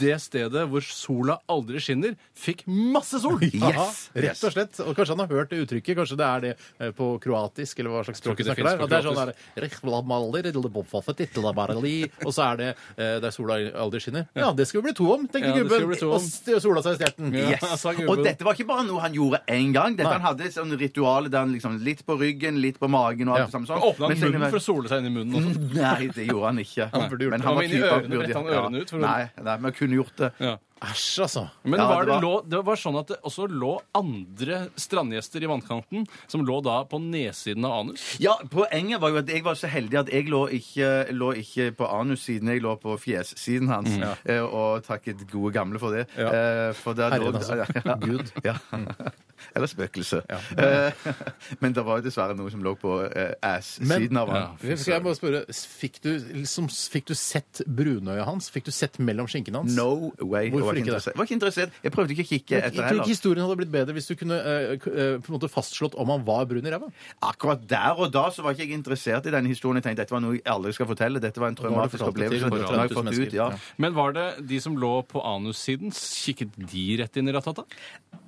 C: det stedet hvor sola aldri skinner, fikk masse sol!
A: <laughs> Aha,
B: Yes!
A: Rett og slett. Og kanskje han har hørt det uttrykket. Kanskje det er det eh, på kroatisk, eller hva slags språk
C: ikke
A: de
C: det
A: snakker der.
C: finnes på
A: At det er sånn der, "Rehvlamali, rildelbomfafet, ittelabali", Og så er det eh, der sola aldri skinner. Ja, det skal vi bli to om, tenker
C: Ja, det skal
A: gubben.
C: vi bli to om.
A: Og st- sola seg i stjerten.
C: Ja.
B: Yes.
C: sa gubben.
B: Og dette var ikke bare noe han gjorde én gang. Dette
A: Nei.
B: Han hadde sånn ritual der han liksom litt på ryggen, litt på magen og alt
A: Ja.
B: det samme sånn.
C: Åpna
B: Men så
C: han munnen
B: innimellom-
C: for å sole seg inn i munnen altså. <laughs> også?
B: <laughs> Nei, det gjorde han ikke.
C: Han burde gjort det. Han var inne i
B: typen-
C: ørene, brettet han ørene ut for å-
B: Nei, nei, men han kunne gjort det.
C: Ja.
A: Æsj, altså.
C: Men
B: Ja,
C: var det,
B: det var-
C: lå, det var sånn at det også lå andre strandgjester i vannkanten, som lå da på nedsiden av anus.
B: Ja, Poenget var jo at jeg var så heldig at jeg lå ikke, lå ikke på anussiden, jeg lå på fjessiden hans.
C: Mm.
B: eh, Og takket gode gamle for det.
A: Ja.
B: Eh, For der
A: Herren,
B: lå-
A: altså.
B: <laughs> Ja.
A: Gud.
B: Ja. Eller spøkelse. Eh, <laughs> Men det var jo dessverre noe som lå på eh, ass-siden av han.
A: Ja, skal jeg bare spørre, fikk du, liksom, fikk du sett brunøyet hans? Fikk du sett mellom skinkene hans?
B: No way.
A: Hvorfor Hvorfor ikke det?
B: interessert. var ikke interessert. Jeg prøvde ikke å kikke
A: Jeg
B: etter
A: tror ikke
B: heller.
A: historien hadde blitt bedre hvis du kunne eh, k- eh, på en måte fastslått om han var brun i ræva.
B: Akkurat der og da så var ikke jeg interessert i denne historien. Jeg tenkte dette var noe jeg aldri skal fortelle. Dette var en
A: har du
B: traumatisk
A: fortalt det til
B: opplevelse.
A: bare
B: Nå har jeg
A: 30 000
B: fått ut, ja.
A: mennesker.
C: Men var det de som lå på anussiden, kikket de rett inn i Ratata?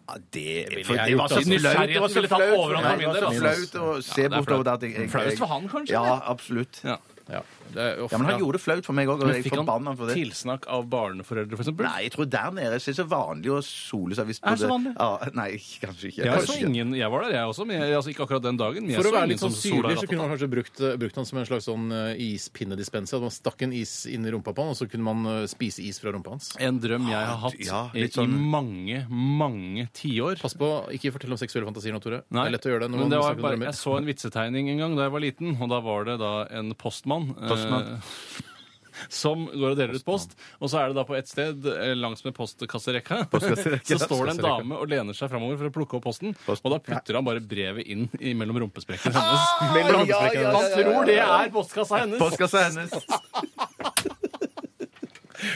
B: Ja, det
A: jeg
B: det var
A: gjort,
B: så
A: altså.
B: flaut. Det var
C: Nysgjerrigheten
B: så
C: ville tatt
B: flaut.
C: overhånd for
B: Ja,
C: min
B: det var
C: del,
B: så
C: altså.
B: flaut å se
C: Ja, det er
B: bortover
C: flaut.
B: der. at jeg- jeg-
C: Flaust for han, kanskje,
B: Ja,
C: eller?
B: absolutt.
C: Ja.
A: Ja. Det er ofte-
B: Ja, men han gjorde det flaut for meg òg, og
C: Men
B: jeg
C: fikk
B: forbanna han
C: han
B: for det.
C: tilsnakk av barneforeldre, for eksempel?
B: Nei, jeg tror der nede så er det så vanlig å sole seg hvis
C: Er det så vanlig?
B: Ja, nei, kanskje ikke.
C: Jeg,
B: Kanskje
C: så
B: ikke.
C: ingen, jeg var der, jeg også, men jeg, altså, ikke akkurat den dagen. Men jeg
A: For å
C: så
A: være
C: ingen
A: litt sånn
C: som sola i
A: syrlig så kunne
C: Ratata.
A: man kanskje brukt, eh, brukt han som en slags sånn eh, ispinnedispenser. At man stakk en is inn i rumpa på han, og så kunne man eh, spise is fra rumpa hans.
C: En drøm jeg har hatt
B: ja,
C: i-
B: litt sånn-
C: i mange, mange tiår.
A: Pass på, ikke fortell om seksuelle fantasier nå, Tore.
C: Nei,
A: Det er lett å gjøre det når
C: men
A: man
C: det var
A: snakker om
C: bare,
A: drømmer.
C: jeg så en vitsetegning en gang da jeg var liten, og da var det da en postmann.
B: Postmann.
C: Eh, <laughs> som går og deler ut post. Og så er det da på et sted eh, langs med postkasserekka <laughs>
B: Postkasserekka.
C: så står det en dame og lener seg framover for å plukke opp posten.
B: Post-
C: Og da putter han bare brevet inn i mellom
A: Ah!
C: rumpesprekken hennes.
B: Mellom rumpesprekken hennes.
C: Han tror det er postkassa hennes!
B: Postkassa hennes.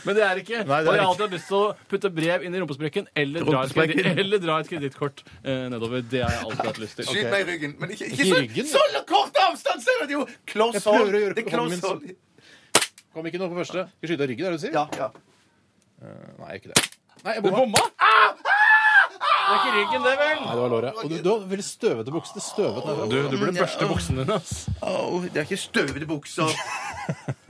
C: Men det er ikke.
A: Nei, det er
C: og jeg har
A: ikke.
C: alltid hatt lyst til å putte brev inn i rumpesprekken eller dra et
B: Rumpesprekken.
C: kredi- eller dra et kredittkort eh, nedover. Det har jeg alltid hatt lyst til.
B: Skyt meg i ryggen. Men ikke,
A: Ikke
B: ikke
A: i
B: så,
A: ryggen,
B: så kort avstand! Ser du det er jo
A: Jeg
B: close
A: prøver
B: hold.
A: å gjøre
B: Det er
A: hånden min
B: close
A: sånn.
B: hold.
A: Kom ikke nå på første. Skal skyte av ryggen, er det du sier?
B: Ja, ja.
A: Nei, ikke det. Nei, jeg
C: Du
A: bomma.
C: bomma! Det er ikke ryggen, det, vel?
A: Nei, det var låret. Og du, du har veldig støvete bukser. Det er sånn. støvet der.
C: Du, du burde børste buksene dine. ass.
B: Au, det er ikke støvete
A: <laughs>
B: bukser.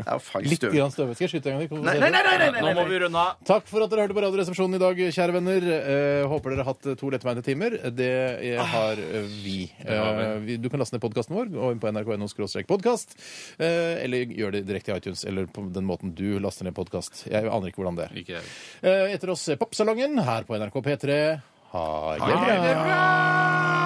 B: Ja, faen,
A: Litt
B: støv.
A: grann støvet. Skal jeg skyte en gang til?
B: Nei, nei, nei, nei, nei,
C: Nå
B: nei,
C: må
B: nei.
C: vi runde av.
A: Takk for at dere hørte på Radioresepsjonen i dag, kjære venner. Eh, håper dere har hatt to lettbeinte timer. Det eh, har eh, vi. Eh, vi. Du kan laste ned podkasten vår gå inn på nrk.no podkast. Eh, eller gjør det direkte i iTunes, eller på den måten du laster ned podkast. Jeg aner ikke hvordan det er. Eh, etter oss eh, Popsalongen her på NRK P3. Ha det bra!